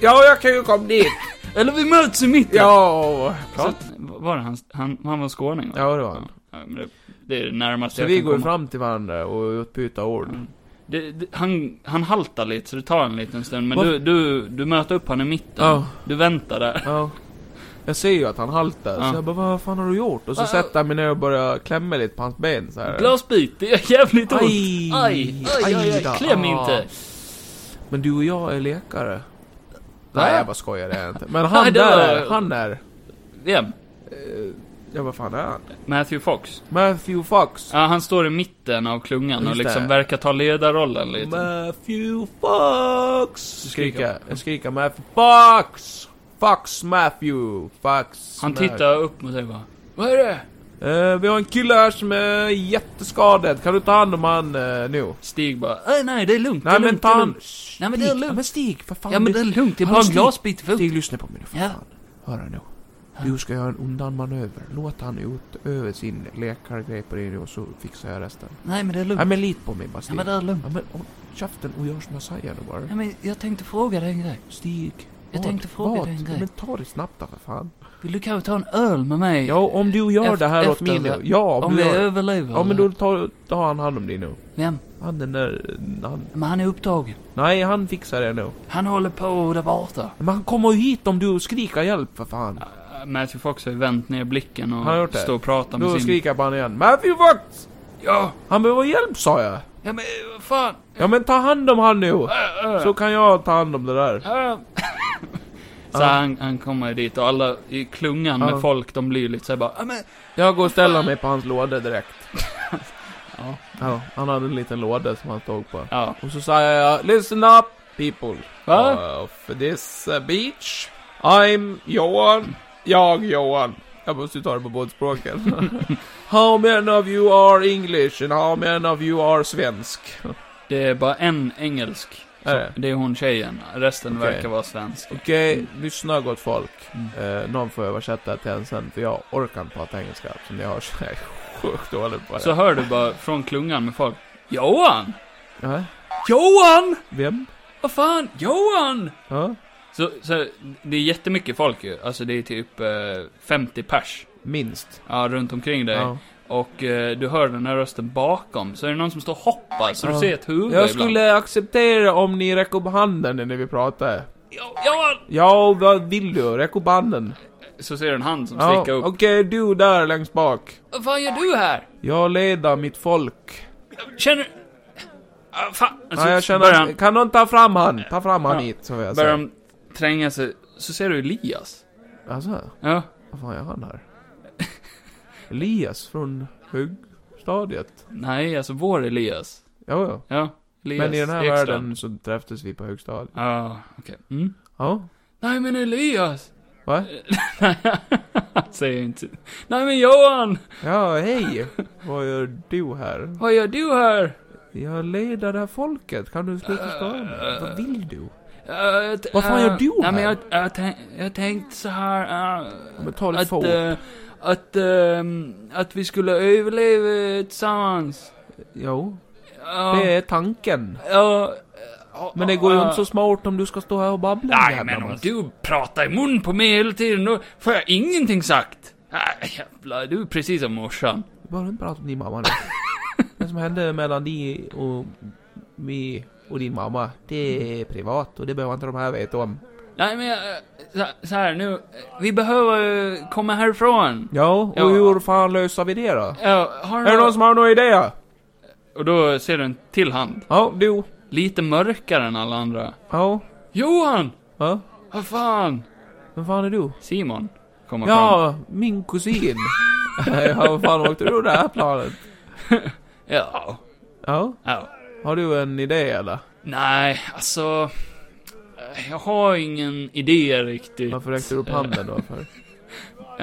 [SPEAKER 2] Ja, jag kan ju komma dit.
[SPEAKER 1] Eller vi möts i mitten!
[SPEAKER 2] Ja.
[SPEAKER 1] Så, var det han, han, han var skåning va?
[SPEAKER 2] Ja, det var han.
[SPEAKER 1] Ja, men det, det är det närmaste
[SPEAKER 2] Så
[SPEAKER 1] jag
[SPEAKER 2] vi
[SPEAKER 1] kan
[SPEAKER 2] går
[SPEAKER 1] komma. Mm.
[SPEAKER 2] fram till varandra och utbyter ord.
[SPEAKER 1] Det, det, han, han haltar lite, så det tar en liten stund. Men
[SPEAKER 2] Vad-
[SPEAKER 1] du, du, du möter upp han i mitten.
[SPEAKER 2] Ja.
[SPEAKER 1] Du väntar där.
[SPEAKER 2] Ja. Jag ser ju att han haltar,
[SPEAKER 1] Ja.
[SPEAKER 2] så jag bara 'Vad fan har du gjort?' Och så
[SPEAKER 1] Ja.
[SPEAKER 2] sätter jag mig ner och börjar klämma lite på hans ben så här.
[SPEAKER 1] Glasbit, det gör jävligt Eh. ont.
[SPEAKER 2] Aj!
[SPEAKER 1] Aj, aj, aj, aj.
[SPEAKER 2] då.
[SPEAKER 1] Kläm
[SPEAKER 2] Ah.
[SPEAKER 1] inte.
[SPEAKER 2] Men du och jag är lekare.
[SPEAKER 1] Va?
[SPEAKER 2] Nej, jag bara skojar, det är jag inte. Men han
[SPEAKER 1] Nej, det
[SPEAKER 2] där,
[SPEAKER 1] var-
[SPEAKER 2] han är...
[SPEAKER 1] Ja,
[SPEAKER 2] Eh, ja, vad fan är han?
[SPEAKER 1] Matthew Fox.
[SPEAKER 2] Matthew Fox.
[SPEAKER 1] Ja, han står i mitten av klungan och
[SPEAKER 2] Just
[SPEAKER 1] liksom
[SPEAKER 2] det.
[SPEAKER 1] verkar ta ledarrollen lite.
[SPEAKER 2] Matthew Fox!
[SPEAKER 1] Du skriker.
[SPEAKER 2] Skrika, jag skriker Matthew Fox! Fox Matthew! Fox
[SPEAKER 1] han
[SPEAKER 2] Matthew.
[SPEAKER 1] tittar upp mot dig och bara Vad är det?
[SPEAKER 2] Eh, vi har en kille här som är jätteskadad. Kan du ta hand om han eh, nu?
[SPEAKER 1] Stig bara "Nej, Nej, det är lugnt. det
[SPEAKER 2] Nej
[SPEAKER 1] är
[SPEAKER 2] men
[SPEAKER 1] lugnt,
[SPEAKER 2] ta
[SPEAKER 1] det är
[SPEAKER 2] hand...
[SPEAKER 1] lugnt. Nej, men det är
[SPEAKER 2] Stig,
[SPEAKER 1] lugnt.
[SPEAKER 2] men Stig, för fan.
[SPEAKER 1] Ja, men
[SPEAKER 2] du-
[SPEAKER 1] det är lugnt. Det är
[SPEAKER 2] Han
[SPEAKER 1] bara en
[SPEAKER 2] Stig-
[SPEAKER 1] glasbit för
[SPEAKER 2] Stig, lyssna på mig nu för
[SPEAKER 1] Ja.
[SPEAKER 2] fan. Hör nu. Du ska göra en undanmanöver. Låt han ut över sin läkargrej på dig nu och så fixar jag resten.
[SPEAKER 1] Nej, men det är
[SPEAKER 2] Nej
[SPEAKER 1] lugnt.
[SPEAKER 2] men lit på mig bara
[SPEAKER 1] Ja,
[SPEAKER 2] Stig.
[SPEAKER 1] men det är lugnt.
[SPEAKER 2] Ja, men håll käften och gör som jag säger då bara.
[SPEAKER 1] Ja, men jag tänkte fråga dig en grej.
[SPEAKER 2] Stig.
[SPEAKER 1] Jag
[SPEAKER 2] vad?
[SPEAKER 1] tänkte fråga
[SPEAKER 2] Vad?
[SPEAKER 1] dig en
[SPEAKER 2] Ja,
[SPEAKER 1] grej.
[SPEAKER 2] Men ta det snabbt då för fan.
[SPEAKER 1] Vill du kanske ta en öl med mig?
[SPEAKER 2] Ja, om du gör
[SPEAKER 1] Eh, Efter-
[SPEAKER 2] det här åt
[SPEAKER 1] efter
[SPEAKER 2] mig nu.
[SPEAKER 1] det.
[SPEAKER 2] Ja,
[SPEAKER 1] om
[SPEAKER 2] om du
[SPEAKER 1] vi
[SPEAKER 2] gör...
[SPEAKER 1] överlever.
[SPEAKER 2] Ja men
[SPEAKER 1] eller?
[SPEAKER 2] då tar, tar han hand om dig nu.
[SPEAKER 1] Vem?
[SPEAKER 2] Han den där... Han...
[SPEAKER 1] Men han är upptagen.
[SPEAKER 2] Nej, han fixar det nu.
[SPEAKER 1] Han håller på där borta.
[SPEAKER 2] Men han kommer ju hit om du skriker hjälp för fan.
[SPEAKER 1] Matthew Fox har ju vänt ner blicken
[SPEAKER 2] Han har
[SPEAKER 1] och
[SPEAKER 2] gjort det.
[SPEAKER 1] står och pratar med
[SPEAKER 2] Då
[SPEAKER 1] sin...
[SPEAKER 2] skriker jag på honom igen. Matthew Fox!
[SPEAKER 1] Ja!
[SPEAKER 2] Han behöver hjälp sa jag!
[SPEAKER 1] Ja men eh, vad fan!
[SPEAKER 2] Ja men ta hand om han nu!
[SPEAKER 1] Äh, äh,
[SPEAKER 2] Så kan jag ta hand om det där.
[SPEAKER 1] äh. Så
[SPEAKER 2] Ja.
[SPEAKER 1] han, han kommer dit och alla i klungan
[SPEAKER 2] Ja.
[SPEAKER 1] med folk, de blir lite såhär bara ja, men,
[SPEAKER 2] Jag går och ställer mig på hans låda direkt.
[SPEAKER 1] Ja.
[SPEAKER 2] ja. Han hade en liten låda som han stod på.
[SPEAKER 1] ja.
[SPEAKER 2] Och så sa jag Listen up people!
[SPEAKER 1] Va?
[SPEAKER 2] Of this uh, beach I'm Johan. Jag Johan. Jag måste ju ta det på båda språken. how many of you are English and how many of you are svensk?
[SPEAKER 1] Det är bara en engelsk.
[SPEAKER 2] Är det?
[SPEAKER 1] Det är hon tjejen. Resten
[SPEAKER 2] Okej.
[SPEAKER 1] verkar vara svensk.
[SPEAKER 2] Okej, lyssna gott folk.
[SPEAKER 1] Mm.
[SPEAKER 2] Eh, någon får översätta till en sen, för jag orkar inte prata engelska som ni hör. så Jag är sjukt dålig på det.
[SPEAKER 1] Så hör du bara från klungan med folk. Johan!
[SPEAKER 2] Ja,
[SPEAKER 1] Johan!
[SPEAKER 2] vem?
[SPEAKER 1] Vad fan? Johan!
[SPEAKER 2] Ja,
[SPEAKER 1] Så, så det är jättemycket folk ju. Alltså det är typ eh, 50 pers.
[SPEAKER 2] minst.
[SPEAKER 1] Ja, runt omkring dig.
[SPEAKER 2] Ja.
[SPEAKER 1] Och eh, du hör den här rösten bakom. Så är det någon som står och hoppar. Så du
[SPEAKER 2] Ja.
[SPEAKER 1] ser ett huvud
[SPEAKER 2] Jag
[SPEAKER 1] ibland.
[SPEAKER 2] skulle acceptera om ni räcker upp handen när vi pratar.
[SPEAKER 1] Jo- Johan!
[SPEAKER 2] Ja, vad vill du? Räck upp handen.
[SPEAKER 1] Så ser du en hand som
[SPEAKER 2] Ja,
[SPEAKER 1] sticker
[SPEAKER 2] Okej,
[SPEAKER 1] upp.
[SPEAKER 2] du där längst bak.
[SPEAKER 1] Vad fan gör du här?
[SPEAKER 2] Jag leder mitt folk.
[SPEAKER 1] Känner du... Ah, fan. Så
[SPEAKER 2] ja, jag känner,
[SPEAKER 1] börjar han,
[SPEAKER 2] Kan någon ta fram han? Ta fram han
[SPEAKER 1] Ja.
[SPEAKER 2] hit, så jag
[SPEAKER 1] börjar
[SPEAKER 2] säger.
[SPEAKER 1] han tränga sig. Så ser du Elias.
[SPEAKER 2] Alltså,
[SPEAKER 1] Ja.
[SPEAKER 2] vad fan gör han här? Elias från högstadiet.
[SPEAKER 1] Nej, alltså vår Elias.
[SPEAKER 2] Jo, jo.
[SPEAKER 1] Ja, Elias
[SPEAKER 2] Men i den här
[SPEAKER 1] Ekstrand.
[SPEAKER 2] världen så träffades vi på högstadiet.
[SPEAKER 1] Ja, okej. Mm.
[SPEAKER 2] Ja,
[SPEAKER 1] Nej men Elias!
[SPEAKER 2] va?
[SPEAKER 1] Eh. Han säger inte. Nej men Johan!
[SPEAKER 2] Ja, hej! Vad gör du här?
[SPEAKER 1] Vad gör du här?
[SPEAKER 2] Jag leder det här folket, kan du sluta störa mig?
[SPEAKER 1] Äh.
[SPEAKER 2] Vad vill du?
[SPEAKER 1] Eh, jag t-
[SPEAKER 2] Vad fan gör
[SPEAKER 1] eh,
[SPEAKER 2] du
[SPEAKER 1] Nej men
[SPEAKER 2] här?
[SPEAKER 1] jag, jag, tänk, jag tänkte så här. eh,
[SPEAKER 2] Men ta lite
[SPEAKER 1] att,
[SPEAKER 2] få.
[SPEAKER 1] eh, att, ehm, att vi skulle överleva tillsammans.
[SPEAKER 2] Jo,
[SPEAKER 1] Ja.
[SPEAKER 2] det är tanken.
[SPEAKER 1] Ja, eh,
[SPEAKER 2] Men det går ju
[SPEAKER 1] eh,
[SPEAKER 2] inte så smart om du ska stå här och babbla en
[SPEAKER 1] Nej
[SPEAKER 2] jävla
[SPEAKER 1] men om
[SPEAKER 2] massa.
[SPEAKER 1] du pratar i mun på mig hela tiden då får jag ingenting sagt. Nej jävlar, du är precis som morsan.
[SPEAKER 2] Bara inte prata om din mamma nu. det som hände mellan dig och mig och din mamma, det är privat och det behöver inte de här veta om.
[SPEAKER 1] Nej men jag, eh, så, så här nu, eh, vi behöver eh, komma härifrån.
[SPEAKER 2] Ja, och
[SPEAKER 1] Ja.
[SPEAKER 2] hur fan löser vi det då?
[SPEAKER 1] Ja, har
[SPEAKER 2] Är det någon som har några idéer?
[SPEAKER 1] Och då ser du en till hand.
[SPEAKER 2] Ja, du.
[SPEAKER 1] Lite mörkare än alla andra.
[SPEAKER 2] Ja.
[SPEAKER 1] Johan!
[SPEAKER 2] Ja.
[SPEAKER 1] Vad fan!
[SPEAKER 2] Vem fan är du?
[SPEAKER 1] Simon kommer fram.
[SPEAKER 2] Ja, min kusin. ja, vad fan åkte du det här planet?
[SPEAKER 1] Ja.
[SPEAKER 2] Ja.
[SPEAKER 1] Ja.
[SPEAKER 2] Har du en idé eller?
[SPEAKER 1] Nej, alltså... eh, Jag har ingen idé riktigt.
[SPEAKER 2] Varför räckte du upp handen då? För?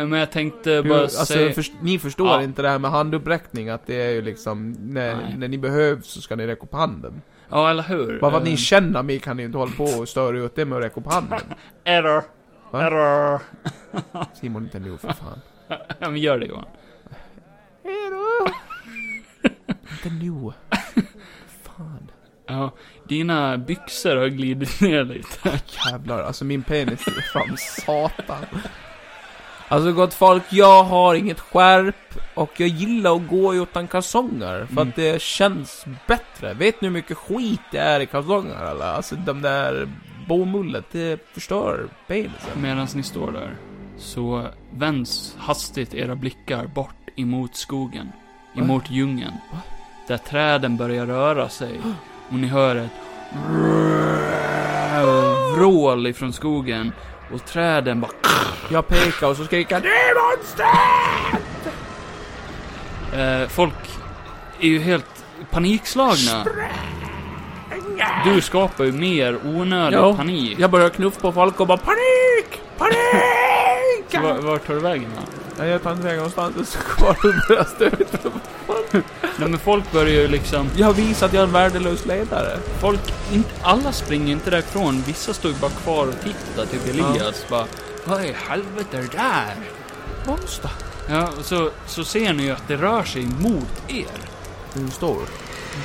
[SPEAKER 1] Eh, Men jag tänkte
[SPEAKER 2] Hur,
[SPEAKER 1] bara
[SPEAKER 2] alltså,
[SPEAKER 1] säga...
[SPEAKER 2] förs- ni förstår
[SPEAKER 1] Ja.
[SPEAKER 2] inte det här med handuppräckning, att det är ju liksom,
[SPEAKER 1] Nej.
[SPEAKER 2] när, när ni behövs så ska ni räcka upp handen.
[SPEAKER 1] Ja, eller hur?
[SPEAKER 2] Bara för att ni
[SPEAKER 1] Eh,
[SPEAKER 2] känner mig kan ni inte hålla på och störa ut det med att räcka upp handen.
[SPEAKER 1] Error.
[SPEAKER 2] Va?
[SPEAKER 1] Error.
[SPEAKER 2] Simon, inte nu för fan.
[SPEAKER 1] Ja, men gör det Johan.
[SPEAKER 2] Hejdå! inte nu. Fan.
[SPEAKER 1] Ja, dina byxor har glidit ner lite.
[SPEAKER 2] Jävlar, alltså min penis är fram satan. Alltså gott folk, jag har inget skärp och jag gillar att gå utan kalsonger för
[SPEAKER 1] Mm.
[SPEAKER 2] att det känns bättre. Vet ni hur mycket skit det är i kalsonger eller? Alltså de där bomullet, det förstör penisen.
[SPEAKER 1] Medan ni står där så vänds hastigt era blickar bort emot skogen,
[SPEAKER 2] Va?
[SPEAKER 1] emot djungeln.
[SPEAKER 2] Va?
[SPEAKER 1] Där träden börjar röra sig och ni hör ett vrål ifrån skogen. Och träden bara...
[SPEAKER 2] Jag pekar och så skriker jag DEMONSTER!
[SPEAKER 1] Eh, folk är ju helt panikslagna. Du skapar ju mer onödig
[SPEAKER 2] Ja.
[SPEAKER 1] panik.
[SPEAKER 2] Jag börjar knuffa på folk och bara PANIK!
[SPEAKER 1] Så
[SPEAKER 2] PANIK!
[SPEAKER 1] var- vart tar du vägen då?
[SPEAKER 2] Nej, jag tar inte vägen någonstans. Jag står kvar och börjar stöta.
[SPEAKER 1] Nej men folk börjar ju liksom...
[SPEAKER 2] Jag har visat att jag är en värdelös ledare.
[SPEAKER 1] Folk, inte, alla springer inte därifrån. Vissa står ju bara kvar och tittar, typ Elias bara... Vad i helvete är det där?
[SPEAKER 2] Monster.
[SPEAKER 1] Ja, och så, så ser ni ju att det rör sig mot er.
[SPEAKER 2] Du står.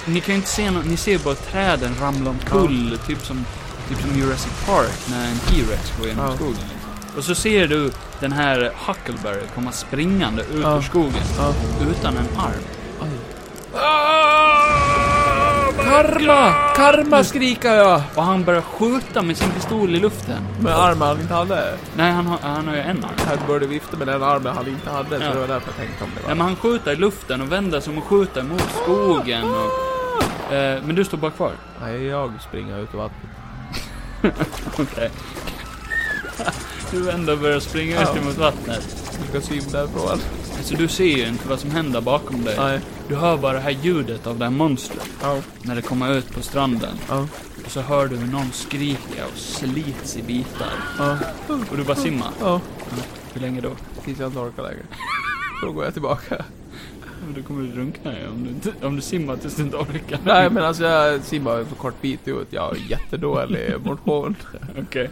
[SPEAKER 1] Ni kan ju inte se något, ni ser bara träden ramla omkull, typ, som, typ som Jurassic Park när en T-Rex går genom
[SPEAKER 2] Ja.
[SPEAKER 1] skogen. liksom. Och så ser du den här Huckleberry komma springande ut
[SPEAKER 2] Ja.
[SPEAKER 1] ur skogen,
[SPEAKER 2] Ja.
[SPEAKER 1] utan en arm.
[SPEAKER 2] Oj.
[SPEAKER 1] Karma!
[SPEAKER 2] Karma skriker jag!
[SPEAKER 1] Ah, Och han börjar skjuta med sin pistol i luften.
[SPEAKER 2] Med armen han inte hade.
[SPEAKER 1] Nej, han har, han har ju en arm.
[SPEAKER 2] Han började vifta med den armen han inte hade,
[SPEAKER 1] Ja.
[SPEAKER 2] så det var därför jag tänkte om det
[SPEAKER 1] Nej,
[SPEAKER 2] var.
[SPEAKER 1] men han skjuter i luften och vänder sig om och skjuter mot skogen.
[SPEAKER 2] Ah!
[SPEAKER 1] Och, eh, men du står bara kvar.
[SPEAKER 2] Nej, jag springer ut i vattnet.
[SPEAKER 1] Okej. Du vänder och börjar springa
[SPEAKER 2] Ja.
[SPEAKER 1] ut mot vattnet.
[SPEAKER 2] Du ska simma därifrån.
[SPEAKER 1] Alltså du ser ju inte vad som händer bakom dig.
[SPEAKER 2] Nej.
[SPEAKER 1] Du hör bara det här ljudet av det här monstret
[SPEAKER 2] Ja.
[SPEAKER 1] när det kommer ut på stranden.
[SPEAKER 2] Ja.
[SPEAKER 1] Och så hör du hur någon skriker och slits i bitar.
[SPEAKER 2] Ja.
[SPEAKER 1] Och du bara simmar.
[SPEAKER 2] Ja.
[SPEAKER 1] Hur länge då?
[SPEAKER 2] Tills jag inte orkar längre. Då går jag tillbaka.
[SPEAKER 1] Du kommer du drunkna ju om du, inte- om du simmar tills du inte orkar.
[SPEAKER 2] Nej men alltså jag simmar en så kort bit ut. Jag har jättedålig motion.
[SPEAKER 1] Okej.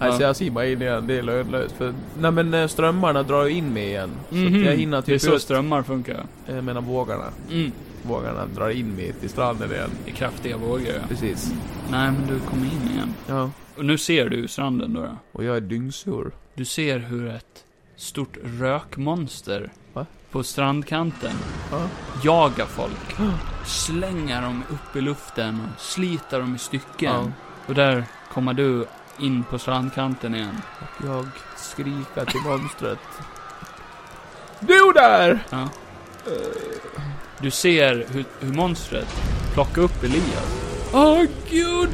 [SPEAKER 2] Alltså
[SPEAKER 1] Ja.
[SPEAKER 2] jag simmar in igen, det är lönlöst. För, nej men eh, strömmarna drar ju in mig igen. Så
[SPEAKER 1] Mhm.
[SPEAKER 2] att jag hinner
[SPEAKER 1] Det är
[SPEAKER 2] typ
[SPEAKER 1] så
[SPEAKER 2] ut, eh,
[SPEAKER 1] strömmar funkar.
[SPEAKER 2] jag menar vågarna.
[SPEAKER 1] Mm.
[SPEAKER 2] Vågarna drar in mig till stranden igen.
[SPEAKER 1] Det är kraftiga vågor ja.
[SPEAKER 2] Precis.
[SPEAKER 1] Nej, men du kommer in igen.
[SPEAKER 2] Ja.
[SPEAKER 1] Och nu ser du stranden då. då.
[SPEAKER 2] Och jag är dyngsur.
[SPEAKER 1] Du ser hur ett stort rökmonster
[SPEAKER 2] Va?
[SPEAKER 1] på strandkanten
[SPEAKER 2] Ja.
[SPEAKER 1] jagar folk. Slänger dem upp i luften och sliter dem i stycken.
[SPEAKER 2] Ja.
[SPEAKER 1] Och där kommer du in på strandkanten igen.
[SPEAKER 2] Jag skriker till monstret. Du där!
[SPEAKER 1] Ja.
[SPEAKER 2] Eh,
[SPEAKER 1] Du ser hur, hur monstret plockar upp Elias. Åh gud!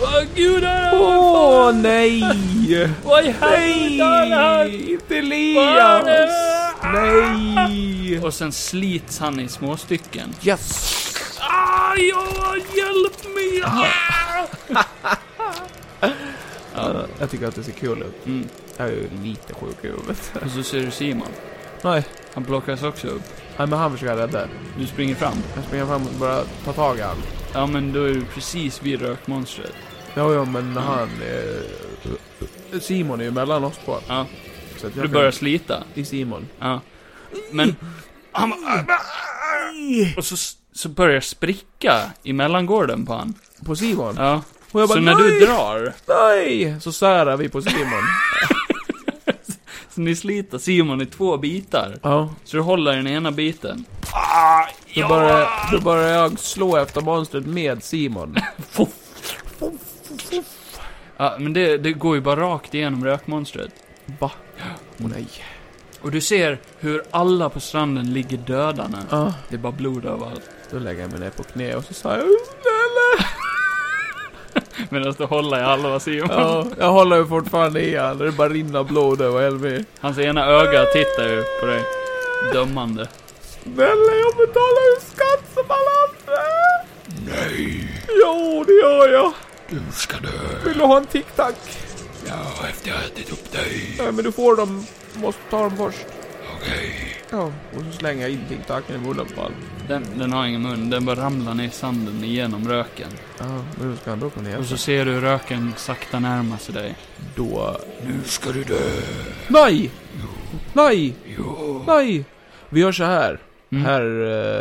[SPEAKER 1] Åh gud är han
[SPEAKER 2] Åh
[SPEAKER 1] fan!
[SPEAKER 2] nej!
[SPEAKER 1] Vad i helvete är det här?
[SPEAKER 2] Nej! Inte Elias! Nej!
[SPEAKER 1] Och sen slits han i små stycken.
[SPEAKER 2] Yes!
[SPEAKER 1] Aj, åh, hjälp mig! Ah! ja.
[SPEAKER 2] Jag tycker att det ser kul ut.
[SPEAKER 1] mm.
[SPEAKER 2] Jag är ju lite sjuk i huvudet.
[SPEAKER 1] Och så ser du Simon.
[SPEAKER 2] Nej,
[SPEAKER 1] Han plockas också upp.
[SPEAKER 2] nej men han försöker rädda.
[SPEAKER 1] Du springer fram.
[SPEAKER 2] Jag springer fram och bara tar tag i han.
[SPEAKER 1] Ja, men då är du precis vid rökmonstret.
[SPEAKER 2] Jo, jo, men han... Eh, Simon är ju mellan oss två.
[SPEAKER 1] Ja.
[SPEAKER 2] Så att jag
[SPEAKER 1] Du
[SPEAKER 2] kan-
[SPEAKER 1] börjar slita.
[SPEAKER 2] I Simon.
[SPEAKER 1] Ja. Men... Han bara- "Äh, och så, så börjar spricka i mellangården på han.
[SPEAKER 2] På Simon?
[SPEAKER 1] Ja.
[SPEAKER 2] Och jag bara,
[SPEAKER 1] Så när du
[SPEAKER 2] nej,
[SPEAKER 1] drar,
[SPEAKER 2] nej! Så särar vi på Simon.
[SPEAKER 1] så ni sliter Simon i två bitar.
[SPEAKER 2] ja.
[SPEAKER 1] Så du håller den ena biten. Ah,
[SPEAKER 2] Då börjar, då börjar jag slå efter monstret med Simon.
[SPEAKER 1] Ja, men det, det går ju bara rakt igenom rökmonstret.
[SPEAKER 2] Va? Åh nej.
[SPEAKER 1] Och du ser hur alla på stranden ligger döda nu.
[SPEAKER 2] Ja.
[SPEAKER 1] Det är bara blod överallt.
[SPEAKER 2] Då lägger jag mig ner på knä och så sa jag "Äh, snälla.
[SPEAKER 1] Medan du håller i halva Simon.
[SPEAKER 2] Ja, jag håller ju fortfarande i han. Det bara rinner blod över Elmi.
[SPEAKER 1] Hans ena öga tittar ju på dig. Dömande.
[SPEAKER 2] Snälla, jag betalar ju skatt som alla andra! Nej! Jo, det gör jag!
[SPEAKER 1] Du ska dö.
[SPEAKER 2] Vill du ha en tic-tac?
[SPEAKER 1] Ja, efter jag ätit upp dig.
[SPEAKER 2] Nej, men du får dem. Du måste ta dem först.
[SPEAKER 1] Okej.
[SPEAKER 2] Ja, och så slänger jag in tic-tacen i munnen på honom.
[SPEAKER 1] Den, den har ingen mun. Den bara ramlar ner i sanden igenom röken.
[SPEAKER 2] Ja, men hur ska han då kunna
[SPEAKER 1] Och
[SPEAKER 2] hjälpa?
[SPEAKER 1] så ser du röken sakta närma sig dig.
[SPEAKER 2] Då...
[SPEAKER 1] Nu ska du dö.
[SPEAKER 2] Nej! Nej!
[SPEAKER 1] Jo.
[SPEAKER 2] Nej! Vi gör så här.
[SPEAKER 1] Mm.
[SPEAKER 2] Herr...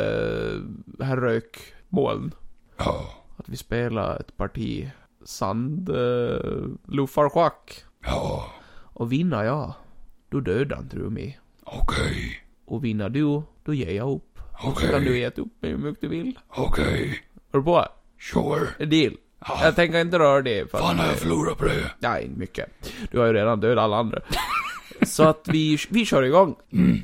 [SPEAKER 2] eh, herr Rök. Moln.
[SPEAKER 1] Ja.
[SPEAKER 2] Att vi spelar ett parti sand... Uh, luffarschack.
[SPEAKER 1] Ja.
[SPEAKER 2] Och vinner jag, då dödar inte du mig.
[SPEAKER 1] Okej.
[SPEAKER 2] Och vinner du, då ger jag upp. Så kan du äta upp mig hur mycket du vill.
[SPEAKER 1] Okej.
[SPEAKER 2] Är du på?
[SPEAKER 1] Sure.
[SPEAKER 2] En deal.
[SPEAKER 1] Äh,
[SPEAKER 2] Jag tänker inte röra det. För att,
[SPEAKER 1] förlorat på det?
[SPEAKER 2] nej, inte mycket. Du har ju redan dödat alla andra. Så att vi, vi kör igång.
[SPEAKER 1] Mm.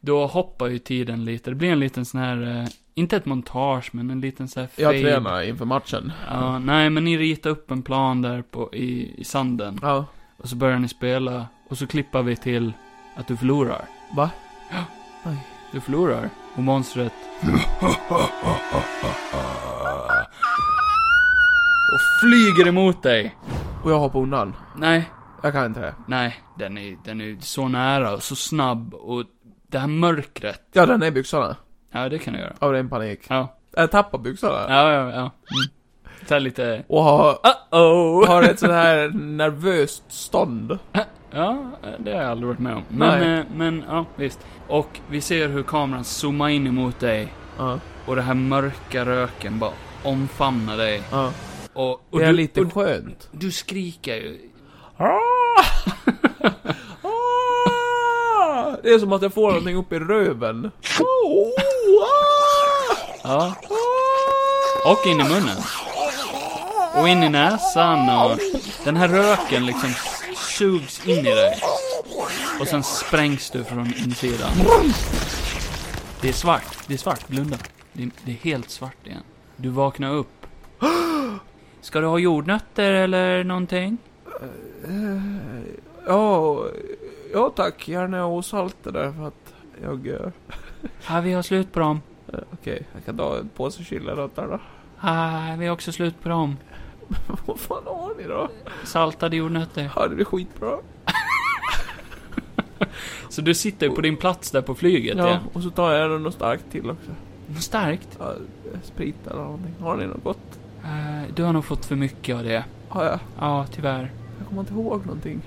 [SPEAKER 1] Då hoppar ju tiden lite. Det blir en liten sån här eh, inte ett montage, men en liten så här
[SPEAKER 2] Jag
[SPEAKER 1] fade.
[SPEAKER 2] tränar inför matchen.
[SPEAKER 1] Ja, nej, men ni ritar upp en plan där på, i, i sanden.
[SPEAKER 2] Ja.
[SPEAKER 1] Och så börjar ni spela. Och så klippar vi till att du förlorar.
[SPEAKER 2] Va?
[SPEAKER 1] Ja.
[SPEAKER 2] Oj.
[SPEAKER 1] Du förlorar. Och monstret... och flyger emot dig.
[SPEAKER 2] Och jag hoppar undan.
[SPEAKER 1] Nej,
[SPEAKER 2] Jag kan inte det.
[SPEAKER 1] Nej, den är, den är så nära och så snabb och det här mörkret.
[SPEAKER 2] Ja, den är byxorna.
[SPEAKER 1] Ja, det kan du göra.
[SPEAKER 2] Av ren panik.
[SPEAKER 1] Ja,
[SPEAKER 2] Jag tappar byxorna.
[SPEAKER 1] ja, ja. ja. Mm. Så här lite...
[SPEAKER 2] Och har,
[SPEAKER 1] Uh-oh!
[SPEAKER 2] har ett sånt här nervöst stånd.
[SPEAKER 1] Ja, det har jag aldrig varit med om. Men,
[SPEAKER 2] Nej.
[SPEAKER 1] eh, men ja, visst. Och vi ser hur kameran zoomar in emot dig
[SPEAKER 2] Ja.
[SPEAKER 1] och det här mörka röken bara omfamnar dig.
[SPEAKER 2] Ja.
[SPEAKER 1] Och, och,
[SPEAKER 2] Det är
[SPEAKER 1] du,
[SPEAKER 2] lite
[SPEAKER 1] och
[SPEAKER 2] skönt.
[SPEAKER 1] du skriker ju.
[SPEAKER 2] Ah! Det är som att jag får någonting upp i röven. Ah!
[SPEAKER 1] Ja. Och in i munnen. Och in i näsan och den här röken liksom sugs in i dig. Och sen sprängs du från insidan. Det är svart. Det är svart. Blunda. Det är, det är helt svart igen. Du vaknar upp. Ska du ha jordnötter eller någonting?
[SPEAKER 2] Ja, ja tack. Gärna osaltade för att jag... eh,
[SPEAKER 1] Ja, vi har slut på dem.
[SPEAKER 2] Okej, jag kan ta en påse chilirötter då.
[SPEAKER 1] Ja, vi har också slut på dem.
[SPEAKER 2] Vad fan har ni då?
[SPEAKER 1] Saltade jordnötter.
[SPEAKER 2] Hörde det skitbra?
[SPEAKER 1] Så du sitter ju på din plats där på flyget
[SPEAKER 2] Ja,
[SPEAKER 1] igen.
[SPEAKER 2] och så tar jag något starkt till också.
[SPEAKER 1] Något starkt?
[SPEAKER 2] Ja, sprit eller någonting. Har ni något gott?
[SPEAKER 1] Eh, Du har nog fått för mycket av det.
[SPEAKER 2] Har jag?
[SPEAKER 1] Ja, tyvärr.
[SPEAKER 2] Jag kommer inte ihåg någonting.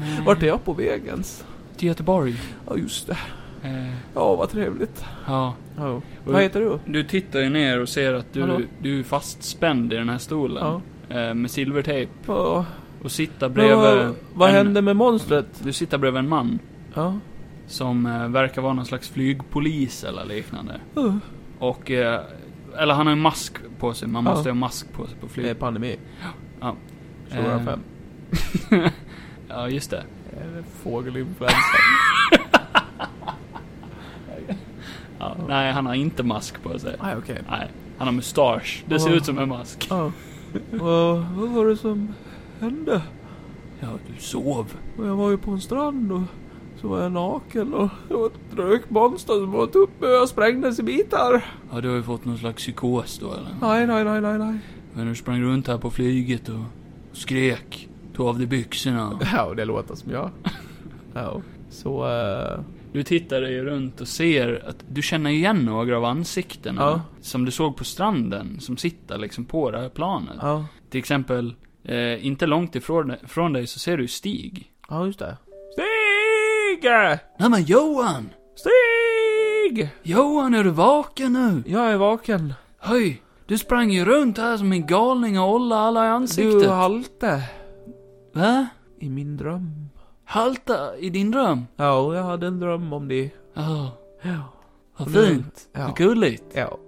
[SPEAKER 1] Nej.
[SPEAKER 2] Vart är jag på vägens?
[SPEAKER 1] Till Göteborg.
[SPEAKER 2] Ja, just det.
[SPEAKER 1] Eh,
[SPEAKER 2] Ja, vad trevligt.
[SPEAKER 1] ja.
[SPEAKER 2] Ja. Vad heter du?
[SPEAKER 1] Du tittar ju ner och ser att
[SPEAKER 2] Hallå?
[SPEAKER 1] du, du är fastspänd i den här
[SPEAKER 2] Ja.
[SPEAKER 1] stolen. Eh, med silvertejp.
[SPEAKER 2] Ja.
[SPEAKER 1] Och sitter
[SPEAKER 2] Men
[SPEAKER 1] bredvid...
[SPEAKER 2] vad, vad
[SPEAKER 1] en,
[SPEAKER 2] hände med monstret?
[SPEAKER 1] Du sitter bredvid en man.
[SPEAKER 2] Ja.
[SPEAKER 1] Som eh, verkar vara någon slags flygpolis eller liknande.
[SPEAKER 2] Uh.
[SPEAKER 1] Och... Eh, eller han har en mask på sig. Man
[SPEAKER 2] Ja.
[SPEAKER 1] måste ha mask på sig på
[SPEAKER 2] Det är
[SPEAKER 1] flyg.
[SPEAKER 2] Eh, pandemi.
[SPEAKER 1] Ja.
[SPEAKER 2] Stora
[SPEAKER 1] Eh.
[SPEAKER 2] fem.
[SPEAKER 1] Ja, just det.
[SPEAKER 2] Eller Fågelinfluensa.
[SPEAKER 1] Ja. Nej, han har inte mask på sig.
[SPEAKER 2] Nej, okej.
[SPEAKER 1] Nej. Han har mustasch. Det ser
[SPEAKER 2] Ja.
[SPEAKER 1] ut som en mask.
[SPEAKER 2] Ja. Vad vad var det som hände?
[SPEAKER 1] Ja, du sov.
[SPEAKER 2] Jag var ju på en strand och så var jag naken och det var ett rökmonster som åt upp mig och jag sprängdes i bitar.
[SPEAKER 1] Ja, du har ju fått någon slags psykos då eller?
[SPEAKER 2] Nej, nej, nej, nej, nej.
[SPEAKER 1] Men du sprang runt här på flyget och skrek. Tog av dig byxorna.
[SPEAKER 2] Ja, det låter som jag. Ja. Så, eh,
[SPEAKER 1] Du tittar dig runt och ser att du känner igen några av ansiktena.
[SPEAKER 2] Ja.
[SPEAKER 1] Som du såg på stranden, som sitter liksom på det här planet.
[SPEAKER 2] ja.
[SPEAKER 1] Till exempel, eh, inte långt ifrån från dig så ser du Stig.
[SPEAKER 2] Ja, just det. Stig!
[SPEAKER 1] Nej men Johan!
[SPEAKER 2] Stig!
[SPEAKER 1] Johan, är du vaken nu?
[SPEAKER 2] Jag är vaken.
[SPEAKER 1] Höj! Du sprang ju runt här som en galning och ollade alla i ansiktet.
[SPEAKER 2] Du halte.
[SPEAKER 1] Va?
[SPEAKER 2] I min dröm.
[SPEAKER 1] Halta i din dröm?
[SPEAKER 2] Ja, jag hade en dröm om det.
[SPEAKER 1] Ja.
[SPEAKER 2] Ja.
[SPEAKER 1] Vad
[SPEAKER 2] Och nu-
[SPEAKER 1] fint.
[SPEAKER 2] ja.
[SPEAKER 1] Vad gulligt.
[SPEAKER 2] Ja.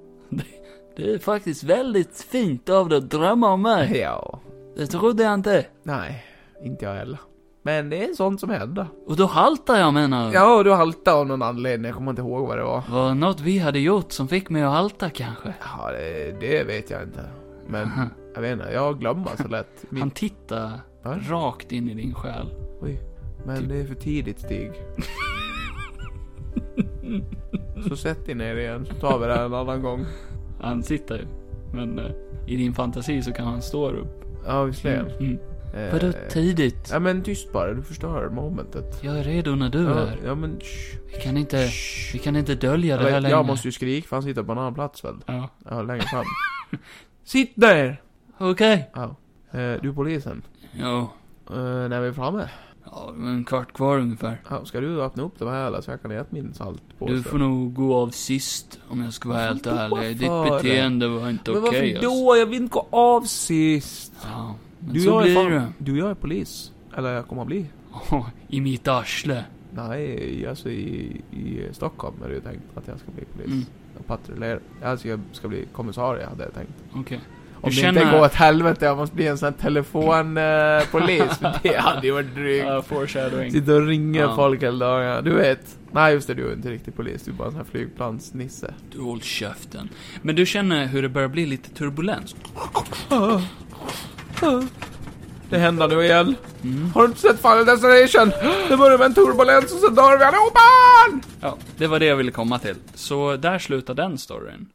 [SPEAKER 1] Det är faktiskt väldigt fint av dig att drömma om mig.
[SPEAKER 2] Ja.
[SPEAKER 1] Det trodde jag inte.
[SPEAKER 2] Nej, inte jag heller. Men det är sånt som händer.
[SPEAKER 1] Och då haltar jag menar du?
[SPEAKER 2] Ja, du haltade av någon anledning. Jag kommer inte ihåg vad det var.
[SPEAKER 1] Var det något vi hade gjort som fick mig att halta kanske?
[SPEAKER 2] Ja, det, det vet jag inte. Men jag vet inte, jag glömmer så lätt.
[SPEAKER 1] Han
[SPEAKER 2] Mitt,
[SPEAKER 1] tittar
[SPEAKER 2] Ja.
[SPEAKER 1] rakt in i din själ.
[SPEAKER 2] oj.
[SPEAKER 1] Typ.
[SPEAKER 2] Men det är för tidigt, Stig. Så sätt dig ner igen, så tar vi det här en annan gång.
[SPEAKER 1] Han sitter ju. Men eh, i din fantasi så kan han stå upp.
[SPEAKER 2] Ja, visserligen.
[SPEAKER 1] Mm.
[SPEAKER 2] Eh,
[SPEAKER 1] Vadå typ? tidigt?
[SPEAKER 2] Ja men tyst bara, du förstör momentet.
[SPEAKER 1] Jag är redo när du
[SPEAKER 2] Ja,
[SPEAKER 1] är.
[SPEAKER 2] ja men shh.
[SPEAKER 1] Vi kan inte, vi kan inte dölja det
[SPEAKER 2] Jag,
[SPEAKER 1] här
[SPEAKER 2] vet,
[SPEAKER 1] längre.
[SPEAKER 2] jag måste ju skrika för han sitter på en annan plats väl?
[SPEAKER 1] Ja.
[SPEAKER 2] Ja, längre fram. Sitt där!
[SPEAKER 1] Okej.
[SPEAKER 2] Ja. Eh, du polisen.
[SPEAKER 1] Ja.
[SPEAKER 2] Eh, när vi är framme.
[SPEAKER 1] Ja, det var en kvart kvar ungefär.
[SPEAKER 2] Ja, ska du öppna upp de här eller så jag kan äta min saltpåse?
[SPEAKER 1] Du får nog gå av sist, om jag ska vara helt
[SPEAKER 2] Varför då,
[SPEAKER 1] ärlig.
[SPEAKER 2] för?
[SPEAKER 1] Ditt beteende var inte
[SPEAKER 2] Men
[SPEAKER 1] okej
[SPEAKER 2] varför
[SPEAKER 1] alltså.
[SPEAKER 2] då? Jag vill inte gå av sist.
[SPEAKER 1] Ja, men
[SPEAKER 2] Du,
[SPEAKER 1] så
[SPEAKER 2] jag är
[SPEAKER 1] blir
[SPEAKER 2] fan-
[SPEAKER 1] det.
[SPEAKER 2] Du jag är polis. Eller jag kommer att bli.
[SPEAKER 1] Åh, I mitt arsle.
[SPEAKER 2] Nej, alltså i, i Stockholm är det ju tänkt att jag ska bli polis.
[SPEAKER 1] Mm.
[SPEAKER 2] Och patrullera. Alltså jag ska bli kommissarie hade jag tänkt.
[SPEAKER 1] Okej.
[SPEAKER 2] Om det
[SPEAKER 1] känner-
[SPEAKER 2] inte går åt helvete, jag måste bli en sån här telefonpolis. det hade ju varit drygt.
[SPEAKER 1] Ja, foreshadowing.
[SPEAKER 2] Sitta och ringa
[SPEAKER 1] Ja.
[SPEAKER 2] folk hela dagarna. Du vet. Nej just det, du är inte riktigt polis. Du är bara en sån här flygplansnisse.
[SPEAKER 1] Du håll käften. Men du känner hur det börjar bli lite turbulens?
[SPEAKER 2] Det händer nu igen.
[SPEAKER 1] Mm.
[SPEAKER 2] Har du inte sett Final Destination? Det börjar med en turbulens och sen dör vi allihopa!
[SPEAKER 1] Ja, det var det jag ville komma till. Så där slutar den storyn.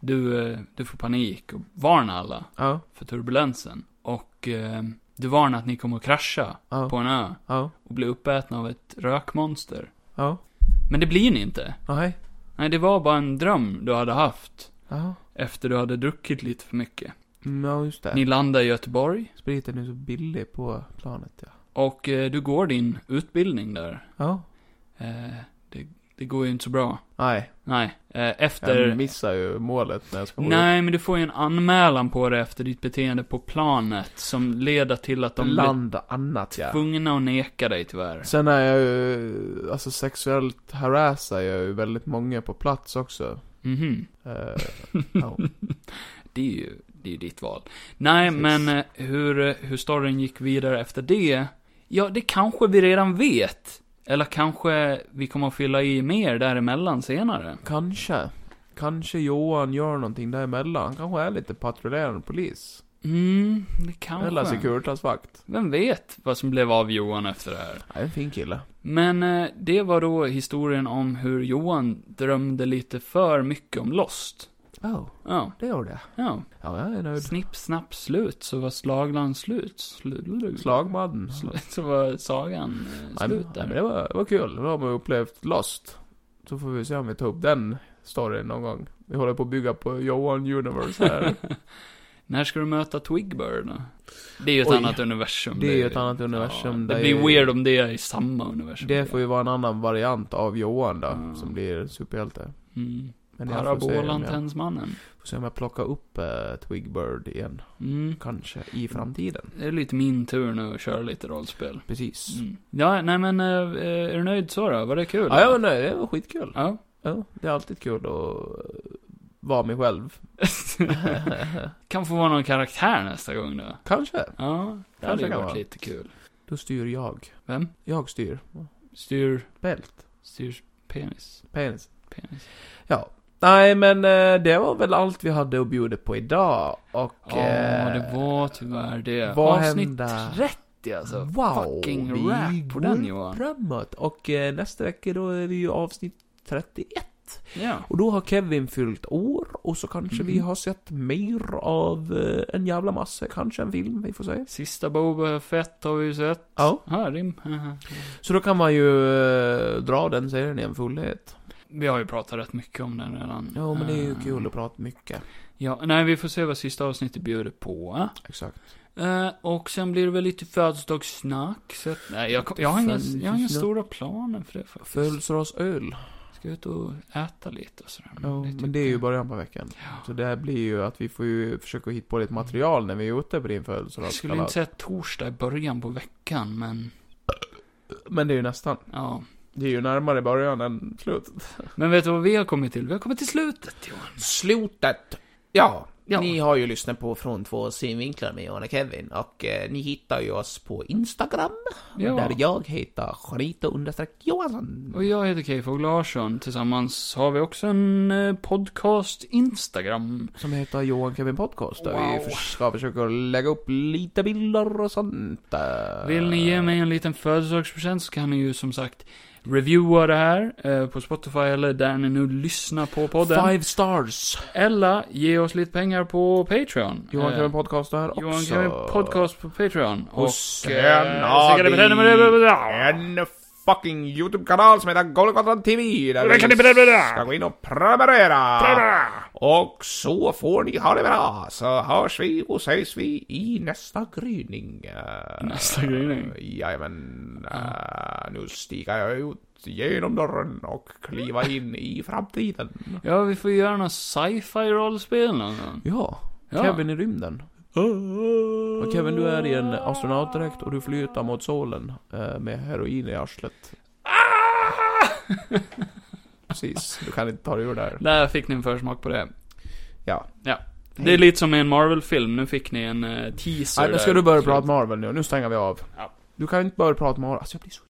[SPEAKER 1] Du, eh, du får panik och varnar alla
[SPEAKER 2] Ja,
[SPEAKER 1] för turbulensen. Och eh, du varnar att ni kommer att krascha
[SPEAKER 2] ja,
[SPEAKER 1] på en ö
[SPEAKER 2] ja,
[SPEAKER 1] och bli uppätna av ett rökmonster.
[SPEAKER 2] ja.
[SPEAKER 1] Men det blir ni inte.
[SPEAKER 2] Nej.
[SPEAKER 1] Nej, det var bara en dröm du hade haft
[SPEAKER 2] Ja.
[SPEAKER 1] efter du hade druckit lite för mycket.
[SPEAKER 2] Mm, Ja, just det.
[SPEAKER 1] Ni landar i Göteborg
[SPEAKER 2] Spriten är så billig på planet ja.
[SPEAKER 1] och eh, du går din utbildning där.
[SPEAKER 2] Ja.
[SPEAKER 1] Eh, det, det går ju inte så bra.
[SPEAKER 2] Nej,
[SPEAKER 1] Nej, eh,
[SPEAKER 2] jag
[SPEAKER 1] efter...
[SPEAKER 2] missar ju målet när jag ska gå ut.
[SPEAKER 1] Nej, men du får ju en anmälan på det efter ditt beteende på planet som leder till att de blir
[SPEAKER 2] Land annat ja.
[SPEAKER 1] tvungna att neka dig tyvärr.
[SPEAKER 2] Sen är jag ju, alltså sexuellt harassar jag ju väldigt många på plats också.
[SPEAKER 1] Mhm.
[SPEAKER 2] Eh, ja.
[SPEAKER 1] Det är ju, det är ju ditt val. Nej,
[SPEAKER 2] Precis.
[SPEAKER 1] men eh, hur, eh, hur storyn gick vidare efter det? Ja, det kanske vi redan vet. Eller kanske vi kommer att fylla i mer däremellan senare.
[SPEAKER 2] Kanske. Kanske Johan gör någonting däremellan. Han kanske är lite patrullerande polis.
[SPEAKER 1] Mm, det kanske.
[SPEAKER 2] Eller Securitas-vakt.
[SPEAKER 1] Vem vet vad som blev av Johan efter det här?
[SPEAKER 2] Ja, en fin kille.
[SPEAKER 1] Men eh, det var då historien om hur Johan drömde lite för mycket om Lost.
[SPEAKER 2] Oh,
[SPEAKER 1] Ja,
[SPEAKER 2] det gjorde jag.
[SPEAKER 1] ja.
[SPEAKER 2] Ja, jag är nöjd.
[SPEAKER 1] Snipp, snapp, slut så var slaglan slut. Slu-
[SPEAKER 2] Slagmadden.
[SPEAKER 1] Sl- Så var sagan eh,
[SPEAKER 2] Nej,
[SPEAKER 1] slut
[SPEAKER 2] men
[SPEAKER 1] där.
[SPEAKER 2] Det var, det var kul. Då har man upplevt Lost. Så får vi se om vi tar upp den storyn någon gång. Vi håller på att bygga på Johan Universe här.
[SPEAKER 1] När ska du möta Twigbird då? Det är ju ett
[SPEAKER 2] Oj.
[SPEAKER 1] annat universum.
[SPEAKER 2] Det är ju ett annat universum
[SPEAKER 1] Ja, det
[SPEAKER 2] där
[SPEAKER 1] blir
[SPEAKER 2] ju-
[SPEAKER 1] weird om det är i samma universum.
[SPEAKER 2] det får ju vara en annan variant av Johan då,
[SPEAKER 1] Mm.
[SPEAKER 2] som blir superhjälte.
[SPEAKER 1] Mm.
[SPEAKER 2] Men jag får se, om jag,
[SPEAKER 1] Parabolantennsmannen.
[SPEAKER 2] får se om jag plockar upp eh, Twigbird igen.
[SPEAKER 1] Mm.
[SPEAKER 2] Kanske i framtiden.
[SPEAKER 1] Det är lite min tur nu att köra lite rollspel.
[SPEAKER 2] Precis.
[SPEAKER 1] Mm. Ja, nej men, eh, är du nöjd så då? Var det kul?
[SPEAKER 2] Ja, jag var nöjd. Det var skitkul.
[SPEAKER 1] Ja.
[SPEAKER 2] Ja, det är alltid kul att eh, vara mig själv.
[SPEAKER 1] kan få vara någon karaktär nästa gång då.
[SPEAKER 2] Kanske.
[SPEAKER 1] Ja, det hade
[SPEAKER 2] Kanske
[SPEAKER 1] ju
[SPEAKER 2] kan
[SPEAKER 1] varit
[SPEAKER 2] vara.
[SPEAKER 1] lite kul.
[SPEAKER 2] Då styr jag.
[SPEAKER 1] Vem?
[SPEAKER 2] Jag styr.
[SPEAKER 1] Styr,
[SPEAKER 2] Bält.
[SPEAKER 1] styr penis.
[SPEAKER 2] Penis.
[SPEAKER 1] Penis.
[SPEAKER 2] Ja. Nej, men eh, det var väl allt vi hade att bjuda på idag. Och...
[SPEAKER 1] Ja,
[SPEAKER 2] eh,
[SPEAKER 1] det var tyvärr det.
[SPEAKER 2] vad
[SPEAKER 1] Avsnitt
[SPEAKER 2] händer?
[SPEAKER 1] 30 alltså.
[SPEAKER 2] Wow,
[SPEAKER 1] Fucking
[SPEAKER 2] vi
[SPEAKER 1] rap på
[SPEAKER 2] går
[SPEAKER 1] den Johan.
[SPEAKER 2] Framåt. Och eh, nästa vecka då är vi ju avsnitt 31.
[SPEAKER 1] Ja.
[SPEAKER 2] Och då har Kevin fyllt år. Och så kanske vi
[SPEAKER 1] Mm.
[SPEAKER 2] har sett mer av eh, en jävla massa. Kanske en film, vi får se.
[SPEAKER 1] Sista Boba Fett har vi ju sett.
[SPEAKER 2] Ja.
[SPEAKER 1] Ja, rim. Haha.
[SPEAKER 2] Så då kan man ju eh, dra den serien i en fullhet.
[SPEAKER 1] Vi har ju pratat rätt mycket om den redan.
[SPEAKER 2] Ja, men det är ju
[SPEAKER 1] Eh,
[SPEAKER 2] kul att prata mycket.
[SPEAKER 1] Ja, nej, vi får se vad sista avsnittet bjuder på. eh.
[SPEAKER 2] Exakt.
[SPEAKER 1] Eh, och sen blir det väl lite födelsedagssnack. Så att, nej, jag, jag har inga, jag har inga stora planer för det faktiskt.
[SPEAKER 2] Födelsedagsöl.
[SPEAKER 1] Ska ut och äta lite och sådär.
[SPEAKER 2] Ja,
[SPEAKER 1] tycker
[SPEAKER 2] men det är ju början på veckan. Så det här blir ju att vi får ju försöka hitta på lite material när vi är ute på din
[SPEAKER 1] Jag
[SPEAKER 2] födelsedagskalas.
[SPEAKER 1] skulle inte säga torsdag i början på veckan, men
[SPEAKER 2] Men det är ju nästan.
[SPEAKER 1] ja.
[SPEAKER 2] Det är ju närmare början än slutet.
[SPEAKER 1] Men vet du vad vi har kommit till? Vi har kommit till slutet, Johan.
[SPEAKER 3] Slutet! Ja,
[SPEAKER 1] Ja.
[SPEAKER 3] ni har ju lyssnat på Från två synvinklar med Johan och Kevin och eh, ni hittar ju oss på Instagram
[SPEAKER 1] Ja.
[SPEAKER 3] där jag heter Janito understreck Johansson.
[SPEAKER 1] Och jag heter Keyfog Larsson. Tillsammans har vi också en eh, podcast Instagram.
[SPEAKER 2] Som heter Johan Kevin Podcast. Där vi
[SPEAKER 1] Wow.
[SPEAKER 2] förs- ska försöka lägga upp lite bilder och sånt. eh.
[SPEAKER 1] Vill ni ge mig en liten födelsedagspresent så kan ni ju som sagt reviewa det här eh, på Spotify eller där ni nu lyssnar på podden.
[SPEAKER 2] Five stars!
[SPEAKER 1] Eller ge oss lite pengar på Patreon.
[SPEAKER 2] Johan
[SPEAKER 1] Eh,
[SPEAKER 2] Kevin Podcast där också.
[SPEAKER 1] Johan kan vi podcast på Patreon.
[SPEAKER 2] Och sen
[SPEAKER 1] eh,
[SPEAKER 2] har
[SPEAKER 1] säkert-
[SPEAKER 3] Ah.
[SPEAKER 2] vi en fucking YouTube-kanal som heter Golgatan TV. Där
[SPEAKER 1] kan ni
[SPEAKER 2] ni ska gå in och prenumerera.
[SPEAKER 3] Och så får ni ha det bra, så hörs vi och ses vi i nästa gryning. Eh,
[SPEAKER 1] Nästa gryning.
[SPEAKER 3] Jajamän, eh, nu stiger jag ut genom dörren och kliva in i framtiden.
[SPEAKER 1] Ja, vi får göra något sci-fi rollspel någon gång.
[SPEAKER 2] Ja,
[SPEAKER 1] Ja.
[SPEAKER 2] Kevin i rymden. Och Kevin, du är i en astronautdräkt och du flyter mot solen eh, med heroin i arslet.
[SPEAKER 1] Ah!
[SPEAKER 2] Precis, du kan inte ta dig ur där.
[SPEAKER 1] Där fick ni en försmak på det.
[SPEAKER 3] Ja.
[SPEAKER 1] Ja. Det är lite som i en Marvel-film, nu fick ni en eh, teaser
[SPEAKER 2] Nej, nu ska
[SPEAKER 1] där.
[SPEAKER 2] du börja prata Marvel nu. Nu stänger vi av.
[SPEAKER 1] Ja.
[SPEAKER 2] Du kan inte börja prata Marvel. Alltså jag blir så